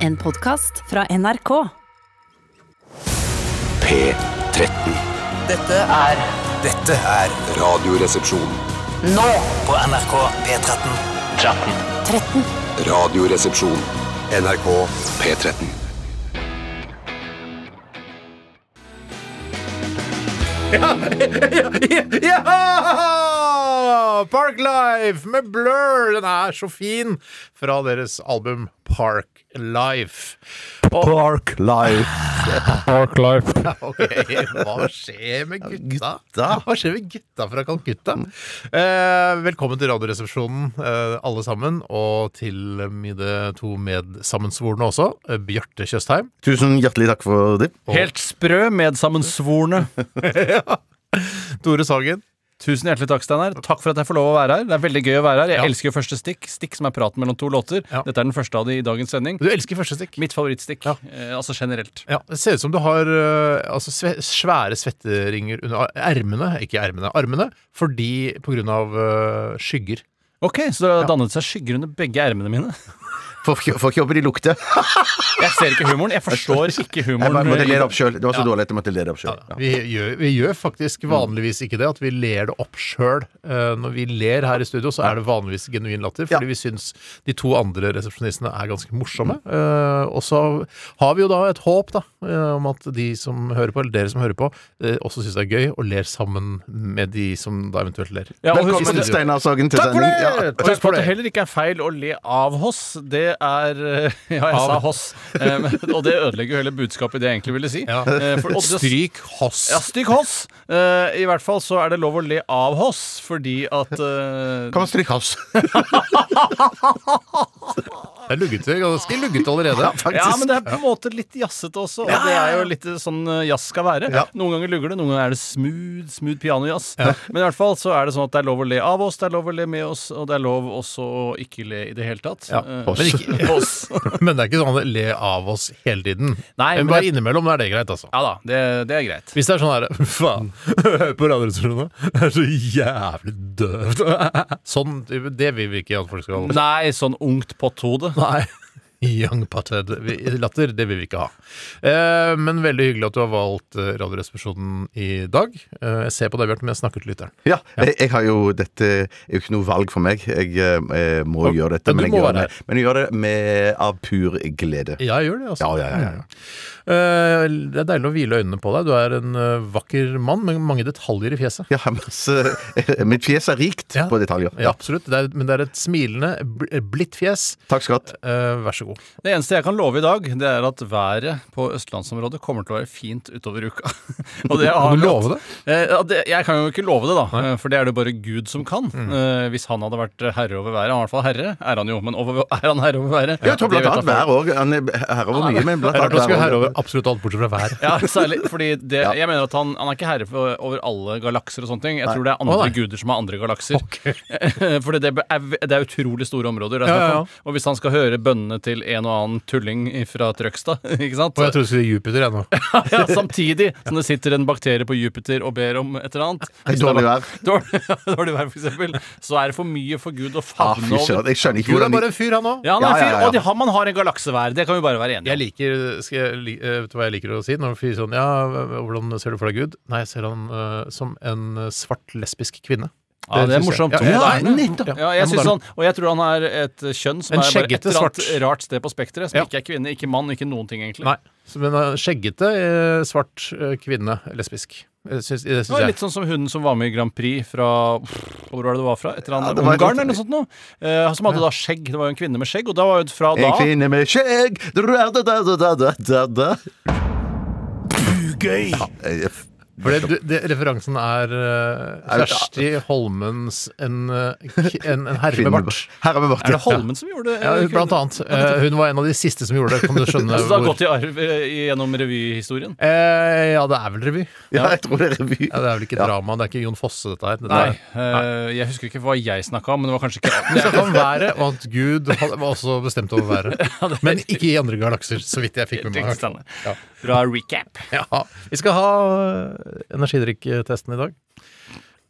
En podkast fra NRK. P13. Dette er Dette er Radioresepsjon. nå på NRK P13. 13. Radioresepsjon. NRK P13. Ja! Park Life med Blur! Den er så fin! Fra deres album Park Life. Park Life. Park Life. Ok, Hva skjer med gutta? Hva skjer med gutta fra Calcutta? Eh, velkommen til Radioresepsjonen, eh, alle sammen. Og til mine to medsammensvorne også. eh, Bjarte Tjøstheim. Tusen hjertelig takk for det. Helt sprø, medsammensvorne. Tore Sagen. Tusen hjertelig takk, Steinar. Takk for at jeg får lov å være her. Det er veldig gøy å være her. Jeg Ja. elsker jo første stikk. Stikk som er praten mellom to låter. Ja. Dette er den første av de i dagens sending. Du elsker første stikk. Mitt favorittstikk. Eh, altså generelt. Ja, Det ser ut som du har eh, altså, sve svære svetteringer under ar- ermene. Ikke ermene, armene. Fordi på grunn av eh, skygger. Ok, så det har dannet seg skygger under begge ermene mine. Får ikke- får ikke håpe de lukter. Jeg ser ikke humoren. Jeg forstår ikke Jeg bare humoren. måtte le det opp sjøl. Det var så dårlig at jeg måtte le det opp sjøl. Vi gjør, vi gjør faktisk vanligvis ikke det, at vi ler det opp sjøl. Eh, Når vi ler her i studio, så er det vanligvis genuin latter, fordi Ja. vi syns de to andre resepsjonistene er ganske morsomme. Eh, Og så har vi jo da et håp da, eh, om at de som hører på, eller dere som hører på, eh, også syns det er gøy og ler sammen med de som da eventuelt ler. Ja, og husk- Velkommen, Steinar Sagen, til Takk for sending. det! Ja. Og husk på at det heller ikke er feil å le av Hoss. Det er eh, Ja, jeg sa Av. Hoss. Eh, men- og det ødelegger jo hele budskapet i det jeg egentlig ville si. Ja. Eh, for- og det- Stryk hoss. Ja, stygg hoss. Eh, I hvert fall så er det lov å le av hoss, fordi at eh, Kom og stryk oss. Det er luggete, ganske luggete allerede. Ja, men det er på en måte litt jazzete også, og det er jo litt sånn eh, jazz skal være. Noen ganger lugger det, noen ganger er det smooth, smooth pianojazz. Men i hvert fall så er det sånn at det er lov å le av oss, det er lov å le med oss, og det er lov også å ikke le i det hele tatt. Ja, Eh, oss. men ikke- oss. Men det er ikke sånn at le av oss hele tiden. Nei, men men bare det- innimellom er det greit, altså. Ja da, det, det er greit. Hvis det er sånn her Faen, hør på radioresepsjonen. Det er så jævlig døvt. Sånn, det vil vi ikke at folk skal Nei, sånn ungt potthode. Nei. Young Pated latter, det vil vi ikke ha. Eh, men veldig hyggelig at du har valgt eh, Radioresepsjonen i dag. Eh, jeg ser på deg, Bjarte, men jeg snakker til lytteren. Ja, jeg, jeg har jo Dette er jo ikke noe valg for meg. Jeg, eh, må Ja, gjøre dette. men du jeg må gjør være det, men jeg gjør det med, av pur glede. Ja, jeg gjør det, altså. Ja, ja, ja, ja. Eh, det er deilig å hvile øynene på deg. Du er en eh, vakker mann med mange detaljer i fjeset. ja masse, mitt fjes er rikt Ja. på detaljer. Ja, absolutt. Det er, men det er et smilende, bl- blidt fjes. Takk skal du ha. Eh, vær så god. Det eneste jeg kan love i dag, det er at været på østlandsområdet kommer til å være fint utover uka. Og det har Kan du vi love hatt- Eh, ja, det? Jeg kan jo ikke love det, da. eh, For det er det jo bare Gud som kan. Mm. Eh, Hvis han hadde vært herre over været, han er i hvert fall herre, er han jo, men over, er han herre over været? Ja, jeg tror Det blant vet annet jeg vær òg. Han er herre over mye, men blant Det er annet rart å skulle vær herre også. over absolutt alt bortsett fra været. Ja, særlig fordi det, Jeg mener at han, han er ikke herre for, over alle galakser og sånne ting. Jeg tror det er Å, andre nei. det guder som har andre galakser. fordi det er, det er utrolig store områder. Det er Ja, snakk ja, om. Og hvis han skal høre bønnene til en og annen tulling fra Trøgstad, ikke sant Og jeg trodde du skulle si Jupiter ennå. ja, samtidig som det sitter en bakterie på Jupiter og ber om et eller annet. Hvis det er Dårlig bak- vær. Dårlig, dårlig vær, for eksempel. Så er det for mye for Gud å Ah, favne fy søren. over. Jeg skjønner ikke Gud er hvordan de bare en fyr, han òg. Ja, han er Ja, ja, en fyr, ja, og de ja. har, man har en galaksevær. Det kan vi bare være enige Jeg om. liker, skal jeg, li- eh, Vet du hva jeg liker å si når folk sier sånn Ja, hvordan ser du for deg Gud? Nei, jeg ser han eh, som en eh, svart lesbisk kvinne. Ja, det synes er jeg. morsomt. Ja, Ja, ja, moderne. nettopp. Ja, jeg Det er synes moderne. sånn, og jeg tror han er et kjønn som En er bare et skjeggete eller annet svart. rart sted på spekteret. Som Ja. ikke er kvinne, ikke mann, ikke noen ting, egentlig. Nei. Så, Men eh, skjeggete, eh, svart eh, kvinne, lesbisk. Jeg Syns, det Det syns var jeg. litt sånn som hun som var med i Grand Prix fra Hvor var det det var fra? Et eller Ja, annet det var et Ungarn eller eller noe sånt noe. Eh, som hadde da skjegg. Det var jo en kvinne med skjegg, og da var jo fra da En kvinne med skjegg da, da, da, da, da, da, da, da. Ugøy! Eh, f- For det, du- det, referansen er eh, Kjersti Holmens En, eh, k- en, en herre kvinne- med bart. Herre med bart. Er det Holmen som gjorde det? Ja, eller blant kunne- annet. Eh, hun var en av de siste som gjorde det. Kan du skjønne Altså, det har hvor? gått i arv eh, gjennom revyhistorien? Eh, ja, det er vel revy. Ja, jeg tror det er revy. Ja, det er vel ikke drama. Det er ikke Jon Fosse, dette her. Dette Nei. er- eh, jeg husker ikke hva jeg snakka om, men det var kanskje Vi ikke snakka om været, og at Gud hadde- var også bestemt over været. Men ikke i andre galakser, så vidt jeg fikk med meg. Riktig, ja. Bra recap. Ja, vi skal ha øh, energidrikktesten i dag.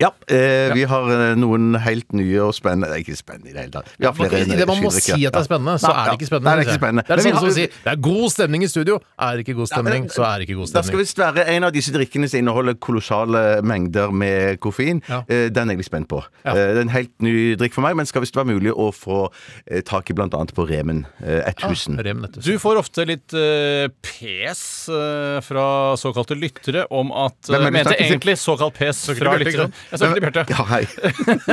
Ja, eh, vi har eh, noen helt nye og spennende Nei, Ikke spennende i det hele tatt. Vi har flere I det man må skildringer. si at det er spennende, så Ja. er det ikke spennende. Nei, det er ikke spennende. Det er Men vi sånn som å har- si det er god stemning i studio. Er det ikke god stemning, så er det ikke god Da skal stemning. visst være en av disse drikkene som inneholder kolossale mengder med koffein. Ja. Eh, Den er jeg litt spent på. Ja. Eh, Det er en helt ny drikk for meg, men skal visst være mulig å få eh, tak i bl.a. på Remen eh, 1000. Rem Nettus. Du får ofte litt eh, pes eh, fra såkalte lyttere om at Hvem er det uh, vi Mente snakker til? egentlig såkalt pes Snakker til fra Bjarte, ikke lyttere. sant? Jeg snakker til Bjarte. Ja, hei.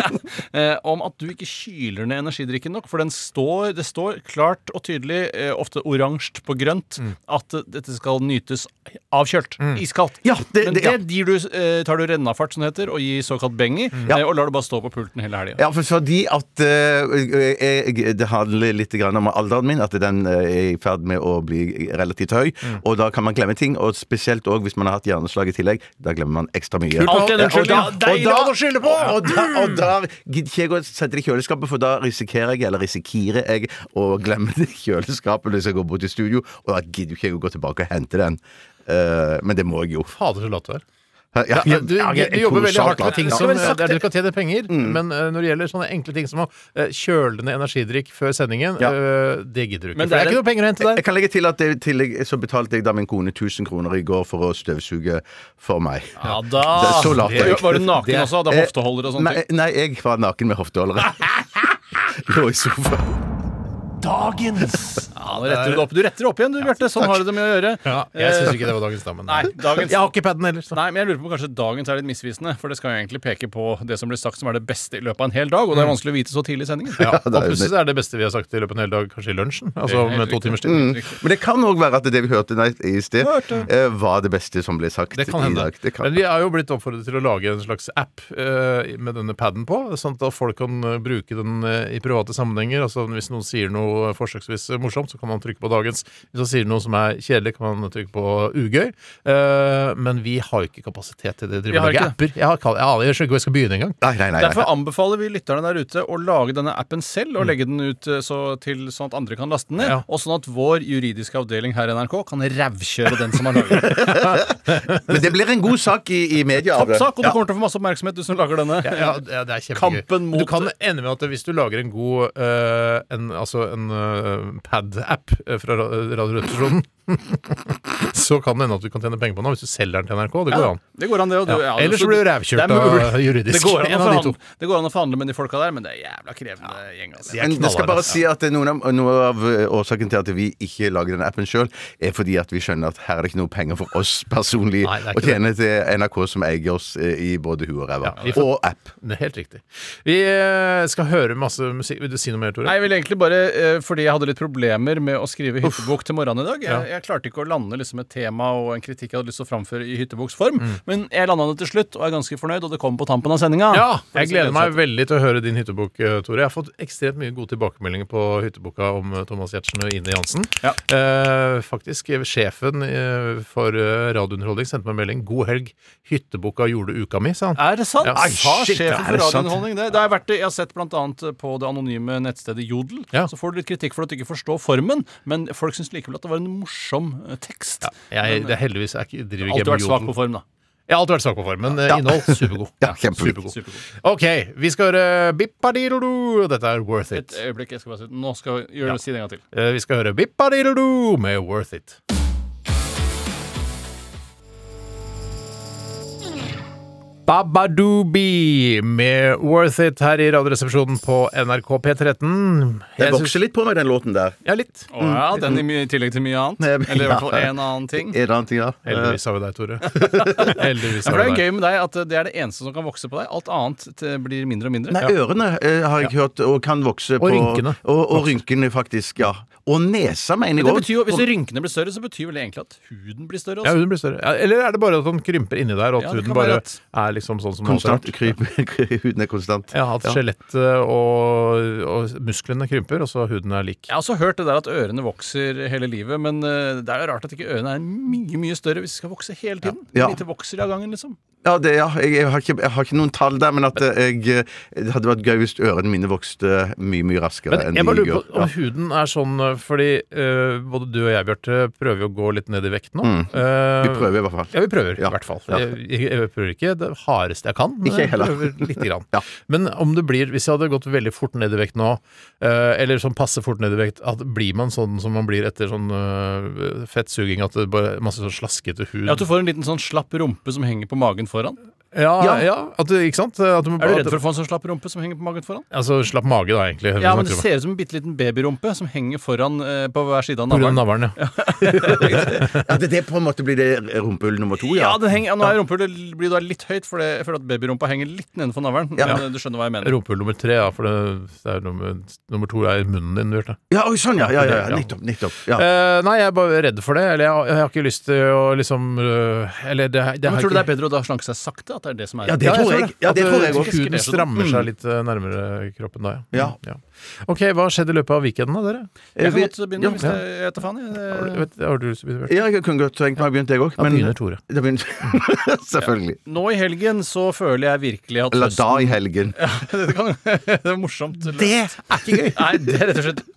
Eh, om at du ikke kyler ned energidrikken nok. For den står, det står klart og tydelig, eh, ofte oransje på grønt, Mm. at eh, dette skal nytes avkjølt. Iskaldt. Ja, det- Men det- det, ja. gir du, eh, tar du rennafart, som det heter, og gir såkalt beng i. eh, Og lar det bare stå på pulten hele helga. Mm. Ja, for fordi at eh, jeg, Det handler litt grann om alderen min, at den eh, er i ferd med å bli relativt høy. Mm. Og da kan man glemme ting, og spesielt òg hvis man har hatt hjerneslag i tillegg. Da glemmer man ekstra mye. Alt er en Ja, og da- unnskyldning. og Deilig da- å skylde på! Og da, Mm. og da gidder ikke jeg å sette det i kjøleskapet, for da risikerer jeg, eller risikerer jeg, å glemme det i kjøleskapet hvis jeg går bort i studio, og da gidder jo ikke jeg å gå tilbake og hente den. Eh, men det må jeg jo. Fader, så lat du er. Ja, Ja, du, ja, du, jeg er jobber veldig kolossalt hardt med lat. ting Ja. som Det skal være eh, der du skal tjene penger, Mm. men eh, når det gjelder sånne enkle ting som å eh, kjøle ned energidrikk før sendingen, Ja. Eh, eh, det gidder du ikke. For det Men det er er ikke noe penger å hente Jeg der. kan legge til at det, i tillegg så betalte jeg da min kone 1000 kroner i går for å støvsuge for meg. Ja da! Det er så lat jeg er. eh, Var du naken også? Hadde hofteholder og sånne Nei, ting? nei, jeg var naken med hofteholdere. Lå i sofaen. eh, Dagens Ja, nå retter du det opp. Du retter det opp igjen, du, Bjarte. Sånn har du det med å gjøre. Ja, jeg syns ikke det var dagens damen. Nei, dagens- Jeg har ikke paden heller. Så. Nei, men jeg lurer på om kanskje dagens er litt misvisende, for det skal jo egentlig peke på det som blir sagt som er det beste i løpet av en hel dag, og det Mm. er vanskelig å vite så tidlig i sendingen. Ja, og det er jo plutselig så er det beste vi har sagt i løpet av en hel dag, kanskje i lunsjen. Altså helt om to riktig. timers tid. Men det kan òg være at det vi hørte nei, i sted, eh, var det beste som ble sagt Det kan i hende. dag. Det kan. Men vi er jo blitt oppfordret til å lage en slags app eh, med denne paden på, sånn at folk kan eh, bruke den eh, i private sammenhenger. Altså Hvis noen sier noe forsøksvis eh, morsomt, så kan man trykke på dagens. Hvis man sier noe som er kjedelig, kan man trykke på ugøy. Eh, men vi har jo ikke kapasitet til det. Vi Vi har har ikke apper. Jeg, har, kall- jeg aner ikke hvor jeg skal begynne engang. Nei, nei, nei, nei. Derfor anbefaler vi lytterne der ute å lage denne appen selv og legge den ut eh, så til sånn at andre kan laste den ned, Ja. og sånn at vår juridiske avdeling her i NRK kan rævkjøre den som har laget den. Men det blir en god sak i, i media. av det. Toppsak, og du Ja. kommer til å få masse oppmerksomhet, du som lager denne. Ja, ja, det er kjempegøy. Kampen mot- Du kan ende med at hvis du lager en god eh, en, Altså en eh, pad-app eh, fra ra- Radioresepsjonen, så kan det hende at du kan tjene penger på den hvis du selger den til NRK. Det går an. Det går an, det. Og du, Ja. det- Ellers så blir du rævkjørt det er mulig. av juridisk. Det går, an En å av de forhandle, to. det går an å forhandle med de folka der, men det er jævla krevende gjeng. Altså. De er Men det skal knallharde. bare si at noen av, noe av eh, årsaken til at vi ikke lager den appen sjøl, er fordi at vi skjønner at her er det ikke noe penger for oss personlig Nei, det er å ikke tjene til NRK som eier oss eh, i både hu og ræva. Ja, vi får- Og app. Det er Helt riktig. Vi eh, skal høre masse musikk. Vil du si noe mer, Tore? Nei, jeg vil egentlig bare, eh, fordi jeg hadde litt problemer med å skrive hyttebok til morgenen i dag. Jeg, jeg klarte ikke å lande liksom et tema og en kritikk jeg hadde lyst til å framføre i hytteboksform. Mm. Men jeg landa det til slutt, og er ganske fornøyd, og det kommer på tampen av sendinga. Ja, For jeg det gleder som meg seg veldig til å høre din hyttebok, eh, Tore. Jeg har fått ekstremt mye gode tilbakemeldinger på hytteboka om eh, Thomas Giertsen og Ine Jansen. Ja. Eh, faktisk, eh, sjefen eh, for eh, Radiounderholdning sendte meg en melding. 'God helg, hytteboka gjorde uka mi', sa han. Er det sant? Ja. Ai, Sa shit, sjefen er for det sant? radiounderholdning det? Det har vært det. Jeg har sett bl.a. på det anonyme nettstedet Jodel. Ja. Så får du litt kritikk for at du ikke forstår formen, men folk syns likevel at det var en morsom eh, tekst. Jeg, det er heldigvis jeg ikke- driver ikke Alltid eh, vært svak jodel. på form, da. Jeg har alltid vært svak på form, men eh, innhold supergod. Ja, kjempeflink. Supergod. Ok, vi skal høre Bippadidodo. Dette er Worth It. Et øyeblikk, jeg skal bare si Nå skal vi gjøre det, si det en gang til. Eh, Vi skal høre Bippadidodo med Worth It. Babadoobi med Worth It her i Radioresepsjonen på NRK P13. Den Jeg syns- vokser litt på meg, den låten der. Ja, litt. Å ja, Mm. den i, my- i tillegg til mye annet. Eller i hvert fall en annen ting. En annen ting, ja. Heldigvis har vi deg, Tore. Heldigvis Ja, har for Det vi er jo deg. gøy med deg at det er det eneste som kan vokse på deg. Alt annet eh, blir mindre og mindre. Nei, ørene eh, har jeg hørt og kan vokse på rynkene. Og, og rynkene, faktisk. Ja. Og nesa, mener Det jeg betyr jo, Hvis rynkene blir større, så betyr vel det egentlig at huden blir større. Ja, Også. hun blir større. Ja, Eller er det bare at han krymper inni der, og Ja, at det huden kan være bare at- er liksom sånn som den alltid har Konstant vært? kryp. Huden er konstant. Ja, at skjelettet og, og musklene krymper, og så huden er lik. Jeg har også hørt det der at ørene vokser hele livet, men eh, det er jo rart at ikke ørene er mye mye større hvis de skal vokse hele tiden. Ja. Hvor lite vokser de av gangen, liksom? Ja, det, ja. Jeg, jeg, har ikke, jeg har ikke noen tall der, men at eh, jeg, eh, det hadde vært gøy hvis ørene mine vokste mye mye raskere Men enn jeg de bare lurer gjør. på om huden er sånn eh, Fordi eh, både du og jeg, Bjarte, prøver jo å gå litt ned i vekt nå. Eh, Mm. Vi prøver i hvert fall. Ja, vi prøver Ja. i hvert fall. Ja. Jeg, jeg- jeg prøver ikke det hardeste jeg kan. men Ikke jeg heller. prøver lite grann. Ja. Men om det blir, hvis jeg hadde gått veldig fort ned i vekt nå, eh, eller sånn passe fort ned i vekt, at blir man sånn som man blir etter sånn eh, fettsuging, at det bare er masse sånn slaskete hud Ja, At du får en liten sånn slapp rumpe som henger på magen foran. Ja, Ja. ja, at du, ikke sant? At du må, Er du at- redd for å få en sånn slapp rumpe som henger på magen foran? Altså, slapp mage, da, egentlig. Ja, men det ser ut som en bitte liten babyrumpe som henger foran eh, på hver side av Pga. navlen. navlen, ja. At det, det på en måte blir det rumpehull nummer to, Ja, Oh, ja. det henger, ja, nå er rumpehullet blir da litt høyt, for det, jeg føler at babyrumpa henger litt nedenfor navlen. Ja. Men, eh, du skjønner hva jeg mener. Rumpehull nummer tre, ja, for det, det er nummer, nummer to er i munnen din, Bjarte. Ja, oi, sånn, ja. ja, ja, ja. Ja. Nettopp. nettopp ja. Eh, nei, jeg er bare redd for det. Eller jeg, har- jeg har ikke lyst til å liksom eh, Eller det, det Men har tror du det ikke- er bedre å da slanke seg sakte? At det er det som er Mm. Ja, det tror jeg. Ja, det At, tror eh, jeg også. Mm. Huden strammer seg litt eh, nærmere kroppen da, Ja. Ok, hva skjedde i løpet av weekenden da, dere? Jeg kan Eh, Vi- godt begynne, Ja, hvis det, jeg vet da faen. jeg. Har du, Eh, Det- vet, har du lyst til å begynne? Bjørn? Ja, jeg kunne godt tenkt meg å begynne, jeg òg. Da begynner Tore. Da begynner- Selvfølgelig. Nå i helgen så føler jeg virkelig at Eller da høsten i helgen. det, kan, det er morsomt. Det er ikke gøy! Nei, det er rett og slett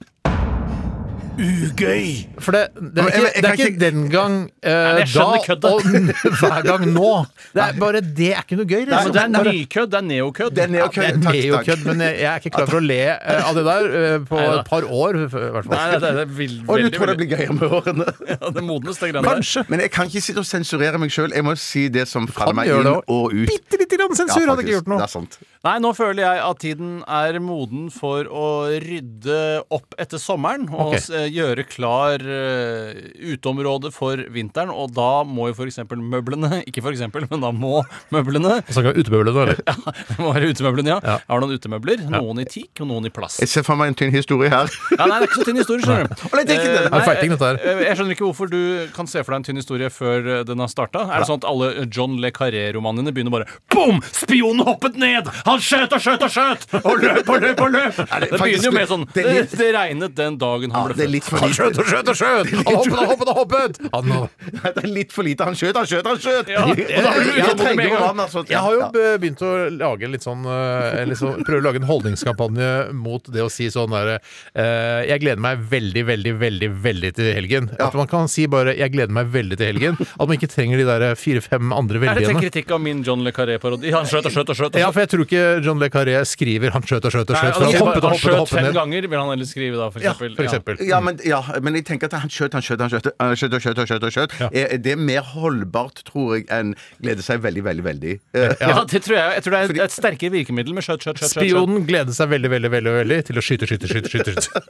Ugøy! For det, det, er Men jeg- ikke, jeg det er kan ikke den gang eh, Nei, da jeg skjønner kødda. og hver gang nå. Det er bare det er ikke noe gøy. Nei, men liksom. Det er nykødd, det er neokødd. Den er jo Det kødd. er Takk, jo kødd, takk. men jeg, jeg er ikke klar for å le eh, av det der eh, på Neida. et par år, i hvert Nei, fall. nei, det er veldig, Og du veldig, tror det veldig blir gøyere med årene? ja, Det modnes, det greiene der. Kanskje. Men jeg kan ikke sitte og sensurere meg sjøl. Jeg må si det som faller meg gjøre inn det og ut. Bitte lite grann sensur hadde ikke faktisk. gjort noe. Det er sant. Nei, nå føler jeg at tiden er moden for å rydde opp etter sommeren og Ok. s- eh, gjøre klar eh, uteområdet for vinteren. Og da må jo f.eks. møblene Ikke for eksempel, men da må møblene Jeg snakker utebøle nå, eller? Det må være utemøblene, ja. Ja. Jeg har noen utemøbler. Noen i teak og noen i plast. Jeg ser for meg en tynn historie her. Ja, nei, det er ikke så tynn historie, skjønner du. Å, nei, det er ikke det. Eh, Det er fighting, dette her. eh, Jeg skjønner ikke hvorfor du kan se for deg en tynn historie før eh, den har starta. Er det sånn at alle John Le Carré-romanene begynner bare Bom! Spionen hoppet ned! Han skjøt og skjøt og skjøt! Og løp og løp og løp! Er det Det begynner faktisk- jo med sånn det Det, er litt- det regnet den dagen Ja, han ble det er født. litt for lite. Skjøt og skjøt og skjøt! Han hoppet og hoppet og hoppet! Han, Det er litt for lite. Han skjøt, han skjøt, han skjøt! Ja, Og det- da blir du jeg ute og må med trenger en gang. vann, altså. Jeg har jo Ja. be- begynt å lage litt sånn eh, eller så, Prøve å lage en holdningskampanje mot det å si sånn derre eh, Jeg gleder meg veldig, veldig, veldig veldig til helgen. At man kan si bare 'jeg gleder meg veldig til helgen'. At man ikke trenger de der fire-fem andre Er dette en veldigene. kritikk av min John Le Carré-parodi? Han skjøt og skjøt og skjøt. og Ja, skjøt. for jeg tror ikke John Le Carré skriver 'han skjøt og skjøt og Altså, Nei, skjøt'. For han han hoppet og hoppet han og skjøt hoppet fem ned. ganger, vil han heller skrive da, for Ja, eksempel. for eksempel. Ja men, ja, men jeg tenker at han skjøt, han skjøt, han skjøt, han skjøt, han skjøt, han skjøt, han skjøt. Er- Det er mer holdbart, tror jeg, enn glede seg veldig, veldig, veldig. Eh, Ja. Ja, det tror jeg, jeg tror det er et, et sterkere virkemiddel med skjøt, skjøt, skjøt. skjøt, skjøt. Spionen gleder seg veldig, veldig, veldig veldig til å skyte, skyte, skyte. skyte, skyte.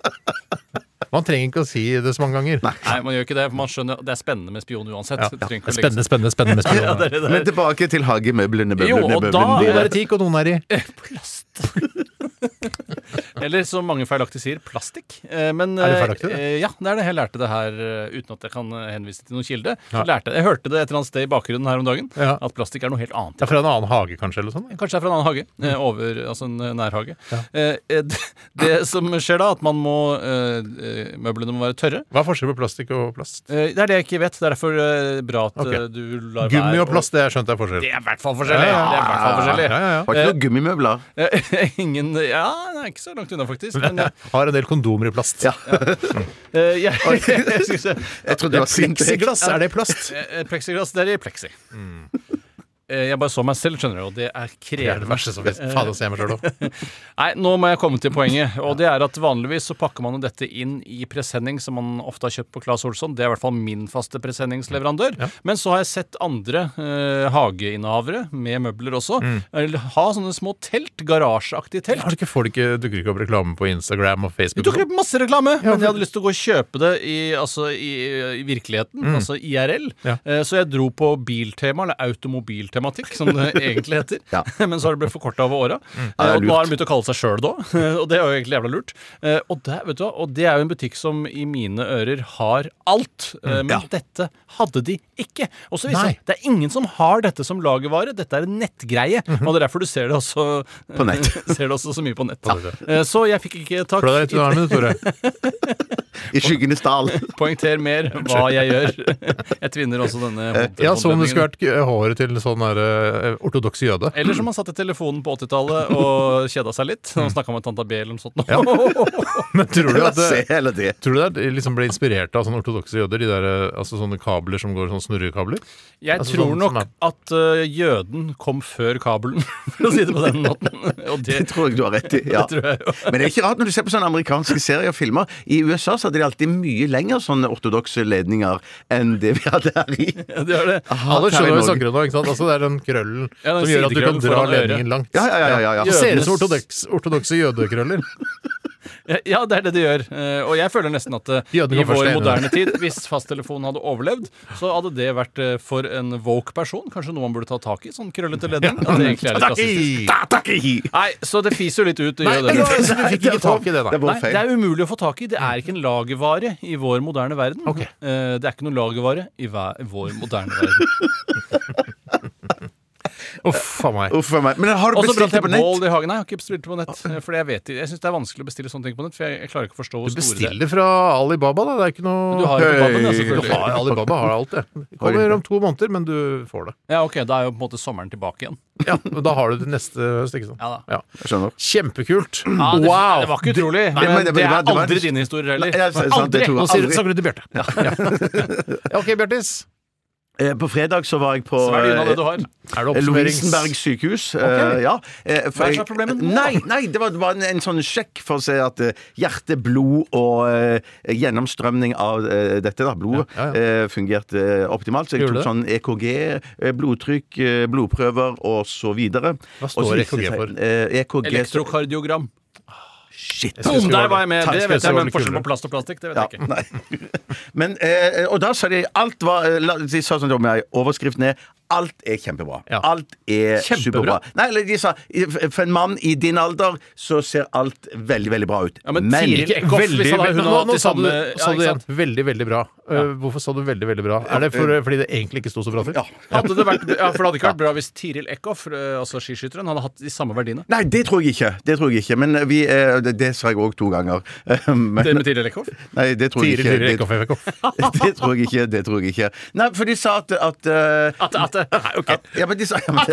Man trenger ikke å si det så mange ganger. Nei, man gjør ikke det, for man skjønner det er spennende med spion uansett. Ja. Du trenger ikke å legge Spennende, spennende, spennende. med spion. Ja, det er det der. Men tilbake til hagemøblene, Jo, møblene, og møblene. da Noen er i teak, og noen er i Eller som mange feilaktig sier, plastikk. Eh, Men, Er det feilaktig, det? eh, Ja, det er det. Jeg lærte det her eh, uten at jeg kan eh, henvise til noen kilde. Ja. Lærte, jeg hørte det et eller annet sted i bakgrunnen her om dagen, Ja. at plastikk er noe helt annet. Det er fra en annen hage, kanskje? eller sånn? Kanskje det er fra en annen hage. eh, Over, altså en eh, nærhage. Eh, eh, d- Det som skjer da, at man må eh, eh, Møblene må være tørre. Hva er forskjellen på plastikk og plast? Eh, Det er det jeg ikke vet. Det er derfor eh, bra at Ok. eh, du lar Gummi være og plast, det har jeg skjønt er forskjell. Det er i hvert fall forskjellig. Det er i hvert fall forskjellig. Ja, ja, ja. Har ikke noen gummimøbler. Eh, Ingen Ja, det er ikke så langt unna, faktisk. Men eh, Jeg har en del kondomer i plast. Ja. eh, jeg, jeg skal se. Jeg trodde det var sint. jeg. Plexiglass, er det plast? Mm. Eh, Plexiglass, det er i plexi. Eh, Jeg bare så meg selv, skjønner du, og det Det er er det krevende. verste som finnes. Faen, jeg ser meg sjøl òg. Nei, nå må jeg komme til poenget, og det er at vanligvis så pakker man jo dette inn i presenning som man ofte har kjøpt på Claes Olsson. Det er i hvert fall min faste presenningsleverandør. Men så har jeg sett andre eh, hageinnehavere med møbler også Mm. eller ha sånne små telt, garasjeaktige telt. Har du ikke folk eh, dukker ikke opp reklame på Instagram og sånn? Det Facebook? dukker opp masse reklame, men for- jeg hadde lyst til å gå og kjøpe det i, altså, i, i virkeligheten, Mm. altså IRL. Ja. Eh, Så jeg dro på biltema, eller automobiltematikk, som det egentlig heter. Ja. Mm. Men så har det blitt forkorta over åra. Ja, det er og nå lurt. har de begynt å kalle seg sjøl da, og det er jo egentlig jævla lurt. Eh, Og det, vet du hva, og det er jo en butikk som i mine ører har alt, Mm. eh, men dette hadde de ikke. Og så viser Nei. det seg, det er ingen som har dette som lagervare, dette er en nettgreie, og det er derfor du ser det også Mhm. På nett. ser det også så mye på nett. nett. Eh, Så jeg fikk ikke tak Slå deg litt i under armen, du, Tore. I skyggenes dal. Poengter mer hva jeg gjør. Jeg tvinner også denne Ja, Som om det skulle vært eh, håret til sånn derre ortodokse jøde. Eller som han satt i telefonen på 80-tallet og kjeda seg litt. Han snakka med tanta B eller noe sånt. nå. Men tror du La at oss se det hele det. Tror du det er- liksom ble inspirert av sånne ortodokse jøder? De der, eh, altså sånne kabler som går sånn snurrekabler? Jeg Altså, tror sånn- nok sånn at ø, jøden kom før kabelen, for å si det på den måten. Og det, Det tror jeg du har rett i. Ja. tror jeg jo. Men det er ikke rart når du ser på sånne amerikanske serier og filmer. I USA så hadde de alltid mye lenger sånne ortodokse ledninger enn det vi hadde her i. Ja, det er det. Alle skjønner hva vi Terminologi. snakker om nå, ikke sant? Altså, det er den krøllen Ja, som gjør at den du kan sidekrøllen dra foran øret. ledningen langt. Ja, ja, ja, ja, ja. Det ser ut som ortodoks- Jødenes- ortodokse jødekrøller. Ja, det er det det gjør. Eh, Og jeg føler nesten at eh, Jødene i kom først, vår jeg er enig moderne tid, hvis fasttelefonen hadde overlevd, så hadde det vært eh, for en woke person kanskje noe man burde ta tak i. Sånn krøllete ledning. At det egentlig er litt rasistisk. Nei, så det fiser jo litt ut å Nei, gjøre det. men altså, vi fikk ikke tak i det, da. vår Nei, det er umulig å få tak i. Det er ikke en lagervare i vår moderne verden. Ok. Eh, Det er ikke noen lagervare i hver- vår moderne verden. Uff a meg. Uff a meg. Men har du Og så bestilt brant det jeg på nett? bål i hagen. Nei, jeg har ikke bestilt det på nett. eh, Fordi jeg vet ikke- Jeg syns det er vanskelig å bestille sånne ting på nett. For jeg, jeg klarer ikke å forstå hvor Du store det er. bestiller fra Alibaba, da. Det er ikke noe Du har jo på babben, ja, Du selvfølgelig. har- Alibaba har alt, det. Det Kommer om to måneder, men du får det. Ja, ok, Da er jo på en måte sommeren tilbake igjen. Ja, og Da har du det til neste høst, ikke sant. Ja da. Skjønner. Kjempekult. Ja, det, Wow! det var ikke utrolig. Nei, men men det- det, det er var- det var- aldri dine historier heller. Nei, jeg- jeg- sant, det tror jeg Nå sier- aldri. snakker du til Bjarte. Ja. Ja, OK, Bjartis. Eh, På fredag så var jeg på eh, Svelg unna det du har. Er det oppsummerings... Lovisenberg sykehus. eh, ja. Eh, for Hva er jeg- problemet nå? Nei, nei, det var bare en, en sånn sjekk for å se at eh, hjerte, blod og eh, gjennomstrømning av eh, dette da, blodet Ja, ja, eh, fungerte eh, optimalt. Så jeg Gjorde det? tok sånn EKG, eh, blodtrykk, eh, blodprøver og så videre. Hva Og så står viste det EKG seg- for? Eh, EKG Elektrokardiogram. Shit! Jeg synes Boom, det der var var jeg med! Det vet Tannkjøttet jeg, var men litt forskjell kulere. på plast og plastikk, det vet Ja, jeg ikke. nei. Men, eh, og da sa de alt var la- De sa sånn om jeg overskrift ned. Alt er kjempebra. Ja. Alt er Kjempebra. superbra. Nei, eller de sa i- For en mann i din alder så ser alt veldig, veldig bra ut. Ja, men Tiril Ikke Eckhoff, veldig, hvis han hadde- veldig- hun nå, hadde hatt nå de sa du, samme sa ja, du ikke igjen sant? veldig, veldig bra. Eh, hvorfor sa du veldig, veldig bra? Er det for, fordi det egentlig ikke sto så bra til? Hadde det vært, ja, for det hadde ikke vært bra hvis Tiril Eckhoff, eh, altså skiskytteren, hadde hatt de samme verdiene. Nei, det tror jeg ikke. Det tror jeg ikke. Men vi, eh, det, det sa jeg òg to ganger. Men, Det Eh, med Tiril Eckhoff? nei, det tror jeg Tiril, ikke. Tiril, Det, Eckhoff, Eckhoff. det tror jeg ikke. Det tror jeg ikke. Nei, for de sa at, at eh, At, at, nei, ok. ja, men de sa, ja, men,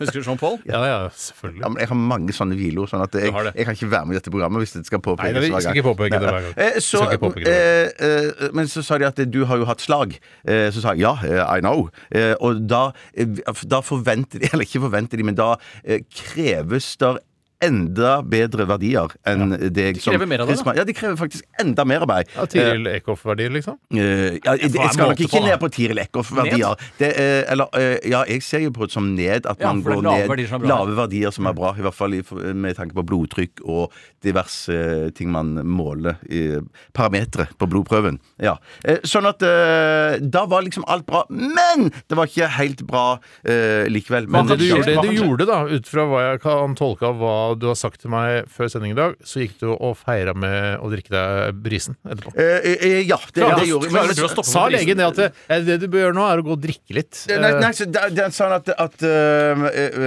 Husker du Jean-Paul? Ja, ja, ja, selvfølgelig. men jeg har mange sånne hvileord, sånn at jeg, har det. jeg kan ikke være med i dette programmet hvis det skal påpekes. Nei, vi hver skal gang. ikke påpeke det hver gang. Eh, Så, Skal ikke påpeke det. eh, eh, men så sa de at du har jo hatt slag. Eh, så sa jeg ja, eh, I know. Eh, og da, eh, da forventer de, eller ikke forventer de, men da eh, kreves der enda bedre verdier enn det jeg krever mer av deg, da. Ja, de krever faktisk enda mer av meg. Ja, Tiril Eckhoff-verdier, liksom. Eh, ja, jeg, får være jeg skal nok måte ikke på, da. ned på Tiril Eckhoff-verdier. Det, eh, eller eh, ja, jeg ser jo på det som ned at Ja, man for det går ned er lave verdier som er bra. Lave verdier som er bra, i hvert fall i, med tanke på blodtrykk og diverse ting man måler i parametere på blodprøven. Ja. Eh, sånn at eh, da var liksom alt bra, men det var ikke helt bra eh, likevel. Men, Men det du skje? gjorde, Hva det kan du skje? gjorde da, ut fra hva jeg kan tolke av hva du har sagt til meg før sending i dag, så gikk du og feira med å drikke deg brisen etterpå. Eh, eh, ja, det, Klarer det du- gjorde klarer du å stoppe på Sa brisen? legen det at det, eh, det du bør gjøre nå, er å gå og drikke litt? Eh, Nei, nei, så det, det er sånn at At eh,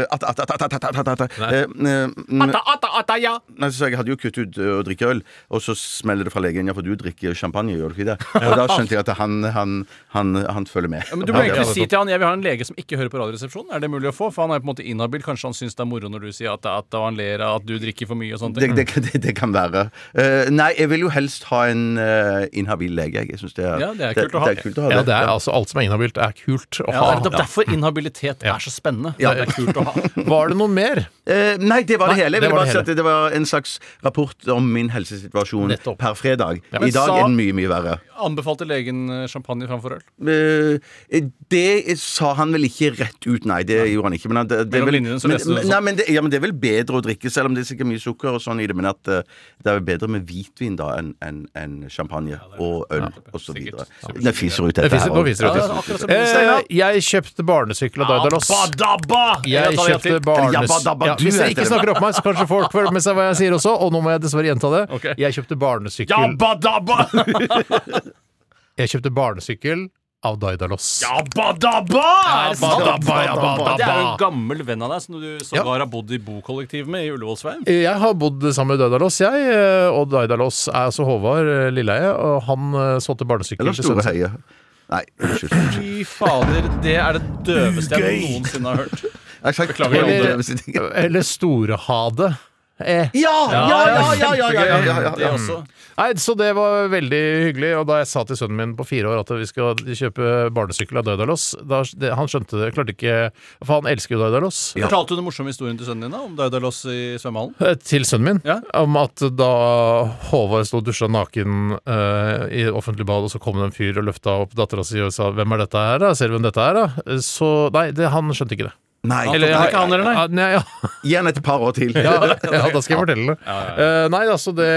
At At At At At At At At At Nei. eh, mm, Atta, atta, atta, ja. Nei, så sa jeg jeg hadde jo kuttet ut ø, å drikke øl, og så smeller det fra legen ja, for du drikker champagne, gjør du ikke det? Og da skjønte jeg at han, han, han, han følger med. Men du må Ja, egentlig ja. si til han jeg vil ha en lege som ikke hører på Radioresepsjonen. Er det mulig å få? For han er på en måte inhabil. Kanskje han syns det er moro når du sier at, at han ler av at du drikker for mye og sånne det, ting. det, det, det kan være. Eh, nei, jeg vil jo helst ha en eh, inhabil lege. Jeg synes det er, Ja, det er kult å ha. Det, det er kult å ha Ja, det. det er altså alt som er inhabilt, er kult å ha. Ja, det er nettopp derfor inhabilitet er så spennende. Ja. Det er kult å ha. Var det noe mer? Eh, nei, det var det Nei, hele. Jeg det ville var bare det si at hele. det var en slags rapport om min helsesituasjon Nettopp. per fredag. Men I dag sa- er den mye, mye verre. Anbefalte legen eh, champagne framfor øl? Eh, det sa han vel ikke rett ut, nei. Det gjorde han ikke. Men, han- det, det er Mellom vel, linjene så men, leste du det men- nei, men, det, ja, men det er vel bedre å drikke, selv om det er sikkert mye sukker og sånn i det. Men at eh, det er vel bedre med hvitvin da enn enn- enn champagne og øl og så videre. Det fiser ut Det dette fiser, nå også. fiser det Ja, ut. akkurat som Eh, Steinar. jeg kjøpte barnesykkel av Daidalos. Badabba! Jeg tar det kjøpte til. barnes... Jabba dabba, Ja, du hvis jeg heter ikke det. snakker opp meg, så kanskje folk får med seg hva jeg sier også. Og nå må jeg dessverre gjenta det. Ok. Jeg kjøpte barnesykkel Jabba dabba! Jeg kjøpte barnesykkel av Daidalos. Jabba dabba! Badabba, jabba dabba. Det er jo en gammel venn av deg som du sågar har bodd i bokollektiv med i Ullevålsveien. Jeg har bodd sammen med Daidalos, jeg. eh, Og Daidalos er altså Håvard eh, Lilleheie. Og han eh, solgte barnesykkel Eller til sønnen store sin. høye. Nei, unnskyld. unnskyld. Fy fader, det er det døveste jeg Gøy! noensinne har hørt. Jeg har sagt Beklager, tolv jeg Eller, døve sittinger. eller storhade. Eh. Ja, ja, ja, ja, ja, ja, ja, ja, Det ja. også. Nei, Så det var veldig hyggelig. Og da jeg sa til sønnen min på fire år at vi skal kjøpe barnesykkel av Daidalos da, det, Han skjønte det, klarte ikke For han elsker jo Daidalos. Fortalte du den morsomme historien til sønnen din da, om Daudalos i svømmehallen? Eh, Til sønnen min. Ja. Om at da Håvard sto og dusja naken eh, i offentlig bad, og så kom det en fyr og løfta opp dattera si og sa 'Hvem er dette her, da?' Ser du hvem dette er, da? Eh, Så Nei, det, han skjønte ikke det. Nei, Eller- det er ikke han, eller nei? Ja, nei ja. gi han et par år til. Ja, ja, da skal jeg fortelle det. Eh, nei, altså det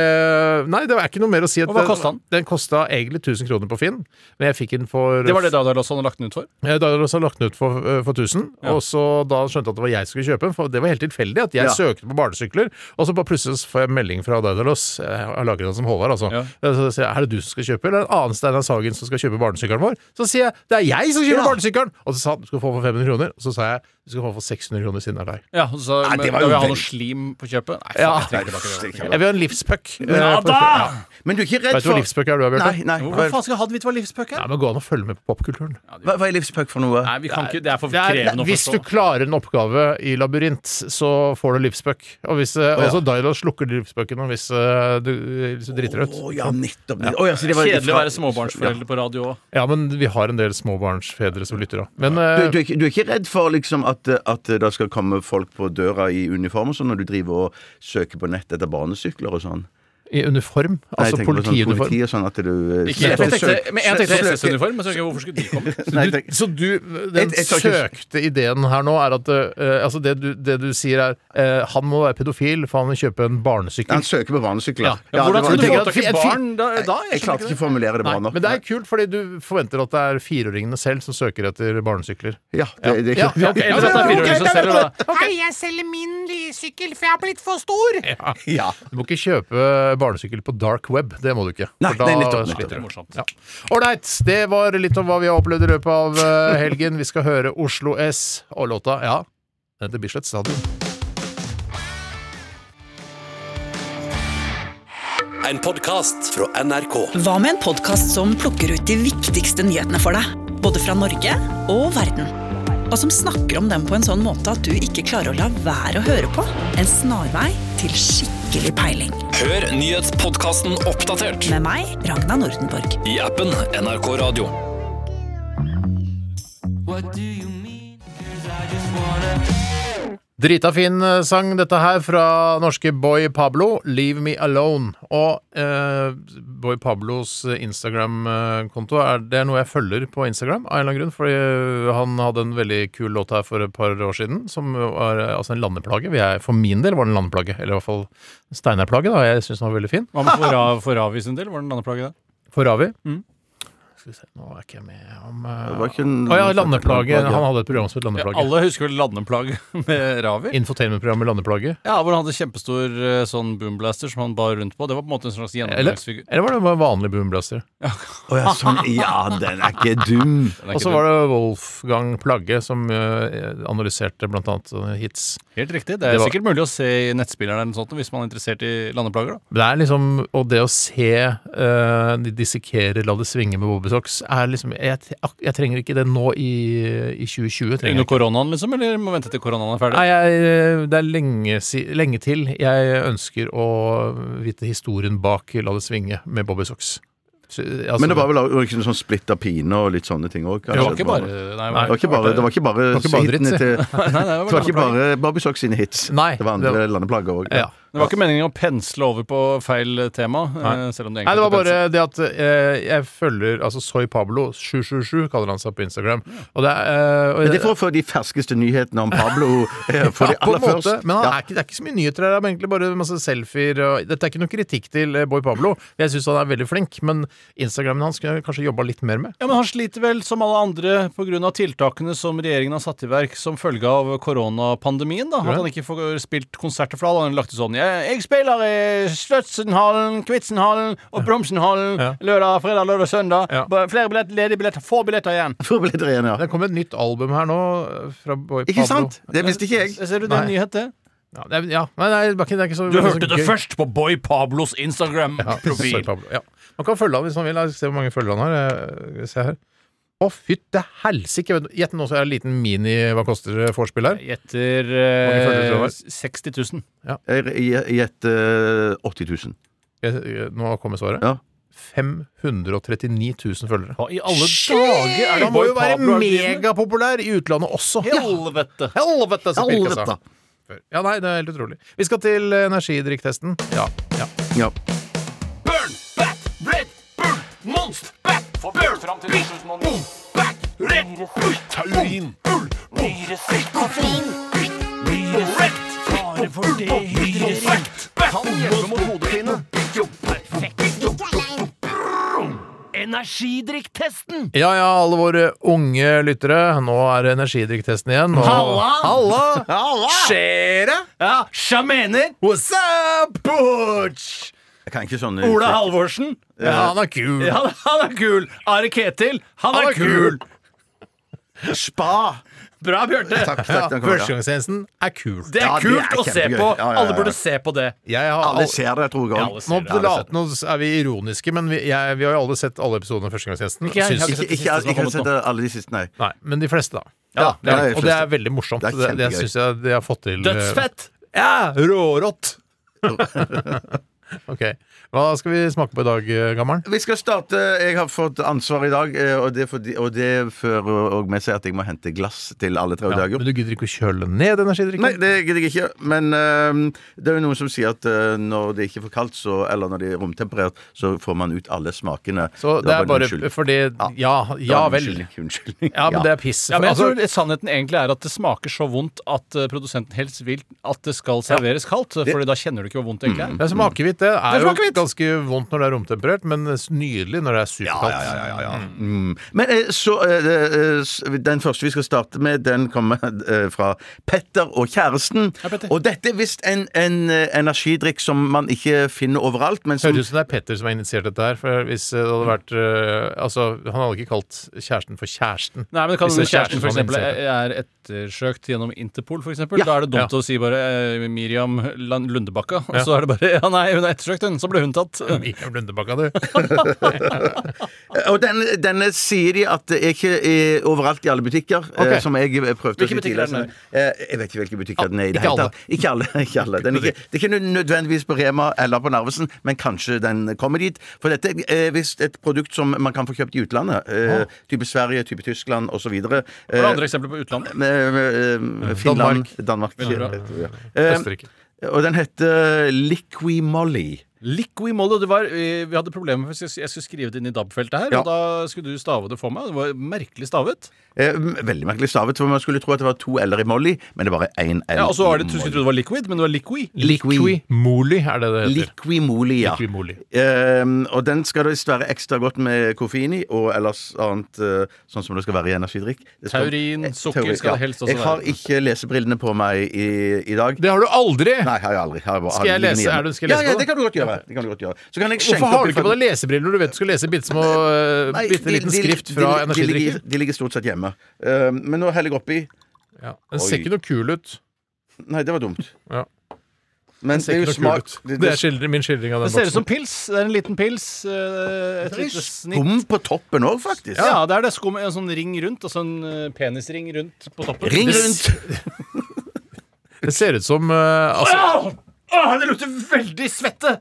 Nei, det er ikke noe mer å si. at Og hva den- kostet han? Den kosta egentlig 1000 kroner på Finn, men jeg fikk den for Det var det Daudalos hadde lagt den ut for? Eh, Da hadde jeg også lagt den ut for, eh, for 1000, Ja. og så da skjønte jeg at det var jeg som skulle kjøpe den. For det var helt tilfeldig at jeg Ja. søkte på barnesykler, og så bare plutselig så får jeg melding fra Daidalos. Jeg har lagret den som Håvard, altså. Ja. Eh, Så sier jeg er det du som skal kjøpe, eller er det en annen Steinar Sagen som skal kjøpe barnesykkelen vår? Så sier jeg det er jeg som kjøper Ja. barnesykkelen! Og så sa han du skal få for 500 kroner, og så sa jeg du skal få for 600 kroner siden det er deg. Ja, og så, Nei, men, det var jo Da vil jeg ha veldig- noe slim på kjøpet? Nei, Ja. faen, jeg trenger Nei, det tilbake var det. slik. Jeg vil ha en livspuck. eh, Ja på- da! Men du er ikke redd Vet du for hva livspuck er, du, Bjarte? Nei, nei. Hva Hvorfor faen skal jeg ha det hvis det var livspøk Nei, her? men Gå an å følge med på popkulturen. hva- hva er livspuck for noe? Nei, vi kan ikke, det er for Det er, krevende å hvis du forstå. klarer en oppgave i labyrint, så får du livspuck. Og hvis eh, ja. altså, Daidalos slukker livspucken hvis eh, du, hvis du driter deg ut. Å ja, nettopp. Å, ja, så det var- Kjedelig å være småbarnsforelder på radio òg. Ja, men vi har en del småbarnsfedre som lytter òg. Men Du, eh, du, er ikke, du er ikke redd for liksom at, at det skal komme folk på døra i uniform og sånn, når du driver og søker på nett etter barnesykler og sånn? i uniform, Nei, jeg altså tenker på sånn politiuniform. Politi og sånn at du eh, Ikke, jeg søker- tenkte, men jeg tenkte søker- SS-uniform, men så tenkte jeg, hvorfor skulle de komme? Nei, jeg tenker- Så du, eh, den Jeg- jeg tror ikke- søkte ideen her nå er at eh, altså det, du, det du sier er eh, han må være pedofil, for han vil kjøpe en barnesykkel. Han søker på barnesykler. Ja, Ja, det Hvordan var- skulle du tenker få at tak i fi- et fi- barn da? da? jeg, klarte ikke å formulere det bra Nei, nok. men det er kult, fordi du forventer at det er fireåringene selv som søker etter barnesykler. Ja, det, det Ja, er kult. ja, Ok, eller at det er fireåringer som selger, da. Hei, jeg selger min sykkel, for jeg har blitt for stor. Ja. Du må ikke kjøpe barnesykkel på dark web. Det må du ikke. Nei, for da det er nettopp- sliter Det er du. morsomt. Ja. Ålreit, det var litt om hva vi har opplevd i løpet av eh, helgen. Vi skal høre Oslo S og låta Ja, den heter Bislett Stadion. En podkast fra NRK. Hva med en podkast som plukker ut de viktigste nyhetene for deg? Både fra Norge og verden. Og som snakker om dem på en sånn måte at du ikke klarer å la være å høre på. En snarvei til skikkelig peiling. Hør nyhetspodkasten oppdatert Med meg, Ragna Nordenborg. i appen NRK Radio. Drita fin eh, sang, dette her, fra norske Boy Pablo, 'Leave Me Alone'. Og eh, Boy Pablos eh, Instagram-konto er, det er noe jeg følger på Instagram, av en eller annen grunn. Fordi eh, han hadde en veldig kul låt her for et par år siden, som var eh, altså en landeplage. Vi er- For min del var den landeplage, eller i hvert fall Steinar-plage. da, Jeg syns den var veldig fin. Hva med Forav- Foravi sin del? Var den landeplage, da? For Ravi. Skal vi se, nå er ikke jeg med om Det eh, var ikke en- Å ja, landeplage. Han hadde et program som het Ja, Landeplage. alle husker vel Landeplage med Ravi? Infotainment-programmet Landeplage. Ja, hvor han hadde kjempestor eh, sånn boomblaster som han bar rundt på. Det var på en måte en slags Eller, gjennomgangsfigur. eller var det bare en vanlig boomblaster? Å ja, sånn. ja, den er ikke dum. Den er Og ikke så dum. var det Wolfgang Plagge som eh, analyserte blant annet eh, hits. Helt riktig. Det er Det var- sikkert mulig å se i nettspilleren eller noe sånt hvis man er interessert i landeplager. da. Det er liksom, Og det å se eh, de dissekere 'La det svinge' med Bobbysocks er liksom jeg, t- ak- jeg trenger ikke det nå i, i 2020. trenger jeg Under ikke. koronaen, liksom? Eller må vente til koronaen er ferdig? Nei, jeg, eh, Det er lenge, si, lenge til jeg ønsker å vite historien bak 'La det svinge' med Bobbysocks. Så, eh, altså- Men det var vel også ikke noe sånn splitta pine og litt sånne ting òg? det var ikke bare Nei, Det var ikke bare, det var ikke bare, var ikke bare dritt, hitene si. til Nei, nei, Det det var ikke landeplager. bare Barbie Socks sine hits. Nei, det var det andre var- landeplager òg. ja. Det var ikke meningen å pensle over på feil tema. eh, Selv om det Nei, det egentlig var ikke bare pensler. det at eh, jeg følger altså Soy Pablo, 777 kaller han seg på Instagram. Og det er, eh, og Men det er for å få de ferskeste nyhetene om Pablo eh, for de på en aller måte, først. men han Ja. er ikke, det er ikke så mye nyheter her. Det er egentlig bare masse selfier. Og, dette er ikke noe kritikk til eh, Boy Pablo. Jeg syns han er veldig flink, men Instagramen hans kunne jeg kanskje jobba litt mer med. Ja, men Han sliter vel som alle andre pga. tiltakene som regjeringen har satt i verk som følge av koronapandemien. da, At han ikke får spilt konserter for alle. Han har lagt ut sånn Jeg, jeg spiller i Sløtsenhallen, Kvitsenhallen og Bromsenhallen Ja. lørdag, fredag, lørdag, søndag. Ja. Bare Flere billetter, ledige billetter, få billetter igjen. Forbereder igjen, ja. Det kom et nytt album her nå eh, fra Boy Ikke Pablo. sant? Det visste ikke jeg. Ser du det er en Nei. nyhet, det? Ja, det, er- ja. Nei, nei, det er ikke, det er ikke så Du det er så hørte det gøy. først på Boy Pablos Ja, Soy Instagram-profil. Pablo, ja. Man kan følge han hvis man vil. Se hvor mange følgere han har. eh, Se her. Å, fytte helsike! Vet du- Gjett nå så er det en liten mini Hva koster det vorspiel her? Jeg gjetter Hvor mange følgere tror du det eh, var? 60 Gjett 000. eh, 80 000. Jeg- jeg- Nå kommer svaret. Ja. 539 000 følgere. Hva i alle dager er det Han må jo Boy være Pablo er drivende? megapopulær i utlandet også. Helvete! Helvete, så pirka Helvete. seg. Ja, nei, det er helt utrolig. Vi skal til eh, energidrikktesten. Ja, ja. Ja. Burn, bat, red, burn, monst, bat, burn, boom, bat, red, taurin, bull, boom, koffein, korrekt, perfekt, bat, ja, ja, alle våre unge lyttere. Nå er det energidrikktesten igjen. og- Halla! Skjer det? Ja, Sjamener! What's up, butch? Jeg kan ikke sånne Ola Halvorsen! Ja, han er kul. Ja, han er kul! Are Ketil, han Han er, er kul. kul. Spa! Bra, Bjarte! Takk, Ja, takk. den kommer, ja. Førstegangstjenesten er kul. Det er Ja, det kult er å se kjempegøy. på! Ja, ja, ja, Alle ja. burde se på det. Jeg har Alle all- ser det, jeg tror jeg. også. ser Nå det. alle later nå er vi ironiske, men vi, jeg, vi har jo alle sett alle episodene av Førstegangstjenesten. Ikke jeg, Syns- jeg har Ikke, sett de ikke, siste som har jeg kan kommet nå. sette alle de siste, nei. Nei, men de fleste, da. Ja, Det er, ja, jeg og det er forstår. veldig morsomt. Det er Det, det, kjempegøy. syns jeg de har fått til. eh, Dødsfett! Ja, rårått! ok. Hva skal vi smake på i dag, eh, gammer'n? Vi skal starte. Jeg har fått ansvar i dag, eh, og det, er fordi, og det fører også med seg at jeg må hente glass til alle tre Ja, dager. men du gidder ikke å kjøle ned Nei, energidrikken? det gidder jeg ikke. Men eh, det er jo noen som sier at eh, når det ikke er for kaldt, så, eller når det er romtemperert, så får man ut alle smakene. Så det var er bare unnskyld. fordi Ja. Ja, ja Det var en vel. unnskyldning, Unnskyldning. Ja, men det er piss. Ja, men jeg Altså, tror det- Sannheten egentlig er at det smaker så vondt at eh, produsenten helst vil at det skal serveres kaldt. Fordi da kjenner du ikke hvor vondt det egentlig er. det som Mm. akevitt, det er Det er jo smakevitt. ganske vondt når det er romtemperert, men nydelig når det er superkaldt. Mm. Men eh, så eh, eh, s- Den første vi skal starte med, den kommer eh, fra Petter og kjæresten. Og dette er visst en, en eh, energidrikk som man ikke finner overalt, men som Høres ut som det er Petter som har initiert dette her. For hvis det hadde Mm. vært eh, Altså, han hadde ikke kalt kjæresten for kjæresten. Nei, men kan Hvis det er kjæresten kjæresten for som eksempel, initierer det. er ettersøkt gjennom Interpol, for eksempel Da er det dumt Ja. å si bare eh, Miriam Lan- Lundebakka, og så er det bare Ja, nei, hun er ettersøkt, hun. Så ble hun tatt. Mikael Blundebakka, du. Eh, Og denne, denne sier de at det er ikke er overalt i alle butikker. eh, Ok. Som jeg eh, prøvde Hvilke å si butikker er Ah, den tidligere. Eh, Jeg vet ikke hvilke butikker den er i det ikke hele alle. tatt. Ikke alle. Ikke alle. Den er ikke, det er ikke nødvendigvis på Rema eller på Narvesen, men kanskje den kommer dit. For dette er visst et produkt som man kan få kjøpt i utlandet. eh, Type Sverige, type Tyskland osv. Hva er andre eksempler på utlandet? eh, Finland, Danmark, Veldig jeg tror, ja. Eh, Østerrike. Og den heter Liqui Molly. Liqui Mollo. Det var, eh, vi hadde problemer med jeg skulle skrive det inn i DAB-feltet her, Ja. og da skulle du stave det for meg. Det var merkelig stavet. Eh, Veldig merkelig stavet, for man skulle tro at det var to l-er i Molly, men det er bare én l. Ja, og så var det, i du Molly. skulle tro det var liquid, men det var liqui. Liqui moli er det det heter. Liquimoli, ja. Liquimoli. Ehm, og den skal det visst være ekstra godt med koffein i, og ellers annet eh, sånn som det skal være i energidrikk. Det skal- Taurin, eh, sukker skal det helst også Jeg har være. ikke lesebrillene på meg i, i dag. Det har du aldri! Nei, har jeg aldri. Har jeg bare, Skal jeg har de liggende lese? hjemme. Er du- skal jeg ja, lese ja, på det kan du godt gjøre. Det kan du godt gjøre. Så kan jeg Hvorfor skjenke har du opp i ikke på deg lesebriller når du vet du skal lese bitte små eh, Nei, bitte de- liten de- skrift de- fra de- de energidrikken? ligger- De ligger stort sett hjemme. Ehm, men nå heller jeg oppi. Ja. Den ser Oi. ikke noe kul ut. Nei, det var dumt. Ja. Den Men det er ser jo ikke noe kul smak ut. Det er skildring, min skildring av den Det ser ut som boksen. pils. Det er en liten pils. eh, Et lite snitt. Skum på toppen òg, faktisk. Ja. det er det. Skum, en sånn ring rundt, og sånn eh, penisring rundt på toppen. Ring Det- rundt! Det ser ut som eh, altså, Au! Åh, det lukter veldig svette!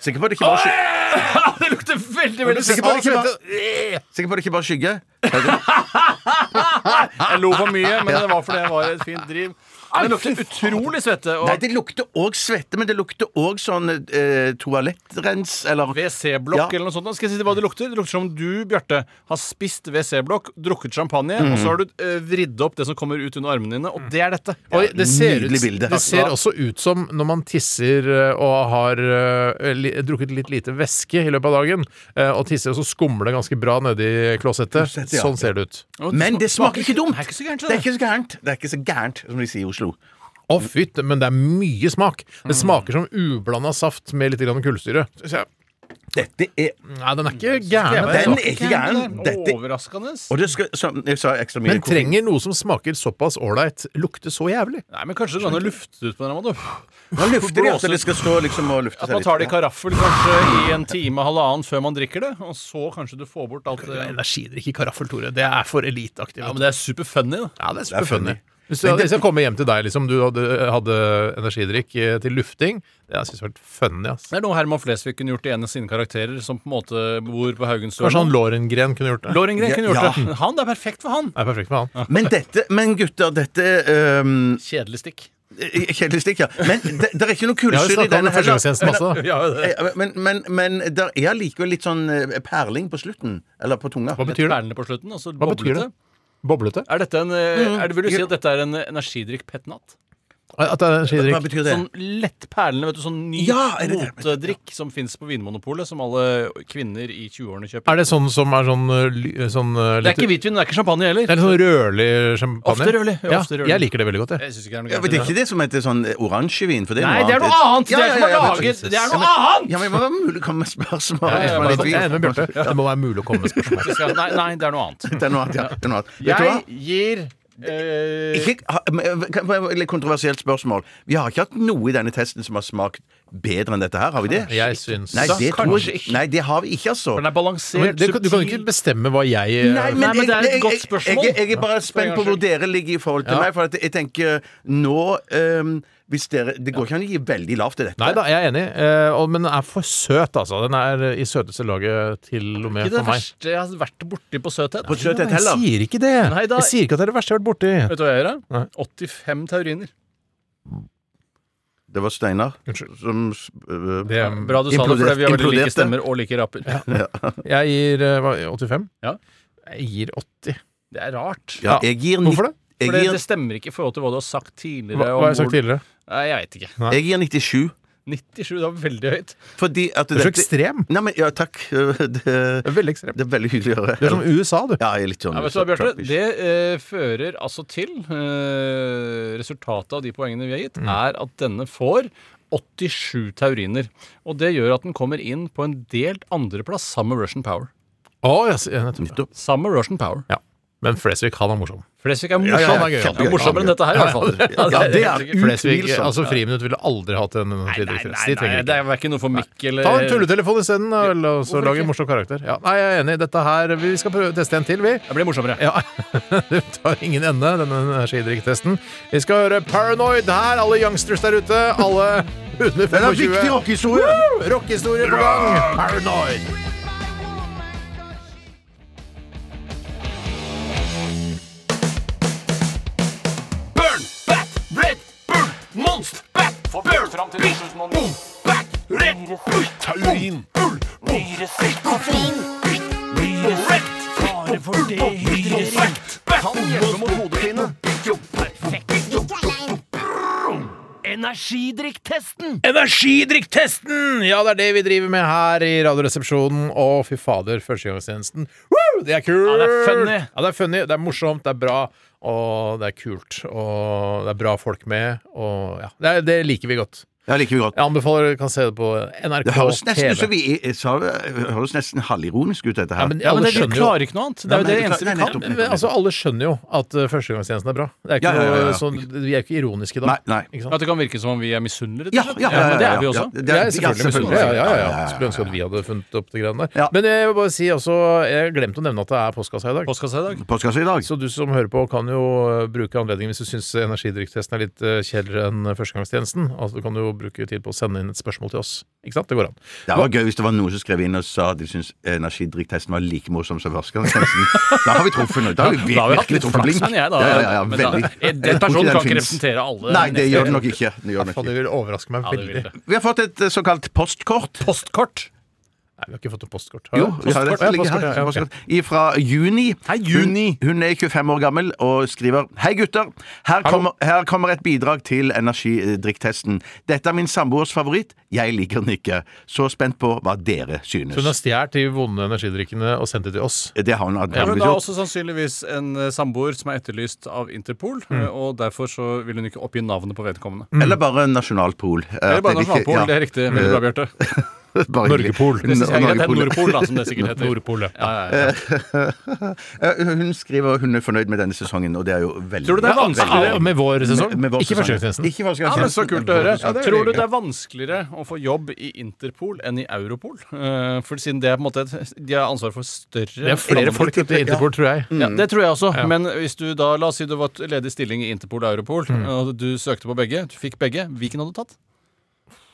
Sikker på at det ikke var skygge? Au, det lukter veldig, veldig Sikker på at det ikke svette. Eh, var, sikker på at det ikke var skygge? Jeg lo for mye, men det var fordi jeg var i et fint driv. Det lukter utrolig svette. Nei, Og det lukter òg svette, men det lukter òg sånn eh, toalettrens, eller Ja. WC-blokk eller noe sånt. Skal jeg si deg hva det lukter? Det lukter som om du, Bjarte, har spist WC-blokk, drukket champagne, og så har du eh, vridd opp det som kommer ut under armene dine, og det er dette. og det ser, ut, nydelig bilde. det ser også ut som når man tisser eh, og har eh, li, drukket litt lite væske i løpet av dagen, eh, og tisser, og så skumler det ganske bra nedi klosettet. ja. Sånn ser det ut. Og Men det smaker ikke dumt! Det er ikke så gærent. Det er ikke så gærent, Det er ikke så gærent som de sier i Oslo. Å, fytt, Mm. men det er mye smak. Det smaker som ublanda saft med litt grann kullsyre. Synes jeg. Dette er Nei, den er ikke gæren. Den altså. er ikke gæren! Dette Overraskende. Og det skal, som jeg sa ekstra mye Men trenger noe som smaker såpass ålreit, lukte så jævlig. Nei, men kanskje det går an å lufte det ut på en eller annen måte. Man lufter det, altså. Det skal stå liksom og lufte At seg man tar det i litt. karaffel kanskje i en time, halvannen før man drikker det, og så kanskje du får bort alt det Energidrikk i karaffel, Tore. Det er for eliteaktig. Ja, vet men du. det er superfunny, da. Ja, det er er funny. superfunny. Hvis jeg, hvis jeg kommer hjem til deg, liksom, du hadde, hadde energidrikk eh, til lufting Det synes jeg vært funny, ass. Det er noe Herman Flesvig kunne gjort i en av sine karakterer, som på en måte bor på Haugenstua. Kanskje han sånn Lorengren kunne gjort det? Lorengren kunne gjort Ja. det. Han, det er perfekt for han. Det er perfekt med han. Men dette, men gutter, dette um, Kjedelig stikk. Kjedelig stikk, ja. Men det, det er ikke noe Jeg har jo kullsyre i snakket om den det førstegangstjenesten masse. da. Ja, det. Eh, Men, men, men det er allikevel litt sånn eh, perling på slutten. Eller på tunga. Hva Med betyr det? perlene på slutten, og så Hva betyr boblete. det? Boblete? Er dette en, eh, er det, vil du si at dette er en eh, energidrikk petnat? At det er Hva energidrikk? betyr det? Sånn lett perlende, vet du, sånn ny Ja, er det det? motedrikk som fins på Vinmonopolet, som alle kvinner i 20-årene kjøper. Er det sånn som er sånn, eh, ly- sånn eh, Det er litt- ikke hvitvin, det er ikke champagne heller. Det er litt sånn rødlig champagne? Ofte rødlig, ja, Ja, ofte rødlig. jeg liker det veldig godt, jeg. Jeg synes ikke det er noe Ja, gærent men i det det. er ikke det som heter sånn eh, oransjevin? For det er Nei, det er noe annet! Det Ja, ja, er som er ja, men- laget Det er noe annet! Ja, men hva var det mulig å komme med spørsmål? Ja, ja, hvis man ja, er bare litt sånn, Jeg er tvil? enig med Bjarte. Det må være mulig å komme med spørsmål. Vi skal- Nei, nei, det er noe annet. Det er noe annet, ja. Det er noe annet. Vet du hva? Jeg gir eh, Ikke, ha- men, kan- kan- litt kontroversielt spørsmål. Vi har ikke hatt noe i denne testen som har smakt bedre enn dette her, har vi det? Jeg syns Nei, det tror Kanskje jeg ikke. Nei, det har vi ikke, altså. Den er balansert, Men det, du kan ikke bestemme hva jeg eh, Nei, Nei, men det er et jeg- godt jeg- spørsmål. Jeg, jeg, er bare spent på hvor dere ligger i forhold til meg. For at jeg tenker nå ehm, hvis dere, Det går ikke an å gi veldig lavt til dette. Nei da, jeg er enig, eh, og- men den er for søt, altså. Den er eh, i søteste laget til og med Ikke det for meg. verste jeg har vært borti på søthet. På søthet Jeg heller. sier ikke det. Nei da. Jeg sier ikke at det er det verste jeg har vært borti. Vet du hva jeg gjør? da? Nei. 85 tauriner. Det var Steinar Unnskyld. som s- øh, Det, Bra du sa det, for Implodert- vi har veldig like imploderte. stemmer og like rapper. jeg gir eh, hva, 85? Ja. Jeg gir 80. Det er rart. ja, jeg gir ni- Hvorfor det? Jeg For det, gir, det stemmer ikke i forhold til hva du har sagt tidligere. Hva, om hva har jeg sagt hvor- tidligere? Nei, jeg veit ikke. jeg gir 97. 97, det var veldig høyt. Fordi at Du er så dette- ekstrem. Nei, men ja, takk. Det, Det er veldig ekstrem. det er veldig hyggelig å høre. Du er som USA, du. Ja, jeg er litt sånn Ja, vet du hva, Bjarte? Trumpish. Det eh, fører altså til eh, Resultatet av de poengene vi har Mm. gitt, er at denne får 87 tauriner. Og det gjør at den kommer inn på en delt andreplass sammen med Russian Power. Å, jeg sier- nettopp. Nettopp. Sammen med Russian Power. Ja. Men Flesvig, han er morsom. Flesvig er ja, morsom. han er gøy, han. Han er morsommere enn dette her, i hvert fall. Ja, det helt er sikkert. Flesvig, utvilsomt. altså Friminutt ville aldri hatt en Nei, nei, tidligere De nei, nei, trenger det ikke. er verken noe for Mikk eller Ta en tulletelefon isteden, da, vel, og så hvorfor lage ikke? en morsom karakter. Ja, nei, jeg er enig. Dette her Vi skal prøve teste en til, vi. Jeg blir morsommere. Ja, det tar ingen ende, denne energidrikktesten. Vi skal høre Paranoid her, alle youngsters der ute. Alle under 25. Den er viktig rockehistorie! Woo! Rockehistorie på gang! Paranoid. Burn, bat, red, bull, monst, bat, for bjørn fram til Bischusmann. Boom, bat, red, bull, taurin, bull, myre, koffein, myre, sekt, fare for dehydrering. Kan hjelpe mot hodepine. Energidrikktesten! Energidrikktesten! Ja, det er det vi driver med her i Radioresepsjonen. Å, fy fader, førstegangstjenesten. Woo! Det er kult! Ja, det er funny. Ja, det er funny, det er morsomt, det er bra, og det er kult. Og det er bra folk med, og ja. Det, er- det liker vi godt. Ja, liker vi godt. Jeg anbefaler dere kan se det på NRK Det høres nesten TV. ut som vi er- sa det høres nesten halvironisk ut, dette her. Ja, men Ja, men alle det, vi skjønner jo klarer ikke noe annet. Det er jo Nei, men det vi eneste vi klarer- nei, kan. nettopp. Men altså, alle skjønner jo at eh, førstegangstjenesten er bra. Det er ikke Ja, ja, ja, ja. Noe, sånn, vi er ikke ironiske da. Nei, nei. Ikke At sant? det kan virke som om vi er misunnelige. rett ja, og slett. ja, ja, ja, men det er vi ja, også. ja. Det- Det er selvfølgelig misunnelige. Ja, ja, ja, ja, ja. Skulle ønske at vi hadde funnet opp de greiene der. Ja. Men jeg vil bare si også, jeg glemte å nevne at det er postkassa i dag. Postkassa i dag. Postkasse i dag. Så du som hører på, kan jo eh, bruke anledningen hvis du syns energidrikktesten er litt eh, kjedeligere enn eh, førstegangstjenesten. Altså, du kan jo bruke tid på å sende inn et spørsmål til oss. Ikke sant? Det går an. Det var gøy hvis det var noen som skrev inn og sa at de syntes energidrikktesten var like morsom som førstegangstesten. Da har vi truffet noe. Da har vi vir- Da har vi hatt virkelig litt truffet flaks, blink. men jeg, da. Ja, ja, ja, Men da- veldig. Den Jeg tror personen den kan ikke finnes. representere alle. Nei, det gjør den nok ikke. Det gjør den Faen, nok det ikke. vil overraske meg Ja, det vil veldig. det. Vi har fått et eh, såkalt postkort. Postkort. Nei, vi har ikke fått noe postkort. Jo, vi har det. postkort. Ja, Ligger postkort, her. ja, ok. Postkort. Ifra Juni. Hei, Juni. Hun, hun er 25 år gammel og skriver Hei, gutter. Her kommer, her kommer et bidrag til energidrikktesten. Dette er min samboers favoritt. Jeg liker den ikke. Så spent på hva dere synes. Så hun har stjålet de vonde energidrikkene og sendt det til oss. Det har hun antakeligvis Hun har gjort. også sannsynligvis en eh, samboer som er etterlyst av Interpol, Mm. eh, og derfor så vil hun ikke oppgi navnet på vedkommende. Eller bare Eh, nasjonalpol. Mm. Eller bare nasjonalpol, det er riktig. Veldig bra, Bjarte. Bare hyggelig. Norgepol. Det synes jeg er greit. Det er Norgepol. Nordpol, da, som det sikkert heter. Nordpolet. Ja, ja, ja. Eh, Hun skriver at hun er fornøyd med denne sesongen, og det er jo veldig Tror du det er veldig- vanskelig? veldig- Med vår sesong? Med- med vår Ikke sesong. førstegangstjenesten. Ikke Ja, men Så førstegangstjenesten. kult å høre. Ja, det er Tror du veldig det er vanskeligere å få jobb i Interpol enn i Europol? Eh, For siden det er på en måte et- De har ansvar for større Det er flere folk ute i Interpol, tror jeg. Ja, Det tror jeg også. Men hvis du da, la oss si du var t- ledig stilling i Interpol og Europol, og du søkte på begge, du fikk begge, hvilken hadde du tatt?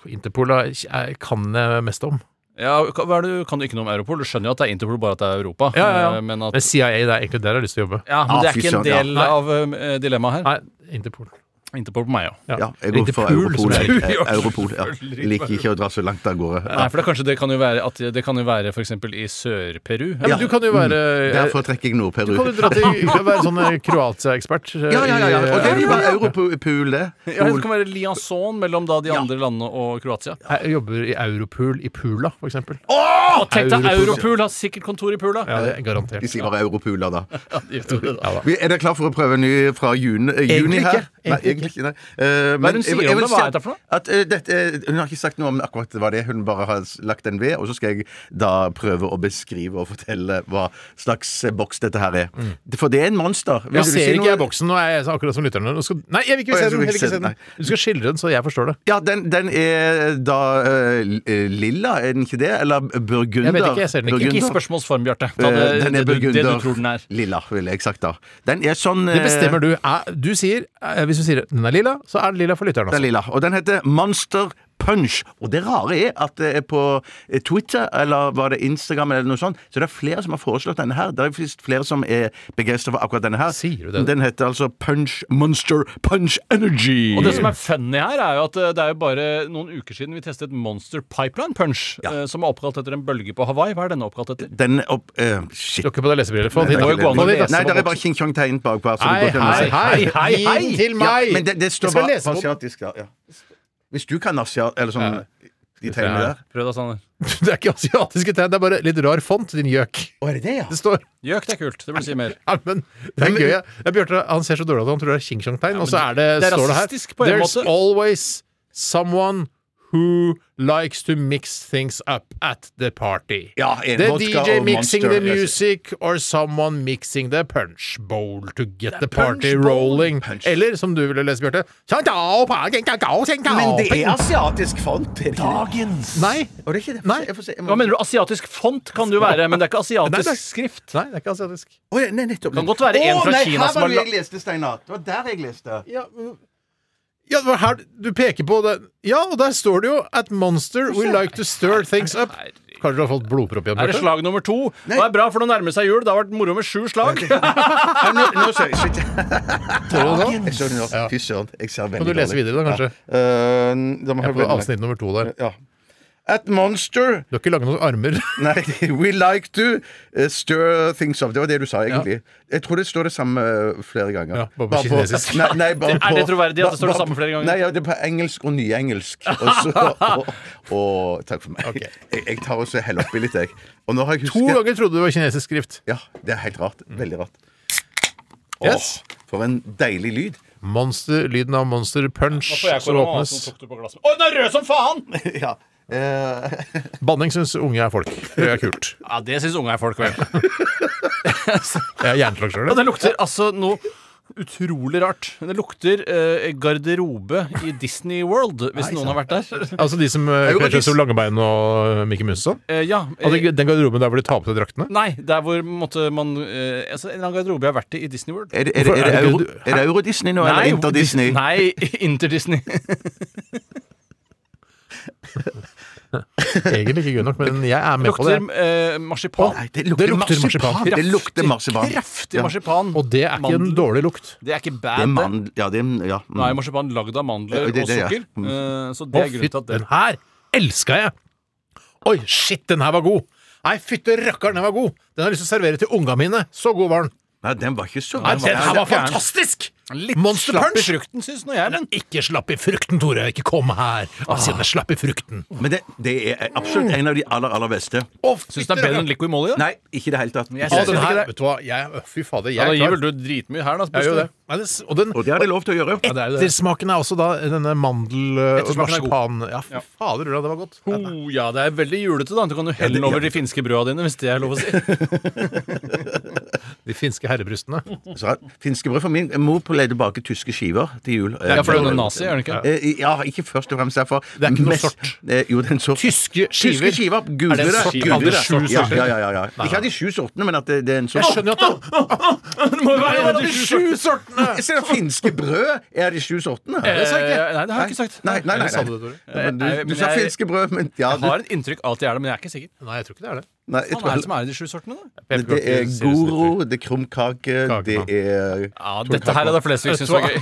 Interpol er- er- kan jeg mest om. Ja, hva hva er det, du- Kan du ikke noe om Europol? Du skjønner jo at det er Interpol, bare at det er Europa. Ja, ja, ja. Eh, Men, at, Men CIA, det er egentlig der jeg har lyst til å jobbe. ja, men Ah, det er fy ikke en søren, ja. del Nei. av eh, dilemmaet her. Nei, Interpol. Interpol på meg òg. Ja, jeg går for Interpol, som Europol. er- Eh, Europol ja. Jeg Liker ikke å dra så langt av gårde. Nei, Eh, for det, er kanskje, det kan jo være, at det kan jo være for eksempel i Sør-Peru. Ja, men du kan jo være Derfor trekker jeg Nord-Peru. Du kan jo dra til være sånn eh, Kroatia-ekspert. eh, Ja, ja, ja, ja. i, eh, Og det er jo bare Europol, det. Ja, det kan være liaison mellom da de andre landene og Kroatia. Jeg jobber i Europol i Pula, for eksempel. Og tenk deg, Europol. Europol har sikkert kontor i Pula! Ja, det er garantert. De sier bare Europoler, da. Ja, da. Vi- Er dere klar for å prøve en ny fra juni, eh, juni Egentlig ikke. her? Nei, egentlig ikke. Nei. Eh, men er det jeg- hun sier jeg om vil det? Hva si er dette for noe? At, eh, dette, eh, hun har ikke sagt noe om akkurat hva det er. Hun bare har s- lagt den ved. Og så skal jeg da prøve å beskrive og fortelle hva slags eh, boks dette her er. Mm. For det er en monster. Vil Jeg du si ser ikke noe- jeg boksen, og jeg er akkurat som lytterne. Du skal... Nei, jeg vil ikke Å, se jeg den! Jeg vil vil ikke ikke se se den. den, Du skal skildre den, så jeg forstår det. Ja, den, den er da eh, l- eh, lilla, er den ikke det? Eller Jeg burgunder? vet ikke, jeg ser den ikke. Ikke i Burgunder. spørsmålsform, Bjarte. Ta det, Eh, Den er det, du- det du burgunder. tror den er. Lilla, ville jeg sagt da. Den er sånn Det bestemmer du. Er- Du sier, eh, Hvis du sier den er lilla, så er den lilla for lytteren også. Den er lilla. Og den heter Monster Punch. Og det rare er at det er på eh, Twitter, eller var det Instagram, eller noe sånt, så det er flere som har foreslått denne her. Det er faktisk flere som er begeistra for akkurat denne her. Sier du det? Den heter altså Punch Monster Punch Energy. Og det som er funny her, er jo at eh, det er jo bare noen uker siden vi testet Monster Pipeline Punch, eh, som er oppkalt etter en bølge på Hawaii. Hva er denne oppkalt etter? den opp... eh, shit. Du har ikke på deg lesebriller? Få Nei, den det hit. er ikke gå an Få å den hit, det. lese ass. Nei, det er bare King Kong-tegn bakpå. så det Hei, går ikke an å hei, se. hei! Hei, hei, hei. Gi den til meg! Ja, men det, det står Jeg skal bare lese den opp. asiatisk. Ja, ja. Hvis du kan asiat... Eller sånn De tegnene der. Prøv da, Sander. Det er ikke asiatiske tegn, det er bare litt rar font, din gjøk. Å, er det det, ja? Det står Gjøk, det er kult. Det burde si mer. Ja, men det er men- gøy. ja. Ja, Bjarte han ser så dårlig ut at han tror det er Xing-Shang-tegn, og så er det, det er står det her rasistisk på en There's måte. always someone who likes to mix things up at the party. Ja, en The vodka DJ og mixing Monster, the yes. music or someone mixing the punch bowl to get the party rolling. Eller som du ville lese, Bjarte Men Men det er asiatisk font. Er det ikke det? Dagens Nei. Og det er ikke det. Nei. Jeg får se. Jeg må- Hva mener du? Asiatisk font kan det jo være, men det er ikke Nei, det er- asiatisk skrift. Nei, det er ikke asiatisk. Å, ja, nei, nettopp. Kan godt være en Å, fra nei, Kina her som var har det la- jeg leste, Steinar. Det var der jeg leste. Ja, men- ja, det var her du peker på det. Ja, og der står det jo At Monster we like to stir things up. Kanskje du har fått blodpropp igjen? Er det Bjarte? slag nummer to? Det er bra, for nå nærmer det seg jul. Det har vært moro med sju slag. Ja, nå, nå ser jeg shit. Tror du det nå? Jeg så det nå. Fy søren. Jeg ser veldig Kan du lese dårlig. videre, da, kanskje? Eh, da må Jeg jeg er på avsnitt nummer to der. Ja. At monster Du har ikke laget noen armer. Nei, we like to eh, stir things up. Det var det du sa, egentlig. Jeg tror det står det samme eh, flere ganger. Ja, bare på kinesisk. Nei, nei, bare Er det på- troverdig at det står det bare- samme flere ganger? Nei, ja, det er på engelsk og nyengelsk. Og så og, og, Takk for meg. Ok. Jeg, jeg tar også heller oppi litt, jeg. Og nå har jeg To husket ganger trodde du det var kinesisk skrift. Ja, det er helt rart. Veldig rart. Åh, Yes. for en deilig lyd. Monster, Lyden av Monster Punch Får jeg som korona, åpnes. som tok det på glasset. Å, den er rød som faen! ja. Eh, altså. Banning syns unge er folk. Det er kult. Ja, det syns unge er folk, vel. Jeg er hjerneslag sjøl. Ja, det lukter altså noe utrolig rart. Det lukter eh, garderobe i Disney World, hvis noen har vært der. Altså de som eh, Jo, kler seg faktisk. som Langebein og Mikke Mus og sånn. Eh, ja. eh, Altså, Den garderoben der hvor de tar på seg draktene. nei, der hvor måtte man eh, altså, En eller annen garderobe jeg har vært i i Disney World. er det, er det, er det, Er det Euro- ikke er det Euro-Disney nå, eller Inter-Disney? Dis- Nei, Inter-Disney. Egentlig ikke gøy nok, men jeg er med på det. Lukter eh, marsipan. Nei, det lukter, Det lukter marsipan. marsipan. Det lukter marsipan. Kraftig Ja. marsipan. Og det er ikke en Mandel. dårlig lukt. Det er ikke Det er bad. det. mandel... Ja, det er ja. mm. Nå er marsipan lagd av mandler Ja, det- og det, ja. Mm. sukker, eh, så det Å, er grunnen fytt, til at det den her elska jeg! Oi, shit, den her var god! Nei, fytte rakkeren, den var god! Den har jeg lyst til å servere til unga mine. Så god var den. Nei, den var ikke så Nei, den her var fjern. fantastisk! Litt Monster slapp i punch! frukten, Ah. syns nå jeg, men Ikke slapp i frukten, Tore. Ikke kom her og si den er slapp i frukten. Men det, det er absolutt en av de aller, aller beste. syns du det er bedre enn Liqui Moly, da? Nei, ikke i det hele tatt. jeg Å, synes den ikke her, det. vet du hva, jeg, fy fader, Ja, jeg da gir er vel klar. du dritmye her, da. Jeg gjør det. Buster. Nei, det. s- Og den Og det har de lov til å gjøre. Ja, det er jo det. Ettersmaken er også da denne mandel- og Ettersmaken er god. marsipan... Ja, fy fader, Ulla, det var godt. Ho, ja, det er veldig julete, da. Du kan jo helle den over de finske brøda dine, hvis det er lov å si. De finske herrebrystene. Så, finske brød for min mor pleide å bake tyske skiver til jul. Ja, for hun er nazi, er hun ikke? Eh, Ja, ikke først og fremst derfor. Det er ikke noe sort. Eh, Jo, det er en sort. Tyske skiver. Tyske skiver. Google Er det en det. sort? Google Hadde det. sju ja, sorter? ja, ja, ja, ja. Ikke av de sju sortene, men at det, det er en sort. Jeg skjønner jo at det Det må jo være en av de sju Eh, sortene! Jeg ser det finske brød er av de sju sortene. Det sa jeg ikke. Nei, det har jeg ikke sagt. Nei, nei, nei, Sa nei. du det, Tore? Ja, men Eh, Du, du men sa jeg- finske brød, men ja, Jeg du, har et inntrykk av at de er det, men jeg er ikke sikker. Nei, jeg tror ikke det er det. nei, jeg Hva er tror, det som er i de sju sortene, da? men det er goro, det er krumkake, det Kakene. er Ja, dette her er det Flesvig syns var gøy.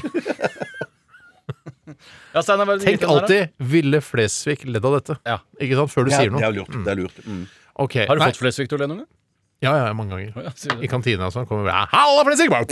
Ja, Steinar, hva er det du Tenk liker den her, da? alltid 'ville Flesvig ledd av dette'? Ja. Ikke sant? Før du Ja, sier det noe. er lurt. Det er lurt. Mm. Ok, Har du nei. fått Flesvig til å le noen gang? Ja, ja, mange ganger. Ja, sier du I det. kantina og sånn kommer vi 'Halla, Flesvig!' Bare,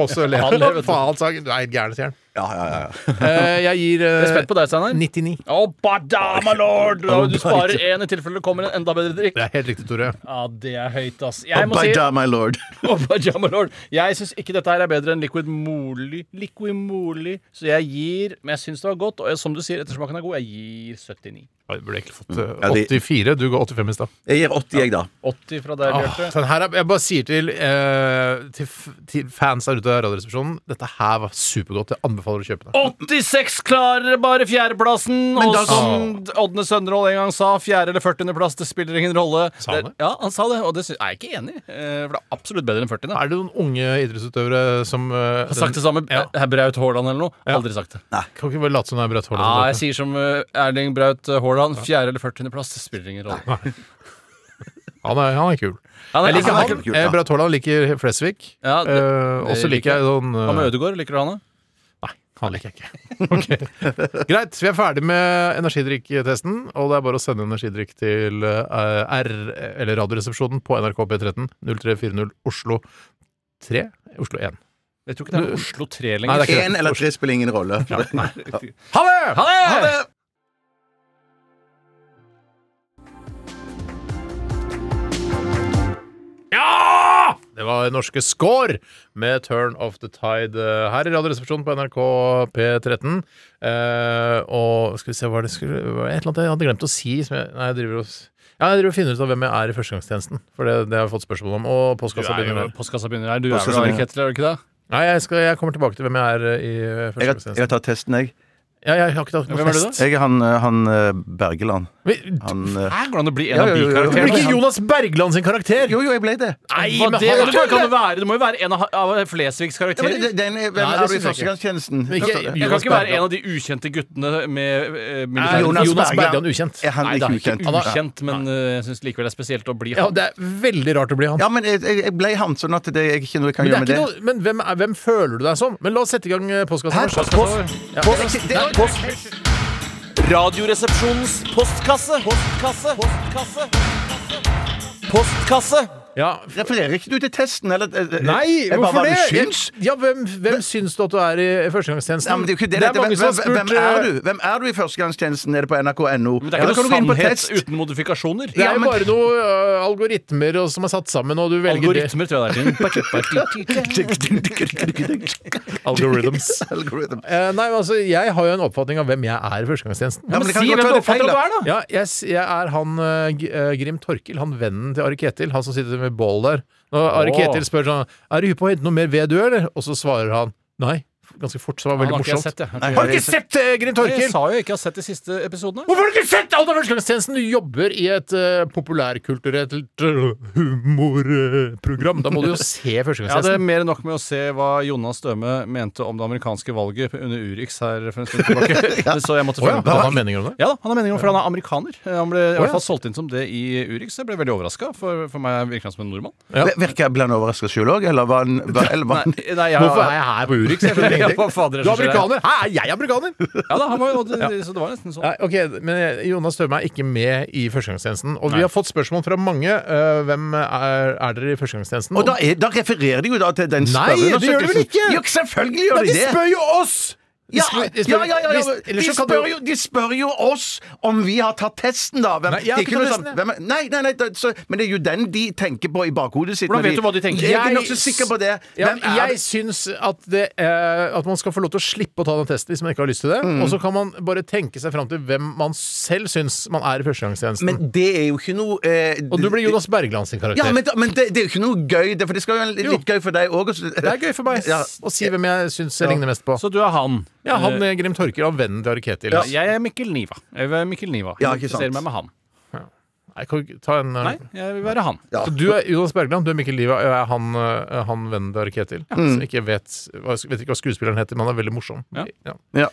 Og så ler Han han. ler, vet du. Faen, sa han. Du er helt gæren, sier han. Ja, ja, ja. ja. Eh, Jeg gir eh, Jeg er spent på deg, Steinar. 99. Å, badama lord! Da Du sparer én i tilfelle det kommer en enda bedre drikk. Det er helt riktig, Tore. Ja, det er høyt, ass. Jeg må si Bada, my lord. Å, Pajama Lord. Jeg syns ikke dette her er bedre enn Liquid Moly. Liquid Moly. Så jeg gir Men jeg syns det var godt, og jeg- som du sier, ettersmaken er god. Jeg gir 79. Oi, Jeg burde egentlig fått eh, Ja, de- 84. Du ga 85 i stad. Jeg gir 80, jeg, da. 80 fra deg, Åh, Bjarte. den her er, jeg bare sier til, eh, til, f- til fans der ute av Radioresepsjonen Dette her var supergodt. Jeg anbefaler å kjøpe det. 86 klarer bare fjerdeplassen, og da- som Ådne Sønderål en gang sa, fjerde- eller 40.-plass, det spiller ingen rolle. Sa han Det- det? Ja, han sa det, og det syns- er jeg ikke enig i. eh, For det er absolutt bedre enn 40. da. Er det noen unge idrettsutøvere som eh, Har sagt det samme Ja. eh, Braut Haaland eller noe. Aldri sagt det. Kan ikke bare late som det er Braut Haaland. Ja, jeg sier som eh, Erling Braut Haaland. Fjerde- eller 40.-plass, det spiller ingen rolle. han, er, han er kul. Han er- Jeg liker han er han. kul. kul, Eh, ja. Braut Haaland liker Flesvig. Ja, det- Eh, og så det liker liker jeg sånn eh, Hva med Ødegaard? Liker du han, da? Nei, han liker jeg ikke. Ok. Greit, vi er ferdig med energidrikktesten, og det er bare å sende energidrikk til eh, R, eller Radioresepsjonen, på NRK P13 0340 Oslo 3. Oslo 1. Jeg tror ikke det er Oslo 3 lenger. Nei, det er ikke det. Én eller tre spiller ingen rolle. Ha det! Ha det! Ja! Det var norske Skår med 'Turn of the Tide' eh, her i Radioresepsjonen på NRK P13. Eh, og skal vi se hva det skulle var det Et eller annet jeg hadde glemt å si. Som jeg, nei, jeg driver og s- ja, jeg driver og finner ut av hvem jeg er i førstegangstjenesten. For det, det har jeg fått spørsmål om. Og Du postkassa er begynner jo der. postkassa begynner her. Du er Postkassa vel Ari begynner. Ketil, er du ikke det? Nei, jeg, skal, jeg kommer tilbake til hvem jeg er eh, i eh, Jeg har, jeg førstegangstjenesten. har tatt testen, jeg. Ja, jeg har ikke tatt noe Hvem er du fest. Jeg er han, eh, han eh, Bergeland. Men- Han eh, Her går det an å bli en Ja, av jo, de jo, Det jo. blir karakterene. ikke Jonas Bergland sin karakter! Jo, jo, jeg ble det. Nei, Hva men det, han- det, kan det, være. det må jo være en av, av Flesvigs Ja, men karakterer. det- det er en- Hvem Nei, det synes er du i jeg ikke. førstegangstjenesten? Men ikke- Hørte du? Jeg kan Jonas ikke være Bergland. en av de ukjente guttene med eh, Er Jonas, militær... Jonas Bergland Bergland ukjent? Er han Nei, det ikke er ukjent? ikke ukjent, men eh, jeg syns likevel det er spesielt å bli Ja, han. det er veldig rart å bli han. Ja, men jeg, jeg jeg ble han, sånn at det er ikke noe jeg kan Men, det er gjøre ikke noe, men med det. hvem, er, hvem føler du deg som? Men la oss sette i gang eh, postkassa. først. Ja. Radioresepsjonens postkasse. Postkasse. Postkasse. Postkasse. Ja. Refererer ikke du til testen, eller? eh, Nei, Jeg bare hvorfor hva det? du syns? Jeg- Ja, hvem, hvem syns du at du er i førstegangstjenesten? Ja, men det er jo ikke Det det. Dette- er mange som har spurt hvem, hvem er eh, du Hvem er du i førstegangstjenesten? Er det på nrk.no? Men det er Eller ikke kan du gå noe inn på sannhet test? uten modifikasjoner. Det er Ja, jo men- bare noen algoritmer og, som er satt sammen, og du velger Algoritmer, tror jeg det er. det. Algorithms. Algorithm. Eh, nei, men altså, jeg har jo en oppfatning av hvem jeg er i førstegangstjenesten. Ja, men det kan Si godt være hvem du det er feil, oppfatter at du da. er, da! Ja, jeg, s- jeg er han eh, G- eh, Grim Torkil, han vennen til Ari Ketil, han som sitter ved bål der. Når Ari Åh. Ketil spør sånn Er du hypp på å hente noe mer ved du, eller? Og så svarer han nei. Ganske fort, så det var Han veldig har ikke jeg morsomt. sett, jeg. Nei, Har du ikke sett eh, Grim Jeg Torkil? sa jo ikke jeg har sett de siste episodene. Hvorfor har du ikke sett Alta førstegangstjenesten? Du jobber i et eh, populærkulturelt eh, humorprogram. Da må du jo se Jeg hadde førstegangstjenesten. mer enn nok med å se hva Jonas Støme mente om det amerikanske valget under Urix her for en stund tilbake. Så jeg måtte Å ja, følge da har han med. meninger om det? Ja da, han har meninger om for han er amerikaner. Eh, Han ble i Å, ja. hvert fall solgt inn som det i Urix. Jeg ble veldig overraska, for, for meg virker han som en nordmann. Ja. Virker jeg blant overraska sjøl òg, eller var han var- eller var han- Nei, nei, jeg, Hvorfor er jeg her på Urix? Jeg skjønner Ja, hva fader er det Du er som skjer her? amerikaner! Hæ, er jeg amerikaner? Ja da, han var jo Så det var nesten sånn. Nei, ok, Men Jonas Støme er ikke med i førstegangstjenesten. Og vi har fått spørsmål fra mange. øh, hvem er, er dere i førstegangstjenesten? Og da, er, da refererer de jo da til den Nei, det gjør de vel spørreundersøkelsen. ikke! Jo, selvfølgelig gjør Nei, de de det! spør jo oss! De Ja, spør- de ja, spør- ja, ja, ja. hvis- ellers De, så kan spør du- jo, de spør jo oss om vi har tatt testen, da. Hvem, Nei, jeg har det er ikke noe tatt sånn- testen, jeg. hvem er- nei, nei, nei, det- så, men det er jo den de tenker på i bakhodet sitt. Hvordan når vet du hva de tenker? Jeg er nokså s- sikker på det. Ja, Hvem er jeg syns at, det, eh, at man skal få lov til å slippe å ta den testen hvis man ikke har lyst til det. Mm. Og så kan man bare tenke seg fram til hvem man selv syns man er i førstegangstjenesten. Men det er jo ikke noe eh, Og du blir Jonas Bergland sin karakter. Ja, men, da- men det, det er jo ikke noe gøy, det, for det skal jo være Jo. litt gøy for deg òg. Det er gøy for meg Ja. å si hvem jeg syns jeg ligner mest på. Så du er han. Ja, han Eh, eh, Grim Torker og vennen til Are Ketil. Jeg er Mikkel Niva. Jeg vil være Mikkel Niva. Ja, Jeg ikke sant. ser meg med han. Jeg kan ikke ta en eh, Nei, jeg vil være han. Ja. Så du er Jonas Bergland, du er Mikkel Liva, og jeg er han, eh, han vennen til Are Ketil. Mm. Som ikke vet, hva- vet ikke hva skuespilleren heter, men han er veldig morsom. Ja. Ja.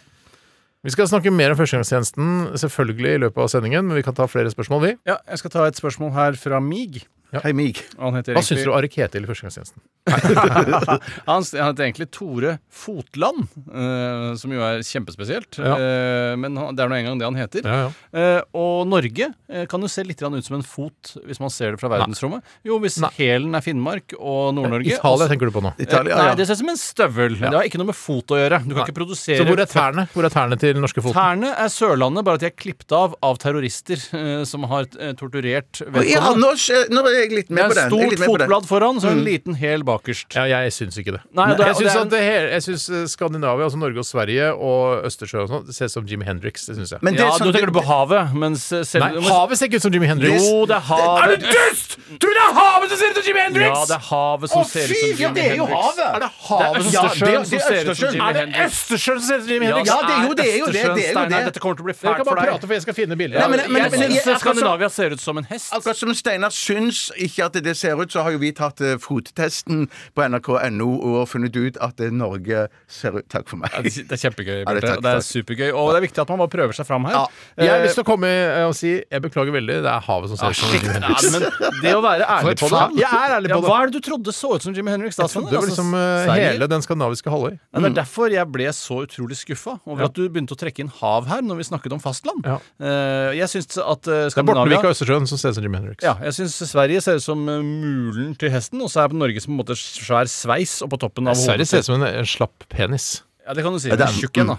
Vi skal snakke mer om førstegangstjenesten selvfølgelig i løpet av sendingen, men vi kan ta flere spørsmål, vi. Ja, jeg skal ta et spørsmål her fra Mig. Hei, Mig. Han heter Hva syns egentlig, du om Are Ketil i førstegangstjenesten? han, s- han heter egentlig Tore Fotland, eh, som jo er kjempespesielt. Ja. Eh, men han, det er nå engang det han heter. Ja, ja. Eh, og Norge eh, kan jo se litt grann ut som en fot hvis man ser det fra verdensrommet. Jo, hvis Nei. hælen er Finnmark og Nord-Norge Italia og så- tenker du på nå. Italia, Nei, ja. det ser ut som en støvel. Det har ikke noe med fot å gjøre. Du kan Nei. ikke produsere Så hvor er tærne? Hvor er tærne til den norske foten? Tærne er Sørlandet, bare at de er klippet av av terrorister eh, som har eh, torturert Ja, vedkommende. nå, skj- nå er jeg litt sånn, Det med er på den. et Jeg er litt med på stort den. Mm. fotblad foran, så en liten hæl bakerst. Ja, jeg syns ikke det. Nei, og det er- jeg syns og at det det hele- jeg syns, eh, Skandinavia, altså Norge og Sverige og Østersjø og sånn, det ser ut som Jimmy Hendrix. Det syns jeg. Men det er Ja, sånn- du tenker du på havet, mens eh, selv Nei, havet ser ikke ut som Jimmy Hendrix. Jo, det er Er havet. det dust?! Tror du det er havet som ser ut som Jimi Hendrix?! Ja, det sånn er havet som ser ut som ja, Jimi det er jo Hendrix. havet! Er det havet altså som ser Ja, det- Østersjøen som det er ser ut som Østersjøen. Jimi Er det Hendrix. Østersjøen som ser ut som Jimi Ja, Hendrix? Ja, det er jo det, det er jo det, Østersjøen, det er jo Steinar, det. Dette kommer til å bli Dere fælt kan for bare deg. prate, for jeg skal finne bilder. Nei, men- men- Jeg men- syns jeg- Skandinavia ser ut som en hest. Akkurat som Steinar syns ikke at det ser ut, så har jo vi tatt eh, fottesten på nrk.no og funnet ut at eh, Norge ser ut Takk for meg. Ja, Det det er kjempegøy, Ja, det er Bjarte. takk, og Det er takk. supergøy. Og det er viktig at man bare prøver seg fram her. Ja. Eh, jeg har lyst til å komme eh, og si jeg beklager veldig, det er havet som ser ut som Jimi ja, Hendrix. men det å være ærlig på det faen. Jeg er ærlig på det. Hva er det du trodde så ut som Jimmy Henrik? Jeg trodde det var liksom eh, hele den skandinaviske halvøy. Ja, det er derfor jeg ble så utrolig skuffa over at du begynte å trekke inn hav her når vi snakket om fastland. Ja. Eh, jeg syns at eh, Det er Bortenvik Skandinavia og Østersjøen som ser ut som Jimi Hendrix. ja, jeg synes Sverige ser ut som eh, mulen til hesten, og så er Norge som på en måte svær sveis og på toppen av Sverige hodet. ser ut som en, en slapp penis. Ja, det kan du si. det Den er- er tjukk mm. igjen, da.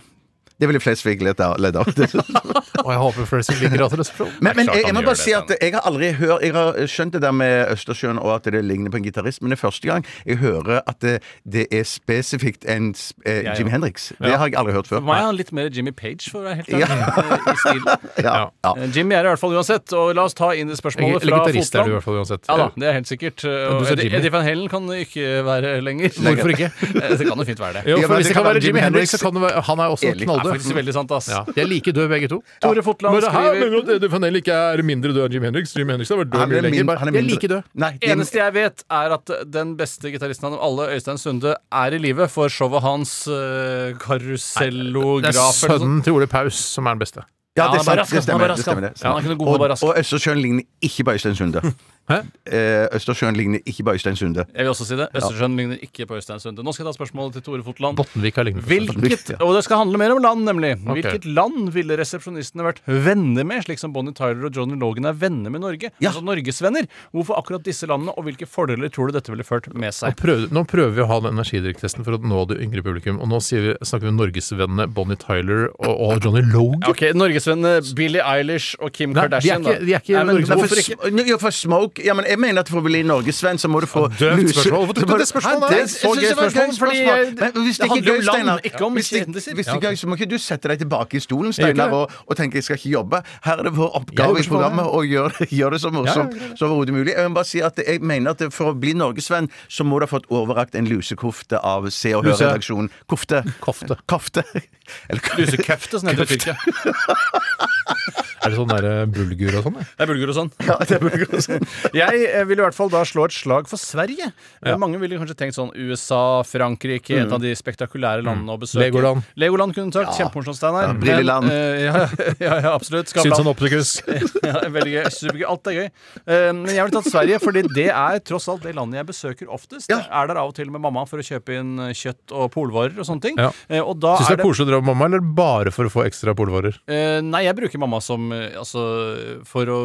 Det ville Flesvig ledd av. ledd av. Og jeg håper Flesvig liker Radioresepsjonen. Men, men klart jeg, han jeg må gjør bare det, si at jeg har aldri hørt Jeg har skjønt det der med Østersjøen og at det ligner på en gitarist, men det er første gang jeg hører at det, det er spesifikt en sp- eh, ja. Jimi Hendrix. Det har jeg aldri hørt før. For meg er han litt mer Jimmy Page, for å være helt Ja. ærlig. eh, I stilen. Ja, ja. Eh, Jimmy er det i hvert fall uansett, og la oss ta inn det spørsmålet Eller fra gitarist er du i Fotland. hvert fall uansett. Ja da, det er helt sikkert. Eh, Og sa Eddie, Jimmy. Eddie Van Hellen kan ikke være lenger. Hvorfor ikke? Eh, Det kan jo fint være det. Jo, Ja, men for hvis det det kan kan være være Jimi Jimi Hendrix, så Hendrix. kan det være Han er også Enig. Det er knalldød. faktisk veldig sant, ass. Ja, de er like døde begge to. Tore Fotland Men det her skriver- mener du at Eddie Van Hell ikke er mindre død enn Jim Hendrix? Jim Hendrix har vært død Han mye er lenger. min- Bare, han er de er min- like døde. Nei, de- Eneste jeg vet, er at den beste gitaristen av dem alle, Øystein Sunde, er i live for showet hans eh, Det er Karusellograf eller noe sånt. sønnen til Ole Paus som er den beste. Ja, Ja, det, han er var sant, rask, det han var stemmer. rask, Det stemmer det. ja. Ja, han kunne gå, han var rask. og, og Østersjøen ligner ikke på Øystein Sunde. Hæ? Eh, Østersjøen ligner ikke på Øystein Sunde. Jeg vil også si det. Østersjøen ligner ikke på Øystein Sunde. Nå skal jeg ta spørsmålet til Tore Fotland. Bottenvik har lignende. Hvilket, og det skal handle mer om land, nemlig. Ok. Hvilket land ville resepsjonistene vært venner med, slik som Bonnie Tyler og Johnny Logan er venner med Norge? Ja. Altså norgesvenner. Hvorfor akkurat disse landene, og hvilke fordeler tror du dette ville ført Nå med seg? prøver, nå prøver vi å ha den energidrikktesten for å nå det yngre publikum. Og nå sier vi, snakker vi om norgesvennene Bonnie Tyler og, og Johnny Logan. Ok, Norgesvennene Billie Eilish og Kim Nei, de er Kardashian, ikke- de er ikke Nei, men norgesvenner. hvorfor ikke? Sm- Ja, for smoke ja, men Jeg mener at for å bli norgesvenn, så må du få Døvt luse- spørsmål. Hvorfor tok du det spørsmålet? Hæ, Det er jeg så synes gøy det var et spørsmål, fordi jeg- Men hvis det det ikke er gøy, handler om land, Steinar ikke om hvis det- kjendiser. Hvis det er gøy, så må ikke du sette deg tilbake i stolen, Jeg gjør Steinar, ikke og, og tenke jeg skal ikke jobbe. Her er det vår Jeg gjør oppgave i ikke programmet det. å gjøre gjør det så morsomt Ja, jeg som overhodet mulig. Jeg må bare si at jeg mener at det- for å bli norgesvenn, så må du ha fått overrakt en lusekofte av Se og Luse- Hør-redaksjonen. Kofte. Kofte. Kofte. Eller Lusekøfte, som det heter i Tyrkia. Er det sånn der eh, bulgur og sånn? Det er bulgur og sånn. Ja, det burde gå sånn. Jeg eh, vil i hvert fall da slå et slag for Sverige. Eh, Mange ville kanskje tenkt sånn USA, Frankrike, et av de spektakulære landene å besøke. Mm. Legoland. Legoland kunne du sagt. Kjempemorsomt, Steinar. Men, Brilleland. eh, ja, ja, ja, absolutt. Skavlan. Syns han optikus. ja, veldig gøy. Supergøy. Alt er gøy. Eh, Men jeg vil tatt Sverige, fordi det er tross alt det landet jeg besøker oftest. Jeg er der av og til med mamma for å kjøpe inn eh, kjøtt og polvarer og sånne ting. Ja. Eh, Og da Syns du det er er det koselig å dra med mamma, eller bare for å få ekstra polvarer? Eh, nei, jeg bruker mamma som eh, Altså for å,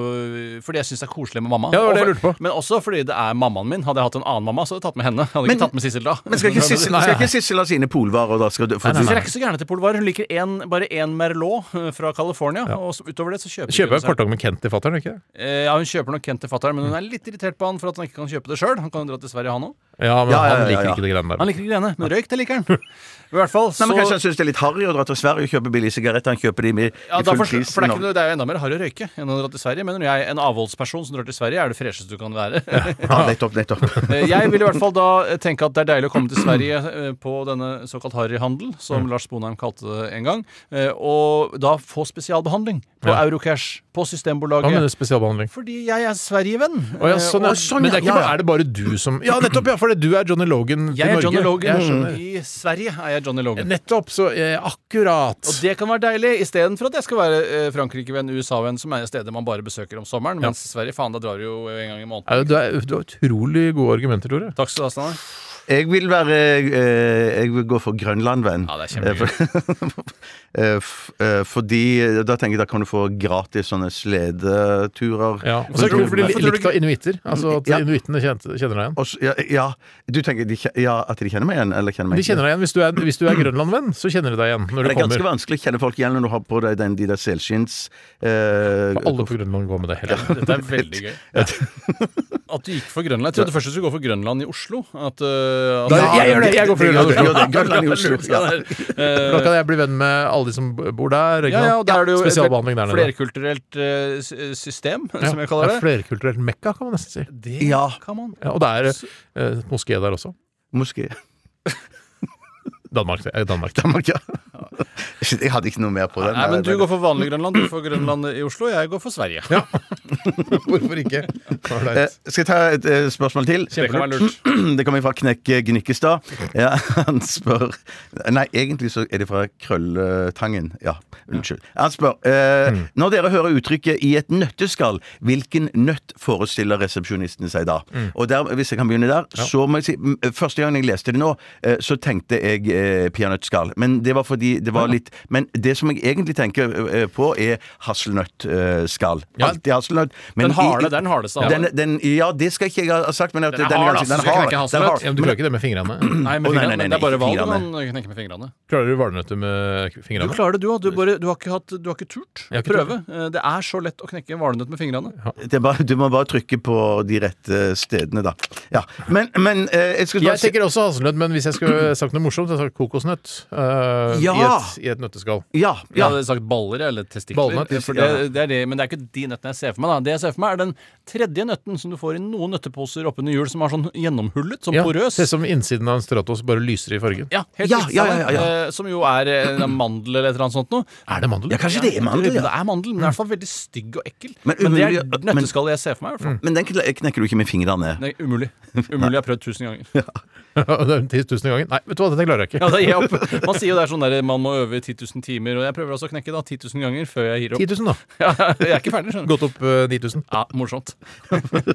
fordi jeg syns det er koselig med mamma. Ja, det var det Og jeg for- lurte på. Men også fordi det er mammaen min. Hadde jeg hatt en annen mamma, så hadde jeg tatt med henne. Jeg Hadde Men- ikke tatt med Sissel da. Men skal ikke Sissel, Nei, skal nei. ikke Sissel ha sine polvarer, da? Skal du, for, Sissel er ikke så gæren etter polvarer. Hun liker en, bare én Merlot eh, fra California. Og så, utover det så kjøper Kjøper hun jeg seg- partong med Kent til fatter'n, ikke det? Eh, Ja, Hun kjøper nok Kent til fatter'n, men hun er litt irritert på han for at han ikke kan kjøpe det sjøl. Han kan jo dra til Sverige, han òg. Ja, men Ja, ja, han ja, liker ja. ikke de greiene Han der. liker ikke greiene, men røyk det liker han. I hvert fall Nei, så men Kanskje han syns det er litt harry å dra til Sverige og kjøpe billige sigaretter? Han kjøper de med sånn ja, i da full for, pris. for det, er i ikke, Norge. noe- det er jo enda mer harry å røyke enn å dra til Sverige, mener jeg. En avholdsperson som drar til Sverige, er det fresheste du kan være. Ja, nettopp, nettopp. Eh, Jeg vil i hvert fall da eh, tenke at det er deilig å komme til Sverige eh, på denne såkalt harryhandel, Mm. som Lars Bonheim kalte det en gang, eh, og da få spesialbehandling på Eurocash, på Hva med Systembolaget. spesialbehandling? Fordi jeg er Sverigevenn. Eh, Å, ja, sånn, ja. Å, sånn, Men det er, ja, ikke, ja. er det bare du som Ja, nettopp! ja, For det- du er Johnny Logan til Jeg er Norge. Johnny Jeg Logan. skjønner. I Sverige er jeg Johnny Logan. Nettopp! Så eh, akkurat. Og det kan være deilig, istedenfor at jeg skal være eh, Frankrike-venn, USA-venn, som er steder man bare besøker om sommeren. Mens Sverige, faen, da drar du jo en gang i måneden. Ja, du, er, du har utrolig gode argumenter, Tore. Takk skal du ha, Steinar. Jeg vil være eh, Jeg vil gå for Grønland-venn. Ja, det er kjempegøy. Eh, f- eh, Fordi eh, da tenker jeg da kan du få gratis sånne sledeturer. Ja. Og så er det kult, for de li- likte av inuitter. Altså at Ja. inuittene kjente- kjenner deg igjen. Og så- ja, ja, du tenker de, kje- ja, at de kjenner meg igjen? Eller kjenner meg De kjenner deg igjen. Hvis du er, hvis du er Grønlandvenn, så kjenner de deg igjen når Det du er ganske kommer. vanskelig å kjenne folk igjen når du har på deg den, de der selskinns... eh, Alle på Grønland går med det. hele tiden. Dette er veldig gøy. At du gikk for Grønland. Jeg trodde først du skulle gå for Grønland i Oslo. At, eh, at- Da- jeg gjør det, jeg går for gjør det, Grønland. gjør det, Grønland i Oslo. Lurt, Ja. Steinar. Eh, Da kan jeg bli venn med alle de som bor der. ikke ja, ja, sant? og der er det jo Spesialbehandling et der nede. flerkulturelt eh, s- system, som jeg det kaller er det. flerkulturelt mekka, kan man nesten si. Det Ja. kan man. Ja, og det er eh, et moské der også. Moské. Danmark. Eh, Danmark. Danmark, ja. Shit, Jeg hadde ikke noe mer på den. Nei, men Du går for vanlig Grønland, du får Grønland i Oslo. Jeg går for Sverige. Hvorfor ikke? Eh, Skal jeg ta et eh, spørsmål til? Det kan være lurt. Det kommer fra Knekk eh, Gnikkestad. Ja, han spør Nei, egentlig så er det fra Krølletangen. Ja, unnskyld. Han spør eh, Når dere hører uttrykket 'i et nøtteskall', hvilken nøtt forestiller resepsjonisten seg da? Og der, Hvis jeg kan begynne der, så må jeg si m, Første gang jeg leste det nå, eh, så tenkte jeg eh, peanøttskall. Men det var fordi det var litt Men det som jeg egentlig tenker eh, på, er hasselnøttskall. Ja. Alltid hasselnøtt. men Den i- harde, det er den hardeste av alle. den, den, ja, det skal ikke jeg ha sagt, men at Den er hard, ganske- altså. Du knekker ikke den er hard. hasselnøtt. Ja, men du klarer ikke det med fingrene. Nei, Å, nei, med fingrene. nei, nei, det er bare ikke hva du kan fingrene. knekke med fingrene. Klarer du valnøtter med Du fingrene? klarer det, du òg. Du, bare- du har ikke, hatt, du har ikke turt Jeg har ikke prøve. Eh, Det er så lett å knekke en valnøtt med fingrene. Det er bare, du må bare trykke på de rette stedene, da. Ja. Men, men eh, jeg skal bare Jeg si tenker også hasselnøtt, men hvis jeg skulle sagt noe morsomt, så hadde jeg sagt kokosnøtt. eh, i, Ja! et, I et nøtteskall. ja, Jeg ja. hadde sagt baller eller testikler. Ballene, eh, for det, det er det, men det er ikke de nøttene jeg ser for meg. Da. Det jeg ser for meg, er den tredje nøtten som du får i noen nøtteposer oppunder jul, som er sånn gjennomhullet, sånn Ja, porøs. Det er som innsiden av en stratos, bare lyser i fargen. Ja, helt Ja, riktig. ja, ja, ja, ja. Eh, Som jo er eh, en mandel eller et eller annet sånt noe. Er det mandel? ja, kanskje det er mandel, Det ja. er mandel, men det er i hvert fall veldig stygg og ekkel. Men, Men det umulig er at- men- nøtteskallet jeg ser for meg. i hvert Mm. fall. Men den kn- knekker du ikke med fingrene. Nei, umulig. Umulig. Jeg har prøvd tusen ganger. det er 10 000 ganger. Nei, vet du hva, dette klarer jeg Ja, ikke. da gir jeg opp. Man sier jo det er sånn der man må øve i 10 000 timer, og jeg prøver også å knekke da 10 000 ganger før jeg gir opp. 10 000, da. Ja, jeg er ikke ferdig, skjønner du. Gått opp eh, 9000. Ja, morsomt.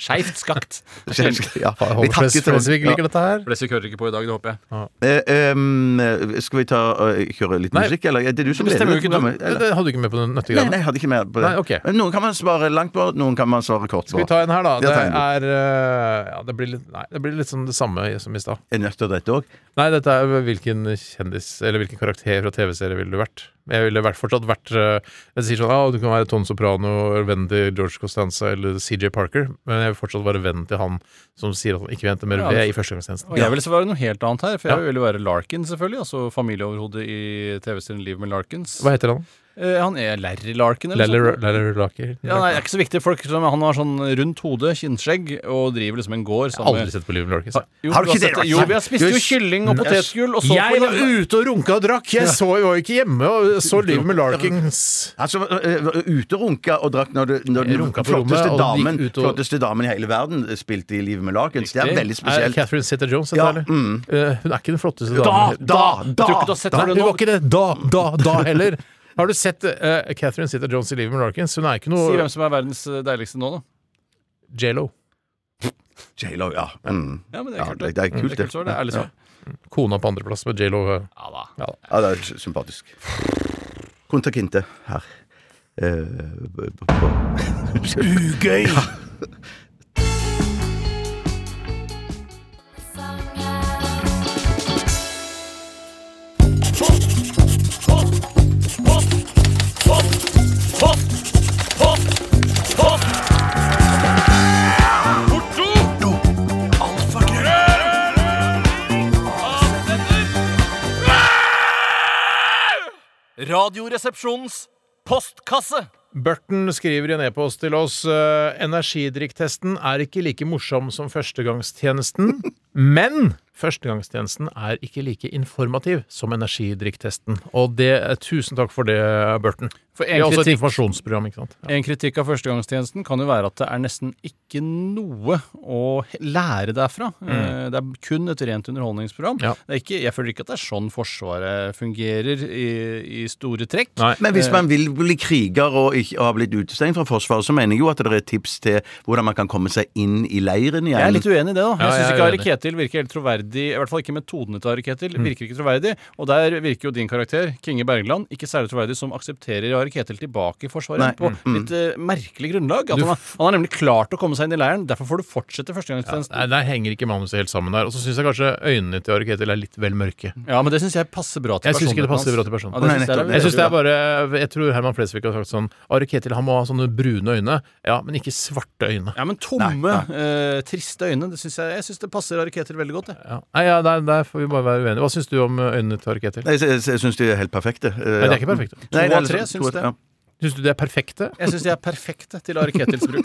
Skeivt skakt. Ja, Jeg håper Fres- Fresvig Ja. liker dette her. Flesvig hører ikke på i dag, det håper jeg. Eh, ehm, skal vi ta uh, kjøre litt Nei. musikk, eller? Ja, Det er du som Det bestemmer leder jo ikke du. programmet, Det, eller? det hadde du ikke med på den Nei, nøttegreiene. nei, jeg hadde ikke mer på det. Nei, ok. Men Noen kan man svare langt på, noen kan man svare kort Skal på. vi ta en her, da? Ja, Det ta en. er eh, ja, det, blir litt, nei, det blir litt sånn det samme som i stad. Er nøtter dette òg? Nei, dette er hvilken kjendis Eller hvilken karakter fra TV-serie ville du vært? Jeg ville vært, fortsatt vært eh, Jeg sier sånn ah, Du kan være Ton Soprano, eller vennen til George Costanza eller CJ Parker, men jeg vil fortsatt være vennen til han som sier at han ikke vil hente mer Ja, ved det- i førstegangstjenesten. Og jeg vil så være noe helt annet her, for jeg Ja. vil jo være Larkin, selvfølgelig. Altså familieoverhodet i TV-serien Liv med Larkins. Hva heter han? Eh, han er Larry Larkin, eller noe sånt. Laker. Ja, nei, det er ikke så viktig. Folk, som- han har sånn rundt hode, kinnskjegg, og driver liksom en gård. sammen med- Aldri sett på Liv Larkin. Ha- Jo, Har du har ikke sett det? det? Jo, vi har spist jo kylling og potetgull, og så Jeg var ute og runka og drakk! Jeg så jo ikke hjemme og så Liv med Larkins. Altså, øh, øh, ute runka og drakk når, du, når den Runka på flotteste, rommet, og gikk damen, ut og- flotteste damen i hele verden spilte i Livet med Lakens. Det er Riktig. veldig Er spesielt. Catherine Zeta-Jones dette, Ja, mm. eller? Eh, hun er ikke den flotteste damen. da, Jeg da, tror ikke du har sett Da, henne hun nå. var ikke det da, da, da heller. Har du sett eh, Catherine Zeta-Jones i Liv med Larkins? Hun er ikke Si noe hvem som er verdens deiligste nå, da. J.Lo. J.Lo, ja. Mm. Ja, men det ja er kult, det, det er kult, Det er kult svar, det er ærlig svar. Kona på andreplass med J.Lo. eh. Ja da. Ja, det er sympatisk. Contra Quinte her. Eh, Ugøy! Radioresepsjonens postkasse. Burton skriver i en e-post til oss eh, energidrikktesten er ikke like morsom som førstegangstjenesten, men førstegangstjenesten er ikke like informativ som energidrikktesten. Og det, eh, tusen takk for det, Burton. For Det er en også et kritikk, informasjonsprogram, ikke sant? Ja. en kritikk av førstegangstjenesten kan jo være at det er nesten ikke noe å he- lære derfra. Eh, Det er kun et rent underholdningsprogram. Ja. Det er ikke, jeg føler ikke at det er sånn Forsvaret fungerer i, i store trekk. Nei. Men hvis man vil bli kriger og ikke og har blitt utestengt fra Forsvaret, så mener jeg jo at det er et tips til hvordan man kan komme seg inn i leiren igjen. Jeg er litt uenig i det, da. Ja, Jeg syns jeg er ikke uenig. Mm. Ari Ketil virker helt troverdig. I hvert fall ikke metodene til Ari Ketil. Virker ikke troverdig. Og der virker jo din karakter, Kinge Bergland, ikke særlig troverdig, som aksepterer Ari Ketil tilbake i Forsvaret Nei, på Mm, litt eh, merkelig grunnlag. At han, har, han har nemlig klart å komme seg inn i leiren. Derfor får du fortsette førstegangstjenesten. Nei, der henger ikke manuset helt sammen der. Og så syns jeg kanskje øynene til Ari Ketil er litt vel mørke. Ja, men det syns jeg passer bra til Jeg synes ikke det personligheten passer hans. bra til personen. Ja, det Nei, synes jeg nettopp. er- Jeg synes det er bare Jeg tror Herman Flesvig har sagt sånn Ari Ketil han må ha sånne brune øyne. Ja, men ikke svarte øyne. ja, men tomme, eh, triste øyne. Det synes jeg, jeg syns det passer Ari Ketil veldig godt. Jeg. Ja. Nei, ja, der, der får vi bare være uenige. Hva syns du om eh, øynene til Ari Ketil? Nei, jeg jeg, jeg syns de er helt perfekte. altså, Nei, de er ikke perfekte. To av tre syns det. Syns du de er perfekte? Jeg syns de er perfekte til Ari Ketils bruk.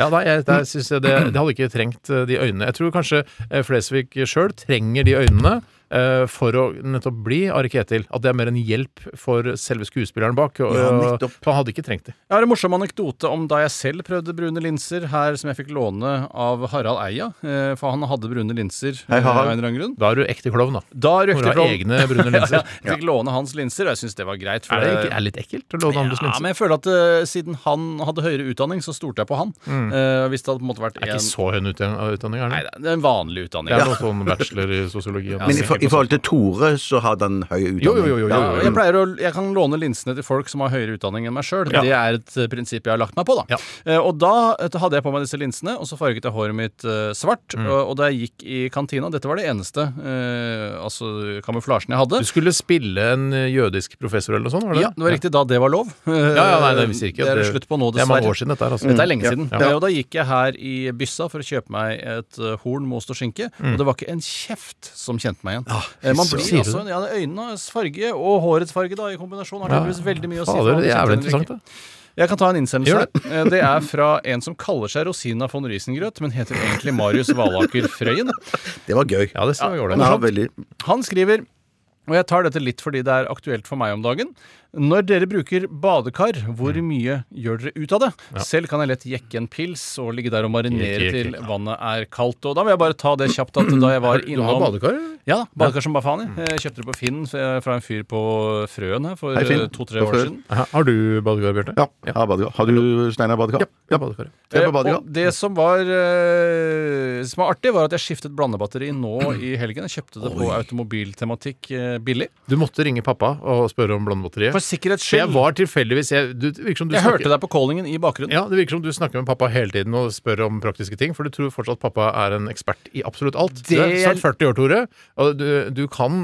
Ja, nei, jeg, der synes jeg det, det hadde ikke trengt eh, de øynene. Jeg tror kanskje eh, Flesvig sjøl trenger de øynene eh, for å nettopp bli Ari Ketil. At det er mer en hjelp for selve skuespilleren bak. Og, Ja, nettopp. for han hadde ikke trengt de. Jeg har en morsom anekdote om da jeg selv prøvde brune linser, her som jeg fikk låne av Harald Eia. eh, For han hadde brune linser eh, Hei, Harald. av en eller annen grunn. Da er du ekte klovn, da. Da Hvor du røkte har egne brune linser. Jeg fikk låne hans linser, og jeg syntes det var greit. for Er det ikke, er det litt ekkelt å låne andres ja, linser? men jeg føler at eh, siden han hadde høyere utdanning, så stolte jeg på han. Eh, hvis det hadde på en måte vært Det Mm. er en ikke så høy utdan- utdanning, er Nei, det? det er en vanlig utdanning. Det er noe sånn bachelor i sosiologi. og Men i, noe. for, i forhold til Tore, så hadde han høy utdanning. Jo, jo, jo, jo, jo, Ja, jo. Jeg, pleier å, jeg kan låne linsene til folk som har høyere utdanning enn meg sjøl. Ja. Det er et eh, prinsipp jeg har lagt meg på. da Ja. Eh, Og da eh, hadde jeg på meg disse linsene, og så farget jeg håret mitt eh, svart. Mm. Og, og da jeg gikk i kantina Dette var det eneste eh, altså kamuflasjen jeg hadde. Du skulle spille en eh, jødisk professor eller noe sånt? Var det? Ja, det var riktig da det var lov. Ja, ja, nei, det visste jeg ikke. Det er det slutt på nå, Det er mange dessverre. år siden dette her, altså. Dette er lenge siden. Ja. Eh, Og da gikk jeg her i byssa for å kjøpe meg et eh, horn med ost og skinke, Mm. og det var ikke en kjeft som kjente meg igjen. Eh, Man fy blir søren. altså, ja, Øynenes farge og hårets farge da, i kombinasjon har tydeligvis veldig mye å si. for Fader, om du det er kjente vel den eller interessant, ikke. da. Jeg kan ta en Gjør innsendelse. Eh, Det er fra en som kaller seg Rosina von Rysengrøt, men heter egentlig Marius Valaker Frøyen. Det var gøy. Ja, det ser vi ålreit Ja, ut. veldig. Han skriver og jeg tar dette litt fordi det er aktuelt for meg om dagen. Når dere bruker badekar, hvor Mm. mye gjør dere ut av det? Selv kan jeg lett jekke en pils og ligge der og marinere Jekke, jekke, til vannet er kaldt. Og da vil jeg bare ta det kjapt at da jeg var Du har innom badekar? Mm. eller? Ja, da, badekar som bare faen. jeg. Jeg kjøpte det på Finn eh, fra en fyr på Frøen her for Hei, Finn. eh, to-tre På år Frøen. siden. Aha, Har du badekar, Bjarte? Ja, jeg har badekar. Har du Steinar badekar? Ja, badekar. ja. Jeg har Eh, badekar. Og det som var, eh, som var artig, var at jeg skiftet blandebatteri nå i helgen. Jeg kjøpte det på automobiltematikk eh, billig. Du måtte ringe pappa og spørre om blandebatteriet. For sikkerhets For jeg skyld. var tilfeldigvis Jeg, du, det virker som du Jeg snakker- hørte deg på callingen i bakgrunnen. Ja, Det virker som du snakker med pappa hele tiden og spør om praktiske ting, for du tror fortsatt pappa er en ekspert i absolutt alt. Du er Det- snart 40 år, Tore, og du, du kan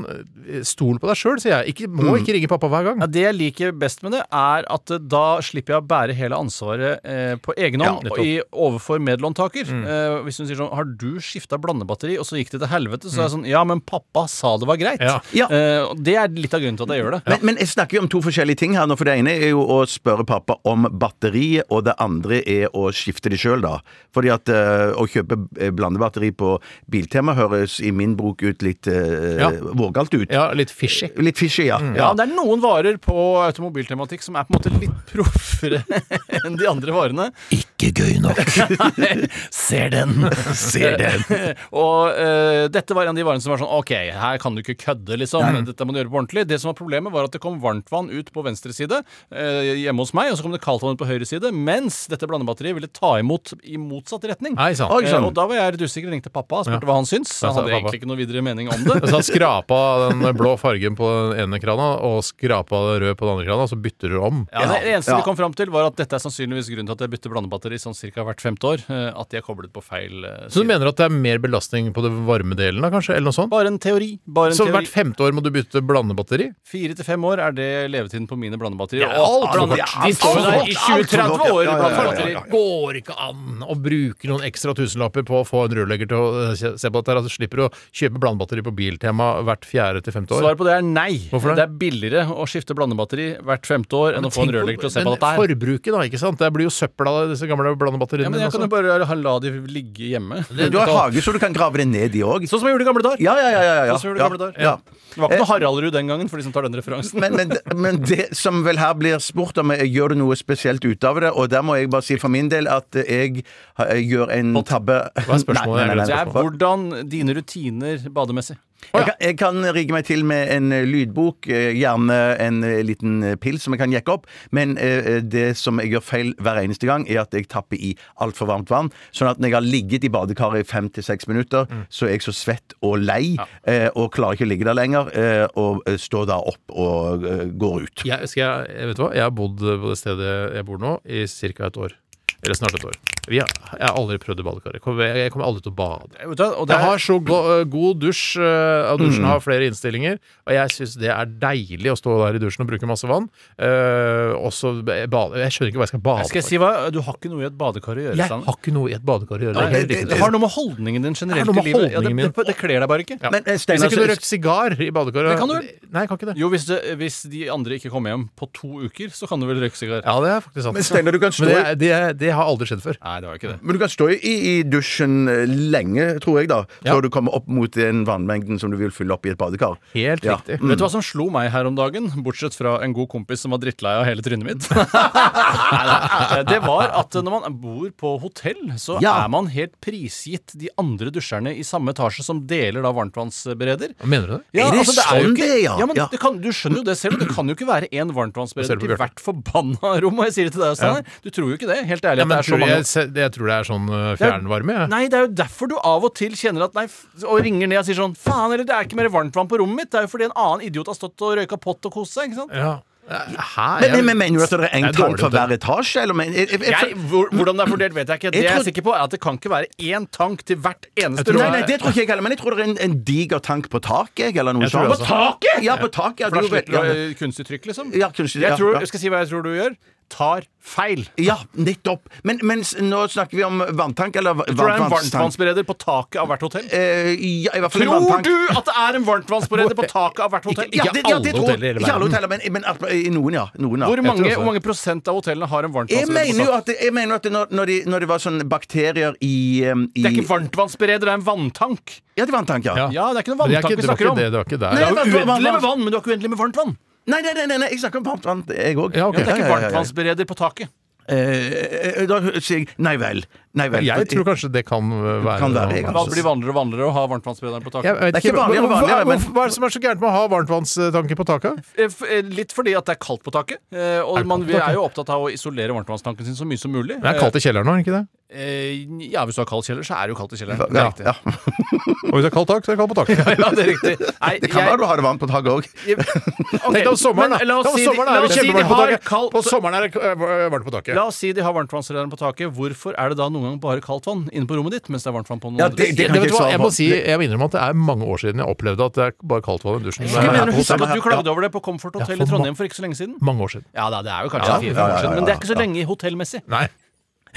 stole på deg sjøl, sier jeg. Ikke, må ikke ringe pappa hver gang. Ja, det jeg liker best med det, er at eh, da slipper jeg å bære hele ansvaret eh, på egen hånd Ja, og i overfor medlåntaker. Eh, hvis hun sier sånn 'Har har du skifta blandebatteri, og så gikk det til helvete. Så er det sånn Ja, men pappa sa det var greit. Ja. Ja. Eh, og det er litt av grunnen til at jeg gjør det. Men, men jeg snakker jo om to forskjellige ting her nå. For det ene er jo å spørre pappa om batteriet, og det andre er å skifte det sjøl, da. Fordi at eh, å kjøpe eh, blandebatteri på Biltema høres i min bruk ut litt eh, Ja. vågalt ut. Ja, litt fishy. Litt fishy, ja. Ja, ja. det er noen varer på automobiltematikk som er på en måte litt proffere enn de andre varene. Ikke gøy nok. Ser den! Ser den! og eh, dette var en av de varene som var sånn Ok, her kan du ikke kødde, liksom. Dette må du gjøre på ordentlig. Det som var problemet, var at det kom varmtvann ut på venstre side eh, hjemme hos meg, og så kom det kaldtvann ut på høyre side, mens dette blandebatteriet ville ta imot i motsatt retning. Nei sann. Oi. Eh, og da var jeg litt usikker, ringte pappa og spurte hva han syns. Ja, Han sa hadde pappa. egentlig ikke noe videre mening om det. Så han skrapa den blå fargen på den ene krana og skrapa den røde på den andre krana, og så bytter du om. Ja, Det eneste Ja. vi kom fram til, var at dette er sannsynligvis grunnen til at jeg bytter blandebatteri sånn cirka hvert femte år. eh, At de er koblet på feil eh, Så side. du mener at det er mer belastning på det varme delen, da, kanskje? Eller noe sånt? Bare en teori. Bare en Så teori. hvert femte år må du bytte blandebatteri? Fire til fem år er det levetiden på mine blandebatterier. Ja, Og alt blande- for kort. De står jo Alt for der i kort, alt for 20-30 kort, ja. Ja, ja, år, ja, ja, blandebatteri. ja, ja. går ikke an å bruke noen ekstra tusenlapper på å få en rørlegger til å eh, se se på dette. her. Altså, slipper du å kjøpe blandebatteri på Biltema hvert fjerde til femte år. Svaret på det er nei. Hvorfor det? det? er billigere å skifte blandebatteri hvert femte år enn å få en Tenk rørlegger til å se på men dette her. Forbruket, da. ikke sant? Det blir jo søppel av disse gamle Ja, blandebatteriene. men jeg kan altså. jo bare ha- la de ligge hjemme. Du har hage, så du kan grave det ned i òg. Sånn som jeg gjorde i gamle dager. Ja, ja, ja. ja, ja. Sånn som gjorde gamle ja. dager. ja. Det var ikke noe Haraldrud den gangen, for de som tar den referansen. Men, men, men det som vel her blir spurt om, er gjør du noe spesielt ut av det? Og der må jeg bare si for min del at jeg, har- jeg gjør en tabbe Hva er spørsmålet? Nei, nei, nei, Det Det er nei. hvordan dine rutiner bademessig. Jeg kan, jeg kan rigge meg til med en eh, lydbok, eh, gjerne en eh, liten eh, pils som jeg kan jekke opp. Men eh, eh, det som jeg gjør feil hver eneste gang, er at jeg tapper i altfor varmt vann. Sånn at når jeg har ligget i badekaret i fem til seks minutter, Mm. så er jeg så svett og lei eh, og klarer ikke å ligge der lenger. eh, Og eh, står da opp og eh, går ut. Jeg, skal jeg, jeg vet du hva? Jeg har bodd eh, på det stedet jeg bor nå i ca. et år. Eller snart et år. Vi har, jeg har aldri prøvd i badekaret. Jeg kommer- Jeg kommer aldri til å bade. Vet du hva, Og det Jeg er har så go god dusj, eh, og dusjen har flere innstillinger. Og jeg syns det er deilig å stå der i dusjen og bruke masse vann. Eh, også bade. Jeg skjønner ikke hva jeg skal bade Skal jeg for. si hva? Du har ikke noe i et badekar å gjøre. Jeg Steiner. har ikke noe i et badekar å gjøre. Nei, Det er helt det, riktig. det har noe med holdningen din generelt Det har noe i med livet ja, det, holdningen min. det, det kler deg bare ikke. Ja. Men eh, Hvis Steinar jeg kunne røkt sigar i badekaret Det kan du vel? Nei, jeg kan ikke det. Jo, hvis, det, hvis de andre ikke kommer hjem på to uker, så kan du vel røyke sigar? Ja, det er faktisk sant. Men Steinar, du kan stå Men det, i- er- det, er- det har aldri skjedd før. Nei, det var ikke det. Men du kan stå i, i dusjen eh, lenge, tror jeg, da, Ja. før du kommer opp mot den vannmengden som du vil fylle opp i et badekar. Helt Ja. riktig. Vet du hva som slo meg her om dagen, bortsett fra en god kompis som var drittlei av hele trynet mitt? Neida. det var at når man bor på hotell, så Ja. er man helt prisgitt de andre dusjerne i samme etasje som deler da varmtvannsbereder. Hva mener du det? Er altså, det sånn det er, ja? men Ja. Det kan, du skjønner jo det selv. Det kan jo ikke være én varmtvannsbereder Ser du på til hvert forbanna rom. Og jeg sier det til deg, Steinar. Du tror jo ikke det. Helt ærlig. Ja, men at det er så tror mange jeg, se- jeg tror det er sånn eh, Det er- fjernvarme. jeg. Nei, det er jo derfor du av og til kjenner at nei, f- Og ringer ned og sier sånn Faen, eller det er ikke mer varmtvann på rommet mitt. Det er jo fordi en annen idiot har stått og røyka pott og kost seg, ikke sant? Ja. Hæ? Men, Jeg- men, men mener du at det er Jeg en er tank dårlig for til det. hver etasje? Eller, men, eh, jeg, jeg, jeg, Jeg, hvor, hvordan det er fordelt, vet jeg ikke. Det jeg er tror- sikker på, er at det kan ikke være én tank til hvert eneste tror- Nei, rom. nei, det tror ikke jeg heller, men jeg tror det er en, en diger tank på taket. jeg, Eller noe Jeg tror sånt. det også. taket?! Ja, på taket. Ja, For da du vet- slipper du ja, eh, kunstig trykk, liksom. Ja, kunstig- ja, jeg tror, ja. Skal jeg si hva jeg tror du gjør? Tar feil. ja, nettopp. Men mens, nå snakker vi om vanntank, eller Jeg tror det er en varmtvannstank. varmtvannsbereder på taket av hvert hotell. Eh, ja, i hvert fall en Tror vanntank. du at det er en varmtvannsbereder på taket av hvert hotell? Ja, det, ja, alle det tror, hoteller i hele ikke alle verden. hoteller, men, men at- i noen, ja. Noen, ja. Hvor Jeg tror mange, også. hvor mange prosent av hotellene har en Jeg mener varmtvannsbereder? jo på taket? at, jeg mener at det, når, når, de, når det var sånn bakterier i, em, i Det er ikke varmtvannsbereder, det er en vanntank. Ja, det var en tank, ja. Ja. Ja, det er ikke noe Men det er vanntank ikke, vi det var snakker ikke om. det, det var ikke der. Nei, Det er vanntann- jo uendelig med vanntann- vann, men du har ikke uendelig med varmt vann. Nei, nei, nei, nei, nei, jeg snakker om varmt vann, jeg òg. Ja, ok. Ja, det er ikke ja, ja, ja. varmtvannsbereder på taket. eh, Da sier jeg nei vel. Nei vel. Jeg tror kanskje det kan eh, være Kan være, jeg, noe. altså. Hva blir vanligere og vanligere å ha varmtvannsberederen på Jeg taket? vet Det er ikke vanligere og hva- vanligere, hva, men- hva er det som er så gærent med å ha varmtvannstanke på taket? Eh, f- eh, Litt fordi at det er kaldt på taket. eh, Er Og det man, kaldt på vi er taket? jo opptatt av å isolere varmtvannstanken sin så mye som mulig. Det er kaldt i kjelleren nå, er det ikke det? Eh, Ja, hvis du har kald kjeller, så er det jo kaldt i kjelleren. Ja, Det er ja. riktig. Og hvis det er kaldt tak, så er det kaldt på taket. Ja, det er riktig. Nei, Det kan jeg- være du har det varmt på taket òg. Tenk Ok, deg om sommeren, men da. La oss Tenk om si de- sommeren la er oss det si de kjempevarmt på har taket. kaldt På sommeren er det eh, varmt på taket. La oss si de har varmtvannsberederen på taket. Hvorfor er det da noen ganger bare kaldt vann inne på rommet ditt, mens det er varmt vann på noen Ja, andre? det Jeg, kan vet ikke du hva, jeg jeg svare må på. si, sånn- jeg må innrømme at det er mange år siden jeg opplevde at det er bare kaldt vann i dusjen. Jeg mener, Det er Husk at Ja. du klagde over det på Comfort Hotel Ja, i for Trondheim for ikke så lenge siden. Mange år siden. Ja da, det er jo kanskje Ja, fire-fem ja, ja, år siden, ja, men det er ja, ikke så lenge hotellmessig. Nei.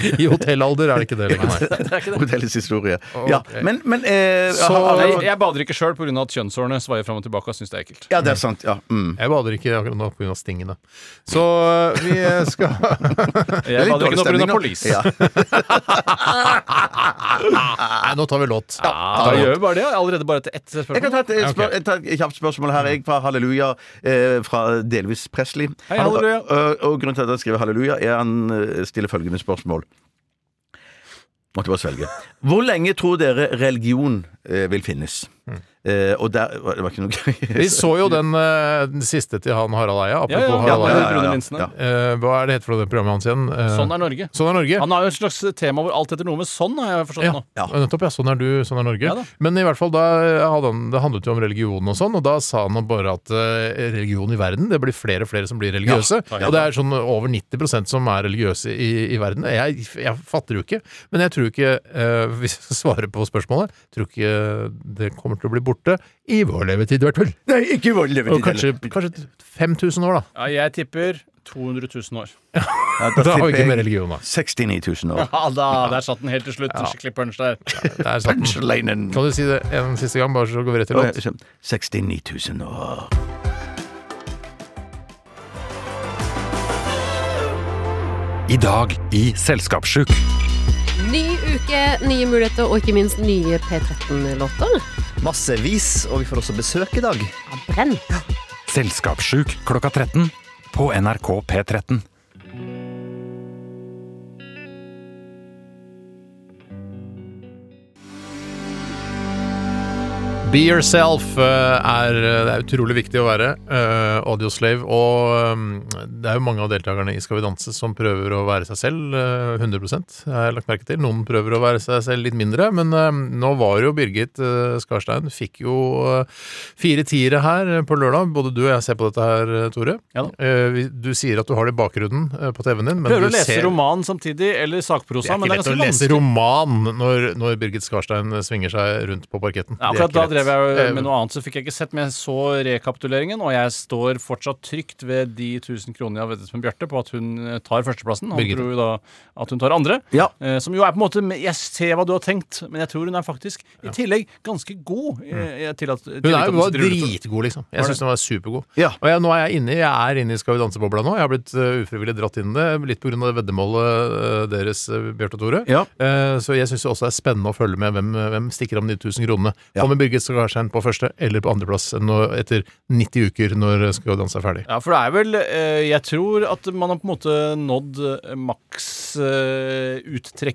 I hotellalder er det ikke det lenger. Nei. Hotellets historie. Ja, Ok. men, men eh, Så, har alle- jeg, jeg bader ikke sjøl pga. at kjønnsårene svaier fram og tilbake. og synes det er ekkelt Ja, det er sant. Ja. Mm. Jeg bader ikke akkurat nå pga. stingene. Så eh, vi skal Det er Jeg litt bader dårlig ikke nå pga. stemning, polis. da. Ja. Nei, nå tar vi låt. Ja, da gjør vi bare det. Allerede bare etter ett Jeg kan spørsmål. ta et, eh, Ja, ok. spør, jeg tar et kjapt spørsmål her, jeg, fra Halleluja, eh, fra delvis Presley. Hei, Han- Halleluja. og, og grunnen til at han skriver Halleluja, er han eh, stiller følgende spørsmål. Måtte bare svelge. Hvor lenge tror dere religion eh, vil finnes? Hmm. Eh, og der Det var ikke noe gøy. Vi så jo den, eh, den siste til han Harald Eia. Apropos Ja, ja, ja, Harald ja, Eia. ja, ja, ja. Eh, hva er det het for det programmet hans igjen? Eh, Sånn er Norge. Sånn er Norge. Han har jo et slags tema hvor alt heter noe med sånn, har jeg forstått Ja, nå. Ja. nettopp. Ja. Sånn er du, sånn er Norge. Ja da. Men i hvert fall da eh, hadde han, det handlet jo om religion og sånn, og da sa han bare at eh, religion i verden, det blir flere og flere som blir religiøse. Og det er sånn over 90 som er religiøse i, i verden. Jeg, jeg fatter jo ikke, men jeg tror ikke, eh, hvis jeg svarer på spørsmålet, tror ikke det kommer til å bli borte i vår levetid, i hvert fall. Nei, ikke vold Og kanskje, kanskje 5000 år, da. Ja, jeg tipper 200 000 år. Da har vi ikke mer religion, da. 69 000 år. Ja da, der satt den helt til slutt. En skikkelig punch der. Der satt den. Punchlinen. Kan du si det en siste gang, bare så går vi rett til Å, ja, låt? skjønner. 69 000 år. I dag i Selskapssjuk. Ny uke, nye muligheter og ikke minst nye P13-låter. Massevis, og vi får også besøk i dag. Brenn. Selskapssjuk klokka 13 på NRK P13. Be yourself eh, er, det er utrolig viktig å være. eh, Audioslave. Og eh, det er jo mange av deltakerne i Skal vi danse som prøver å være seg selv eh, 100 har jeg lagt merke til. Noen prøver å være seg selv litt mindre, men eh, nå var jo Birgit eh, Skarstein Fikk jo eh, fire tiere her eh, på lørdag. Både du og jeg ser på dette her, eh, Tore. Ja da. Eh, vi- Du sier at du har det i bakgrunnen eh, på TV-en din. men Prøver å du lese ser- roman samtidig, eller sakprosa, men det er det er ikke ganske lett å lese vanskelig. roman når, når Birgit Skarstein svinger seg rundt på parketten. Ja, Det er akkurat da ikke drev lett. jeg Eh, med noe annet, så fikk jeg ikke sett, men jeg så rekapituleringen, og jeg står fortsatt trygt ved de 1000 kronene jeg har veddet med Bjarte på at hun eh, tar førsteplassen. Han Birgitte. tror jo da at hun tar andre. Ja. Eh, som jo er på en måte Jeg ser hva du har tenkt, men jeg tror hun er faktisk i tillegg ganske god. eh, Jeg, til at, Mm. til Hun er jo at sitter var i rullestol. dritgod, liksom. Jeg Var det? syns hun var supergod. Ja. Og jeg, nå er jeg inne, jeg er inne i Skal vi danse-bobla nå. Jeg har blitt eh, ufrivillig dratt inn i det, litt pga. veddemålet eh, deres, uh, Bjarte og Tore. Ja. Eh, så jeg syns det også er spennende å følge med hvem, eh, hvem stikker av med de 1000 kronene. Ja. Kommer Birgit Skarstein på første eller på andreplass nå etter 90 uker, når eh, Skal vi danse er ferdig? Ja, for det er vel eh, Jeg tror at man har på en måte nådd eh, maks eh,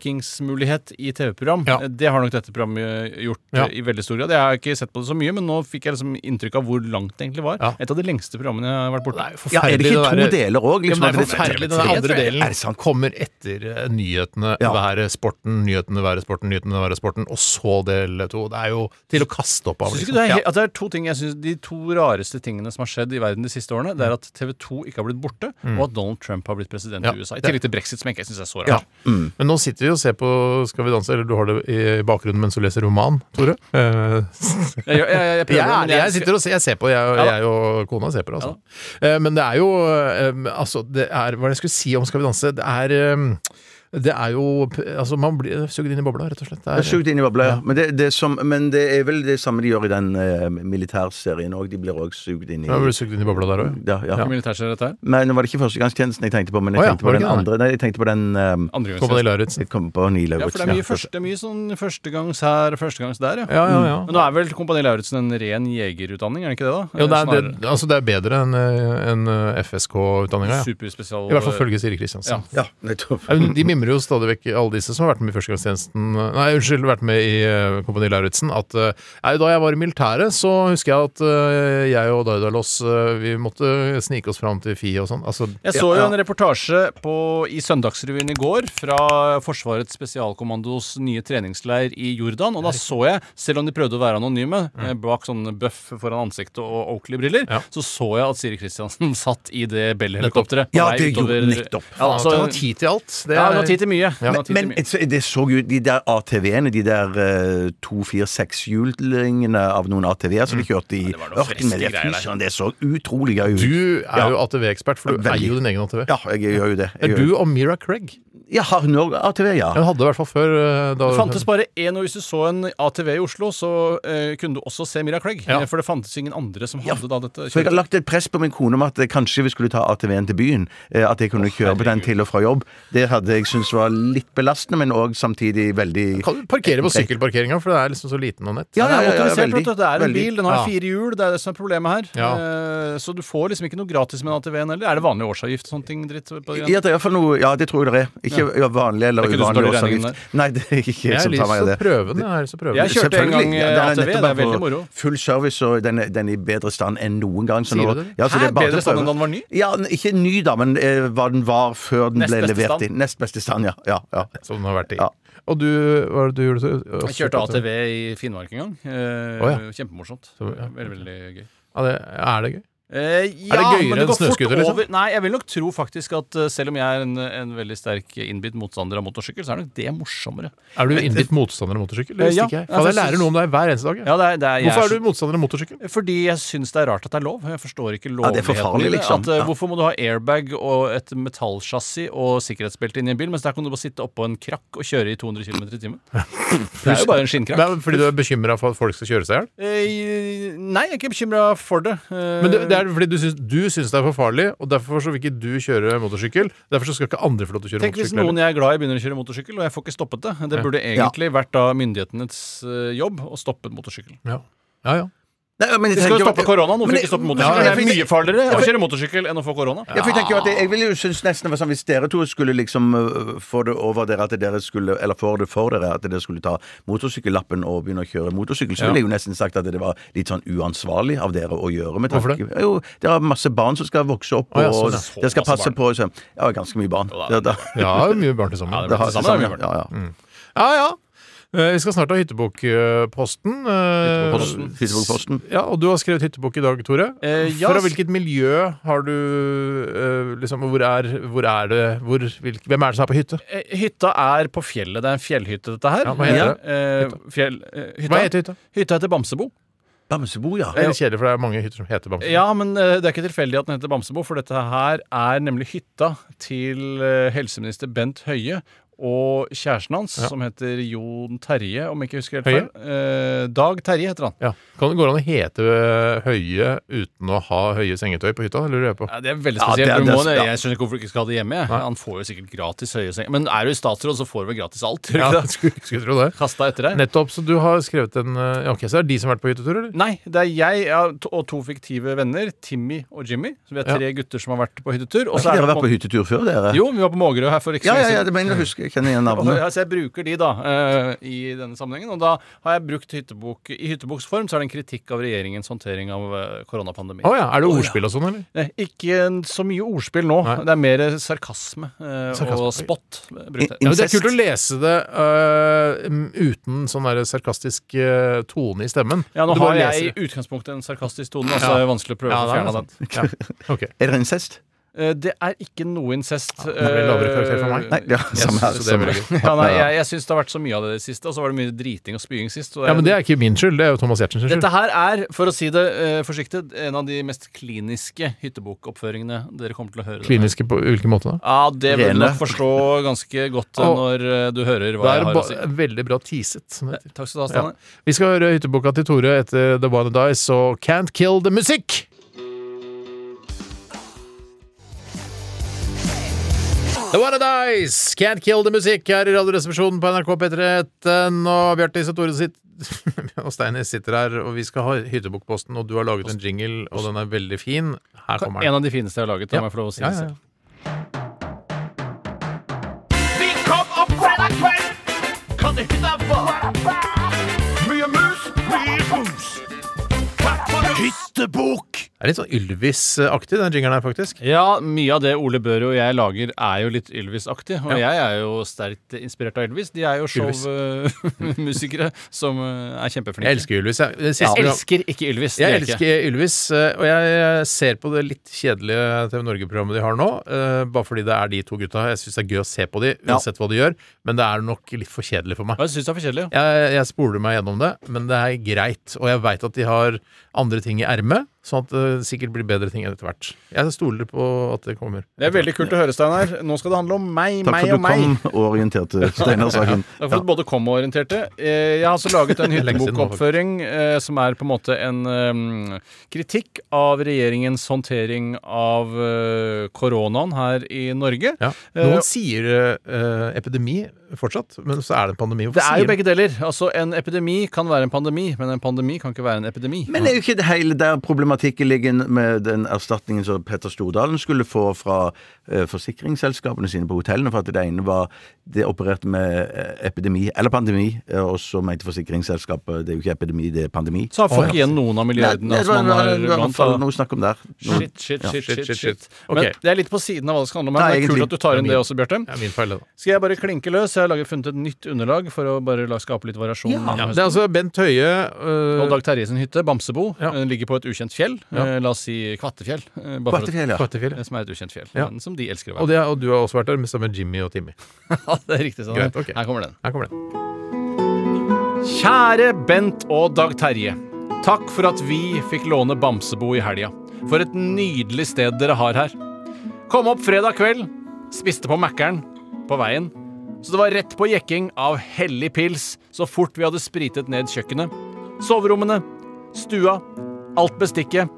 uttrekkingsmulighet i TV-program. Ja. Eh, Det har nok dette programmet eh, gjort eh, Ja. i veldig stor grad. Jeg har ikke sett på det så mye, men nå fikk jeg liksom inntrykk av hvor langt det egentlig var. Ja. Et av de lengste programmene jeg har vært borte i. Ja, er det ikke to derre- deler liksom. òg? Ja, men det er forferdelig, den andre Er det delen sant? kommer etter eh, nyhetene, Ja. været, sporten, nyhetene, været, sporten, nyhetene, været, sporten, og så del to. Det er jo til å kaste opp av. Synes Liksom. ikke det, er, Ja. he- at det er to ting jeg synes, De to rareste tingene som har skjedd i verden de siste årene, Det er at TV2 ikke har blitt borte, og at Donald Trump har blitt president Mm. Ja. i USA. I tillegg til brexit, som jeg ikke syns er så rart. Ja. Men nå sitter vi og ser på Skal vi danse, eller du har det i bakgrunnen mens du leser roman, Tore. Eh, Jeg, jeg, jeg, jeg jeg, prøver, er, men jeg sitter og ser, jeg ser på, jeg, da. jeg og kona ser på det, altså. Eh, Men det er jo eh, Altså, det er Hva er det jeg skulle si om Skal vi danse? Det er eh, Det er jo Altså, man blir sugd inn i bobla, rett og slett. Det er, Sugd inn i bobla, ja. Men det, det er som, men det er vel det samme de gjør i den eh, militærserien òg. De blir òg sugd inn i man blir sugd inn i bobla der òg. ja, ja. Hvor mye militært skjer dette her? Nei, nå var det ikke førstegangstjenesten jeg tenkte på, men jeg Å ja, tenkte var på det den ikke det? andre. Nei, jeg tenkte på den um, Andre gangs- Kompani Lauritz. Jeg kom på Ni Ja, for det er Lauritzen. mye, første, det er mye sånn førstegangs her og førstegangs der, ja. Ja, ja, ja. Men nå er vel Kompani Lauritzen en ren jegerutdanning, er det ikke det, da? Jo, det er, Snarere. det, altså det er bedre enn eh, en FSK-utdanninga, ja. Superspesial I hvert fall følge Siri Kristiansen. Ja, Ja. nettopp. Nei, men De mimrer jo stadig vekk, alle disse som har vært med i Førstegangstjenesten Nei, unnskyld, vært med i eh, Kompani Lauritzen. At eh, nei, da jeg var i militæret, så husker jeg at eh, jeg og Daidalos eh, Vi måtte snike oss fram til FI og sånn. Altså, Jeg så jo en reportasje på, i Søndagsrevyen i går fra Forsvarets spesialkommandos nye treningsleir i Jordan. Og da så jeg, selv om de prøvde å være anonyme, eh, bak sånn bøff foran ansiktet og Oakley-briller, Mm. Ja. så så jeg at Siri Kristiansen satt i det Bell-helikopteret. på Ja, vei det gjorde utover- nettopp. Ja, da, altså, så, det var tid til alt. Det ja, er det var tid tid til mye. Han har tid til Men, men så- det så jo de der ATV-ene, de der eh, to, fire, sekshjulingene av noen ATV-er Mm. som de kjørte i ørkenen med. Det, friske greier fy der. søren, det så utrolig gøy ut. Du er Ja. jo ATV-ekspert, for du eier jo din egen ATV. Ja, jeg gjør jo det. Jeg Er gjør jo du og Mira Craig? Jeg har nå ATV, ja. Hun hadde i hvert fall før. eh, Da, Det fantes bare én, og hvis du så en ATV i Oslo, så eh, kunne du også se Mira Craig. Ja. Eh, For det fantes ingen andre som hadde da dette. Så jeg har lagt et press på min kone om at eh, kanskje vi skulle ta ATV-en til byen. eh, At jeg kunne kjøre på den til og fra jobb. Det hadde jeg syntes var litt belastende, men òg samtidig veldig Kan du parkere på sykkelparkeringa, for det er liksom så liten og nett. Ja, ja, ja, ja, Motorisert, veldig, vet du, det er en veldig. bil, den har Ja. fire hjul, det er det som er problemet her. Ja. Eh, Så du får liksom ikke noe gratis med en ATV-en heller. Er det vanlig årsavgift og sånne ting? dritt på den? Ja, det er i hvert fall noe, ja, det tror jeg det er. Ikke Ja. ja, vanlig eller Det er ikke du uvanlig som tar de regningene årsavgift. Nei, det er ikke jeg Jeg har som lyst tar meg til av å det. prøve den. Jeg har lyst til å prøve den. Jeg kjørte en gang Selvfølgelig. eh, Ja, den ATV, nettopp det på er veldig moro. Full service, og den er, den er i bedre stand enn noen gang. så Sier nå- du det? Ja, så Hæ, det er bare til bedre å prøve. stand enn da den var ny? Ja, n- ikke ny da, men eh, hva den var før den Nest ble beste levert stand. inn. Nest beste stand, ja. ja, ja. Som den har vært i. Ja. Og du, hva var det du gjorde? så- Jeg kjørte ATV i Finnmark en gang. Eh, Å, ja. Kjempemorsomt. Så, ja. Veldig, veldig gøy. Ja, det, er det gøy? Eh, er ja, det men gøyere går enn fort snøscooter, liksom? over- Nei, jeg vil nok tro faktisk at eh, selv om jeg er en, en veldig sterk innbitt motstander av motorsykkel, så er nok det morsommere. Er du innbitt motstander av motorsykkel? Det Eh, ja. visste ikke jeg. Faen, jeg lærer noe om deg hver eneste dag. jeg. Ja, det er, det er, jeg Hvorfor så- er du motstander av motorsykkel? Fordi jeg syns det er rart at det er lov. Jeg forstår ikke Ja, det er for lovligheten farlig, i det. liksom. At, eh, Ja. Hvorfor må du ha airbag og et metallchassis og sikkerhetsbelte inn i en bil, mens der kan du bare sitte oppå en krakk og kjøre i 200 km i timen? Det er jo bare en skinnkrakk. Det er Fordi du er bekymra for at folk skal kjøre seg i hjel? Eh, Nei, jeg er ikke bekymra for det. Eh, Men det, det er fordi du syns, du syns det er for farlig, og derfor så vil ikke du kjøre motorsykkel. Derfor så skal ikke andre få lov til å kjøre Tenk hvis motorsykkel. noen jeg er glad i begynner å kjøre motorsykkel, og jeg får ikke stoppet det. Det Ja. burde egentlig vært da myndighetenes eh, jobb å stoppe motorsykkel. heller. Ja, ja. ja. Nei, men jeg Vi skal tenker jo jo stoppe at- koronaen, Men hvorfor jeg- ikke stoppe men- motorsykkel? ja, Det er jeg- mye farligere å Ja. kjøre motorsykkel enn å få korona. Ja, for jeg tenker jo at jeg, jeg ville jo synes nesten det var sånn Hvis dere to skulle liksom øh, få det over dere at dere skulle Eller får det for dere at dere skulle ta motorsykkellappen og begynne å kjøre motorsykkel, så Ja. ville jeg jo nesten sagt at det var litt sånn uansvarlig av dere å gjøre. Med Hvorfor tanke- Jo, dere har masse barn som skal vokse opp, Å, ja, og sånn, ja. dere skal Så masse passe på så, Ja, ganske mye barn. Ja, da- mye barn til sammen. Ja, det blir til sammen, det blir til ja, ja. ja. Eh, Vi skal snart ha Hyttebukk-posten. Eh, Hyttebukk-posten. Hyttebukk-posten. Ja, og du har skrevet Hyttebukk i dag, Tore. Eh, ja, Fra s- hvilket miljø har du eh, liksom, Hvor er, hvor er det hvor, hvilk, Hvem er det som er på hytte? Eh, Hytta er på fjellet. Det er en fjellhytte, dette her. Ja, hva heter Eh, Fjell, eh, hytta. Hva heter hytta? Hytta heter Bamsebo. Bamsebo, ja. Det er litt kjedelig, for det er mange hytter som heter Bamse. Ja, men eh, det er ikke tilfeldig at den heter Bamsebo, for dette her er nemlig hytta til eh, helseminister Bent Høie. Og kjæresten hans, Ja. som heter Jon Terje, om jeg ikke husker Høie? helt feil. Eh, Dag Terje heter han. Ja. Kan det går an å hete eh, Høie uten å ha høye sengetøy på hytta? Lurer jeg på. Ja, det er veldig Ja, spesielt. det er- Du det er- må, ja. Jeg skjønner ikke hvorfor du ikke skal ha det hjemme. Jeg. Han får jo sikkert gratis høye senger. Men er du i statsråd, så får du vel gratis alt? gjør du Ja, ikke det? skulle, skulle tro det. Kasta etter deg. Nettopp. Så du har skrevet en eh, ja, Ok, så er det de som har vært på hyttetur, eller? Nei, det er jeg ja, to- og to fiktive venner, Timmy og Jimmy. Så vi er tre gutter som har vært på hyttetur. og Har ikke så er dere det vært på hyttetur før, dere? Jo, vi var på Mågerø her for ikke Ja, så ja, lenge ja, siden. det mener jeg husker. Jeg kjenner igjen navnet. Ja, så jeg bruker de, da, eh, i denne sammenhengen. Og da har jeg brukt hyttebok I hytteboksform så er det en kritikk av regjeringens håndtering av eh, koronapandemien. Å ja. Er det ordspill og sånn, eller? Eh, Ikke en- så mye ordspill nå. Det er mer sarkasme, eh, Sarkasme. og spott. eh, brukt her. Ja, men det er kult å lese det øh, m- uten sånn der sarkastisk øh, tone i stemmen. Ja, nå Du har bare leser. jeg i utgangspunktet en sarkastisk tone, da, så Ja. det er vanskelig å prøve Ja, det å er fjerne sant. den. Er dere incest? Eh, Det er ikke noe incest. eh, Ja, det blir lavere karakter for meg. Nei, ja, samme her, samme her. ja, nei, jeg, jeg syns det har vært så mye av det i det siste, og så var det mye driting og spying sist. Og Ja, men det er ikke min skyld, det er jo Thomas Giertsen sin skyld. Dette her er, for å si det eh, forsiktig, en av de mest kliniske hyttebokoppføringene dere kommer til å høre. denne Kliniske på hvilken måte da? Ja, det vil du Rene. nok forstå ganske godt eh, Og- når eh, du hører Det hva er jeg har ba å si. veldig bra teaset. Som det heter. Takk skal du ha, Stanley. Vi skal høre hytteboka til Tore etter The One and Dice og Can't Kill The Music. The One and Dice, Can't Kill The Music her i Radioresepsjonen på NRK P13. Og Bjartis og Tore sitt og Steinis sitter her, og vi skal ha Hyttebokposten. Og du har laget en jingle, og den er veldig fin. Her kommer den. En av de fineste jeg har laget. La meg få lov å si Ja, det ja, ja. selv. Vi kom opp fredag kveld, kan det hende var Mye mus, mye bus. Takk for oss. Hyttebok! er litt sånn Ylvis-aktig, den jingeren her, faktisk. Ja, mye av det Ole Børre og jeg lager, er jo litt Ylvis-aktig. Og Ja. jeg er jo sterkt inspirert av Ylvis. De er jo Ylvis. showmusikere som eh, er kjempeflinke. Jeg elsker Ylvis. Jeg, Det Jeg siste- elsker ikke Ylvis. Jeg det gjør elsker Ylvis, eh, og jeg ser på det litt kjedelige TV Norge-programmet de har nå, eh, bare fordi det er de to gutta. Jeg syns det er gøy å se på de, uansett hva de gjør, men det er nok litt for kjedelig for meg. Jeg syns det er for kjedelig, Jeg, jeg spoler meg gjennom det, men det er greit. Og jeg veit at de har andre ting i ermet, sånn at det sikkert blir bedre ting etter hvert. Jeg stoler på at det kommer. Det er veldig kult å høre, Steinar. Nå skal det handle om meg, Takk meg for at og du meg. kom og orienterte Steinar-saken. Takk for at du både kom og orienterte. Eh, Jeg har også laget en Lenge siden nå, faktisk. hyttebokoppføring eh, som er på en måte en eh, kritikk av regjeringens håndtering av eh, koronaen her i Norge. Noen Eh, sier eh, epidemi fortsatt, men så er det en pandemi. Hvorfor det er jo sier de- begge deler. Altså, En epidemi kan være en pandemi, men en pandemi kan ikke være en epidemi. Men det er jo ikke det hele der problematikken ligger med den erstatningen som Petter Stordalen skulle få fra eh, forsikringsselskapene sine på hotellene, for at det ene var det opererte med eh, epidemi, eller pandemi, eh, og så mente forsikringsselskapet det er jo ikke epidemi, det er pandemi. Så har folk igjen noen av milliardene Nei, det var- som man har det var i hvert lånt fall av- noe snakk om der. Noe- Shit, shit, Ja. shit, shit, shit, Men det er litt på siden av hva det skal handle om. Nei, her, men Det er egentlig. kult at du tar Det inn det er min- også, Bjarte. Det er min feil, det da. Skal jeg bare klinke løs? Jeg har laget, funnet et nytt underlag for å bare la skape litt variasjon. Ja, gjennom det er høsten. altså Bent Høie eh, og Dag Terje sin hytte, Bamsebo, eh, ligger på et ukjent fjell. Ja. Eh, La oss si Kvattefjell. eh, bare for at- Kvattefjell, ja. Kvattefjell, ja. eh, Som er et ukjent fjell. Ja. Men som de elsker å være. Og, det, og du har også vært der med sammen med Jimmy og Timmy. Ja, det er riktig sånn. Greit, ok. Her kommer den. Her kommer den. Kjære Bent og Dag Terje. Takk for at vi fikk låne Bamsebo i helga. For et nydelig sted dere har her. Kom opp fredag kveld, spiste på Mækkern på veien. Så det var rett på jekking av hellig pils så fort vi hadde spritet ned kjøkkenet. Soverommene, stua, alt bestikket.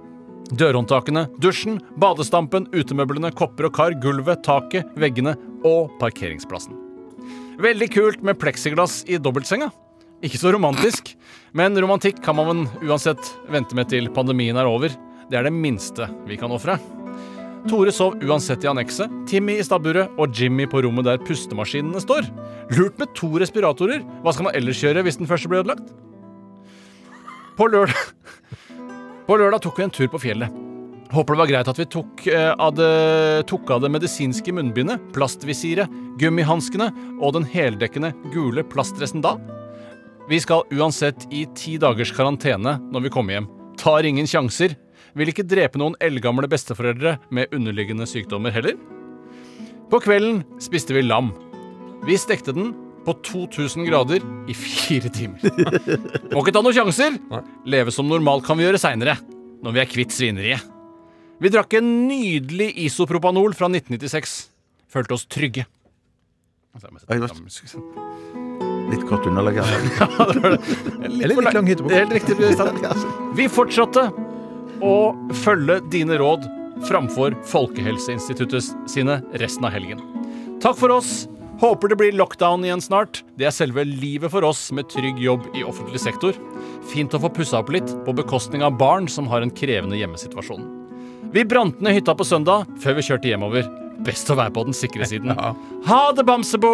Dørhåndtakene, dusjen, badestampen, utemøblene, kopper og kar, gulvet, taket, veggene og parkeringsplassen. Veldig kult med pleksiglass i dobbeltsenga. Ikke så romantisk, men romantikk kan man uansett vente med til pandemien er over. Det er det minste vi kan ofre. Tore sov uansett i annekset, Timmy i stabburet og Jimmy på rommet der pustemaskinene står. Lurt med to respiratorer. Hva skal man ellers gjøre hvis den første blir ødelagt? På lørdag På lørdag tok vi en tur på fjellet. Håper det var greit at vi tok, eh, av, det, tok av det medisinske munnbindet, plastvisiret, gummihanskene og den heldekkende gule plastdressen da. Vi skal uansett i ti dagers karantene når vi kommer hjem. Tar ingen sjanser. Vil ikke drepe noen eldgamle besteforeldre med underliggende sykdommer heller. På kvelden spiste vi lam. Vi stekte den på 2000 grader i fire timer. Må ikke ta noen sjanser. Leve som normalt kan vi gjøre seinere, når vi er kvitt svineriet. Vi drakk en nydelig isopropanol fra 1996. Følte oss trygge. Oi, det var Litt kort underlag her. Eller litt lang hyttebok. Helt riktig. Stein. Vi fortsatte å følge dine råd framfor Folkehelseinstituttet sine resten av helgen. Takk for oss. Håper det blir lockdown igjen snart. Det er selve livet for oss med trygg jobb i offentlig sektor. Fint å få pussa opp litt på bekostning av barn som har en krevende hjemmesituasjon. Vi brant ned hytta på søndag før vi kjørte hjemover. Best å være på den sikre siden. Ha det, Bamsebo!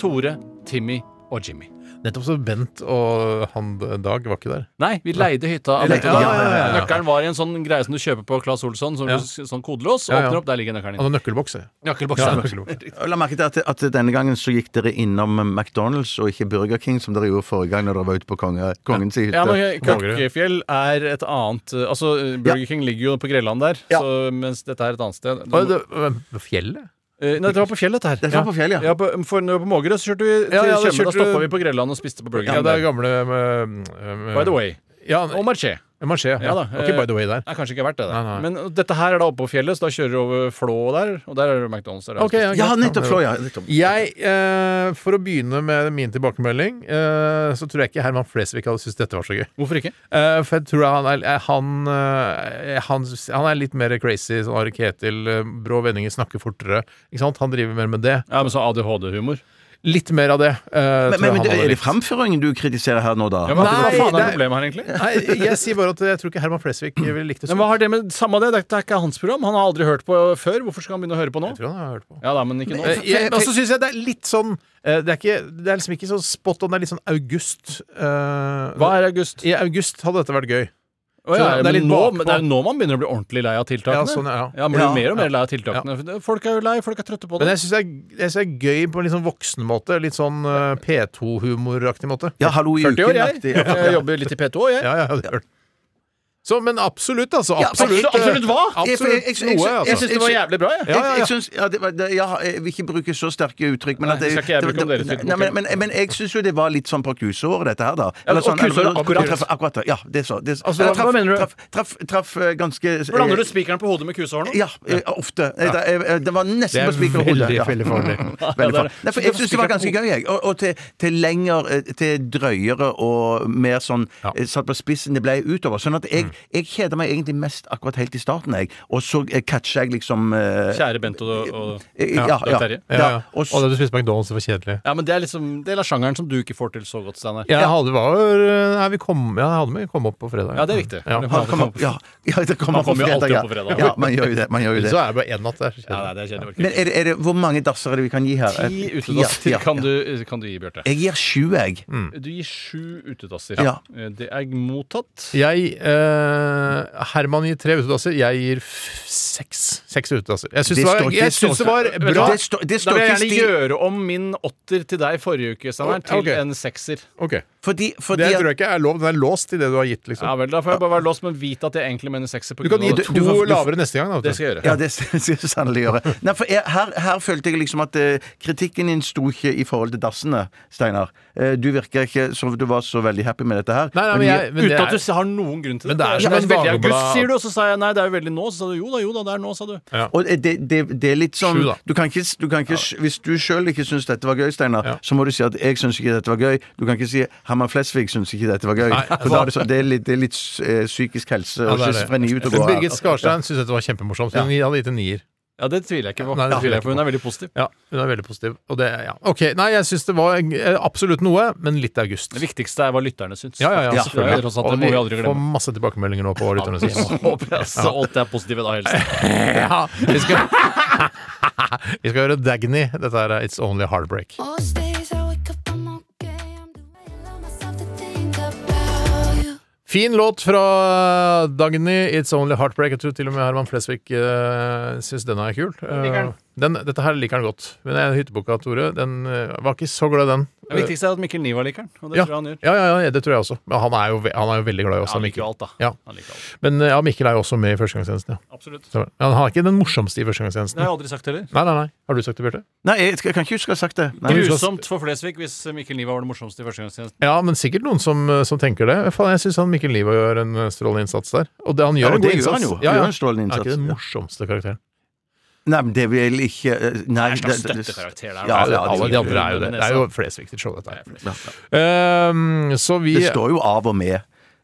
Tore, Timmy og Jimmy. Nettopp så Bent og han Dag var ikke der. Nei, vi leide hytta. av Ja, Bent og Dag. ja, ja, ja, ja. Nøkkelen var i en sånn greie som du kjøper på Claes Olsson. Som Ja. sånn kodelås. Ja, Altså, ja. Åpner opp, der ligger Han nøkkelen din. har nøkkelboks, jeg. Nøkkelboks, Ja, ja. nøkkelboks. Og La merke til at, at denne gangen så gikk dere innom McDonald's og ikke Burger King, som dere gjorde forrige gang når dere var ute på konge, kongens hytte. Ja, men Køkkefjell er et annet eh, Altså, eh, Burger King ligger jo på Grelland der, så, mens dette er et annet sted. Du Og må- det, på fjellet? Eh, Nei, det var på fjellet, dette her. Det var på fjellet, ja. ja på, for, når vi var på Mågerø, så kjørte vi til Ja, ja, da Tjøme. Da kjørte du- stoppa vi på Grelland og spiste på Burger King. Ja, det er der. gamle med, med, By the way. Ja, Og Marché. Marché. Ja, Ja da, Ok, eh, by the way der. Det er kanskje ikke verdt det. Nei, Der. nei. Men dette her er da oppe på fjellet, så da kjører du over Flå der, og der er det McDonald's. Der er det Ok, ja, spist. greit. Jeg, eh, for å begynne med min tilbakemelding, eh, så tror jeg ikke Herman Flesvig hadde syntes dette var så gøy. Hvorfor ikke? Eh, for jeg tror han er, eh, han, eh, han, han er litt mer crazy, sånn Ari Ketil, eh, brå vendinger, snakker fortere. Ikke sant? Han driver mer med det. Ja, men så ADHD-humor? Litt mer av det. eh, Men, tror jeg men, han men hadde er det likt. framføringen du kritiserer her nå, da? Ja, men hva Nei, faen er det- problemet her, egentlig? Nei, jeg sier bare at jeg tror ikke Herman Flesvig ville likt det så Men hva har det med Samme det, dette er ikke hans program. Han har aldri hørt på før. Hvorfor skal han begynne å høre på nå? altså, Jeg tror han har hørt på. Ja da, men ikke nå. Eh, jeg- Og så syns jeg det er litt sånn eh, det er, ikke, det er liksom ikke så spot on, det er litt sånn august. Hva er august? I august hadde dette vært gøy. Å ja, Så men nå, bakpå. men det er jo nå man begynner å bli ordentlig lei av Ja, tiltakene. sånn, ja. man blir Ja. mer og mer Ja. lei av tiltakene. Folk er jo lei, folk er trøtte på det. Men jeg syns det, er- jeg synes det er gøy på en litt sånn voksen måte. Litt sånn eh, P2-humoraktig måte. Ja, hallo i 40 år, jeg. uken-aktig, ja. Jeg jobber litt i P2 òg, jeg. Ja, ja, det gjør den. Så, men absolutt, altså. Ja, Absolutt, absolutt- absolutt hva? Jeg- for jeg- Absolutt jeg- jeg- noe, jeg altså. synes det var jævlig bra, Jeg, jeg, synes, ja, det var, det, jeg, har- jeg vil ikke bruke så sterke uttrykk, men Nei, at det, det skal ikke jeg det- bruke om det- dere, nei, men, men, men jeg syns jo det var litt sånn på kusåret, dette her, da. og kusåret akkurat. Traff, akkurat. Ja, det er så. Det, Altså, hva- jeg traff, hva mener du? Traff, traff, traff eh, ganske Blander du spikeren på hodet med kusehåren? Ja, eh, ofte. Eh, da- eh, eh, Det var Det nesten er på spiker og hode. veldig, ja. veldig farlig. Mm, Ja, Veldig det er det. farlig. Nei, for jeg syns det var ganske gøy, jeg. Og, og til, til lenger, eh, til drøyere og mer sånn eh, satt på spissen det ble utover. Sånn at jeg, jeg kjeda meg egentlig mest akkurat helt i starten, jeg. Og så eh, catcher jeg liksom eh, Kjære Bento og, og, Ja, og ja. Terje. Ja, ja. Og da du spiste McDonald's, det var kjedelig. Ja, men det er liksom del av sjangeren som du ikke får til så godt, Steinar. Jeg hadde, var, eh, nei, vi kom, ja, jeg hadde med kom opp på fredag. Ja, det er riktig. Ja. Det var- Han kom opp- ja, ja, det kom Han opp på kommer jo fredag, alltid ja. opp på fredag. Ja, man gjør jo det, man gjør jo det. Så er det bare én natt der. Ja, nei, det er kjedelig. Men er det, er det, hvor mange dasser er det vi kan gi her? Ti Eh, utedass ja, ja, kan, ja. du- kan du gi, Bjarte. Jeg gir sju, jeg. Du gir sju utedasser. Ja. Eh, Det er mottatt. Jeg eh, Herman gir tre utedasser. Jeg gir f- seks. Seks utedasser. Jeg syns det, var- jeg syns det var bra. da vil jeg gjerne gjøre om min åtter til deg forrige uke, Steinar, til Ok. en sekser. Ok. Fordi, det tror jeg ikke er lov. Den er låst i det du har gitt, liksom. Ja vel, da får jeg bare være låst, men vite at jeg egentlig mener sekser. på Du kan grunn av gi at- to lavere neste gang. Da, vet du. Det skal jeg gjøre. Ja, det skal jeg sannelig gjøre. Nei, for jeg, her, her følte jeg liksom at eh, kritikken din sto ikke i forhold til dassene, Steinar. Eh, du virker ikke som du var så veldig happy med dette her. Nei, nei, men jeg- men Uten det at er- du har noen grunn til Men det. det er som Ja, en veldig dagbladet- august, sier du, og så sa jeg nei, det er jo veldig nå. Så sa du jo da, jo da, det er nå, sa du. Og det, det, det er litt sånn Sju, da. du kan ikke, du kan ikke Hvis du sjøl ikke syns dette var gøy, Steinar, så må du si at 'jeg syns ikke dette var gøy'. Du kan ikke si 'Herman Flesvig syns ikke dette var gøy'. Nei, for da er det, så, det er litt, det er litt eh, psykisk helse og Ja, det er det. schizofreni ute og Men går her. Birgit Skarstein syntes dette var kjempemorsomt. Hun hadde gitt en nier. Ja, det tviler jeg ikke på. Nei, det Ja, tviler jeg for hun ikke er veldig positiv. Ja, hun er veldig positiv. Og det, ja. Ok, Nei, jeg syns det var eh, absolutt noe, men litt august. Det viktigste er hva lytterne syns. Ja, ja, ja, Ja, selvfølgelig. det er tross alt, og det må vi aldri glemme. får masse tilbakemeldinger nå på hva lytterne sier. Håper jeg så alt er positive da, helst. Ja, vi skal Vi skal høre Dagny. Dette er It's Only Heartbreak. Fin låt fra Dagny, It's Only Heartbreak. Jeg tror til og med Herman Flesvig uh, syns denne er kul. liker Eh, den. den, dette her liker han godt. Men den hytteboka, Tore, den eh, var ikke så glad i den. Det viktigste er at Mikkel Niva liker den, og det ja. tror jeg han gjør. Ja, ja, ja, det tror jeg også. Men han er jo, ve- han er jo veldig glad i oss. Ja, han da, liker jo alt, da. Ja. Han liker alt. Men eh, ja, Mikkel er jo også med i Førstegangstjenesten. Ja. Absolutt. Så, ja, han er ikke den morsomste i Førstegangstjenesten. Det har jeg aldri sagt heller. Nei, nei, nei. Har du sagt det, Bjarte? Nei, jeg, skal- jeg kan ikke huske å ha sagt det. Nei. Grusomt for Flesvig hvis Mikkel Niva var det morsomste i førstegangstjenesten. Ja, men sikkert noen som, eh, som tenker det. Faen, jeg syns Mikkel Liva gjør en eh, strålende innsats der. Og det han Ja, gjør, en det god gjør innsats. han jo. Han Ja, ja. gjør en strålende Er ikke innsats, den ja. morsomste karakteren. Nei, men det vil ikke eh, Nei, Det er en slags det- det- støttekarakter der, Ja, altså. ja, Alle de andre er jo det. Det er jo Flesvig sitt show, dette her. Ehm, så vi Det står jo av og med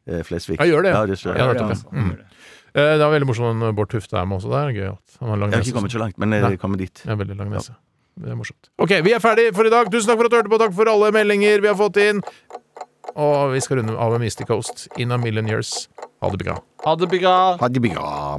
eh, Flesvig. Ja, gjør det. Ja, det står, Ja, ja, det gjør det. Mm. Eh, det var veldig morsomt når Bård Tufte er med også der. Gøy at han har lang Jeg har nese ikke og kommet sånn. så langt, men jeg Nei. kommer dit. Ja, veldig lang nese. Det er morsomt. Ok, vi er ferdige for i dag. Tusen takk for at du hørte på. Takk for alle meldinger vi har fått inn. Og vi skal runde av med Mystic Coast. In a million years. Ha det bra. Ha det, bygga! Ha det bra.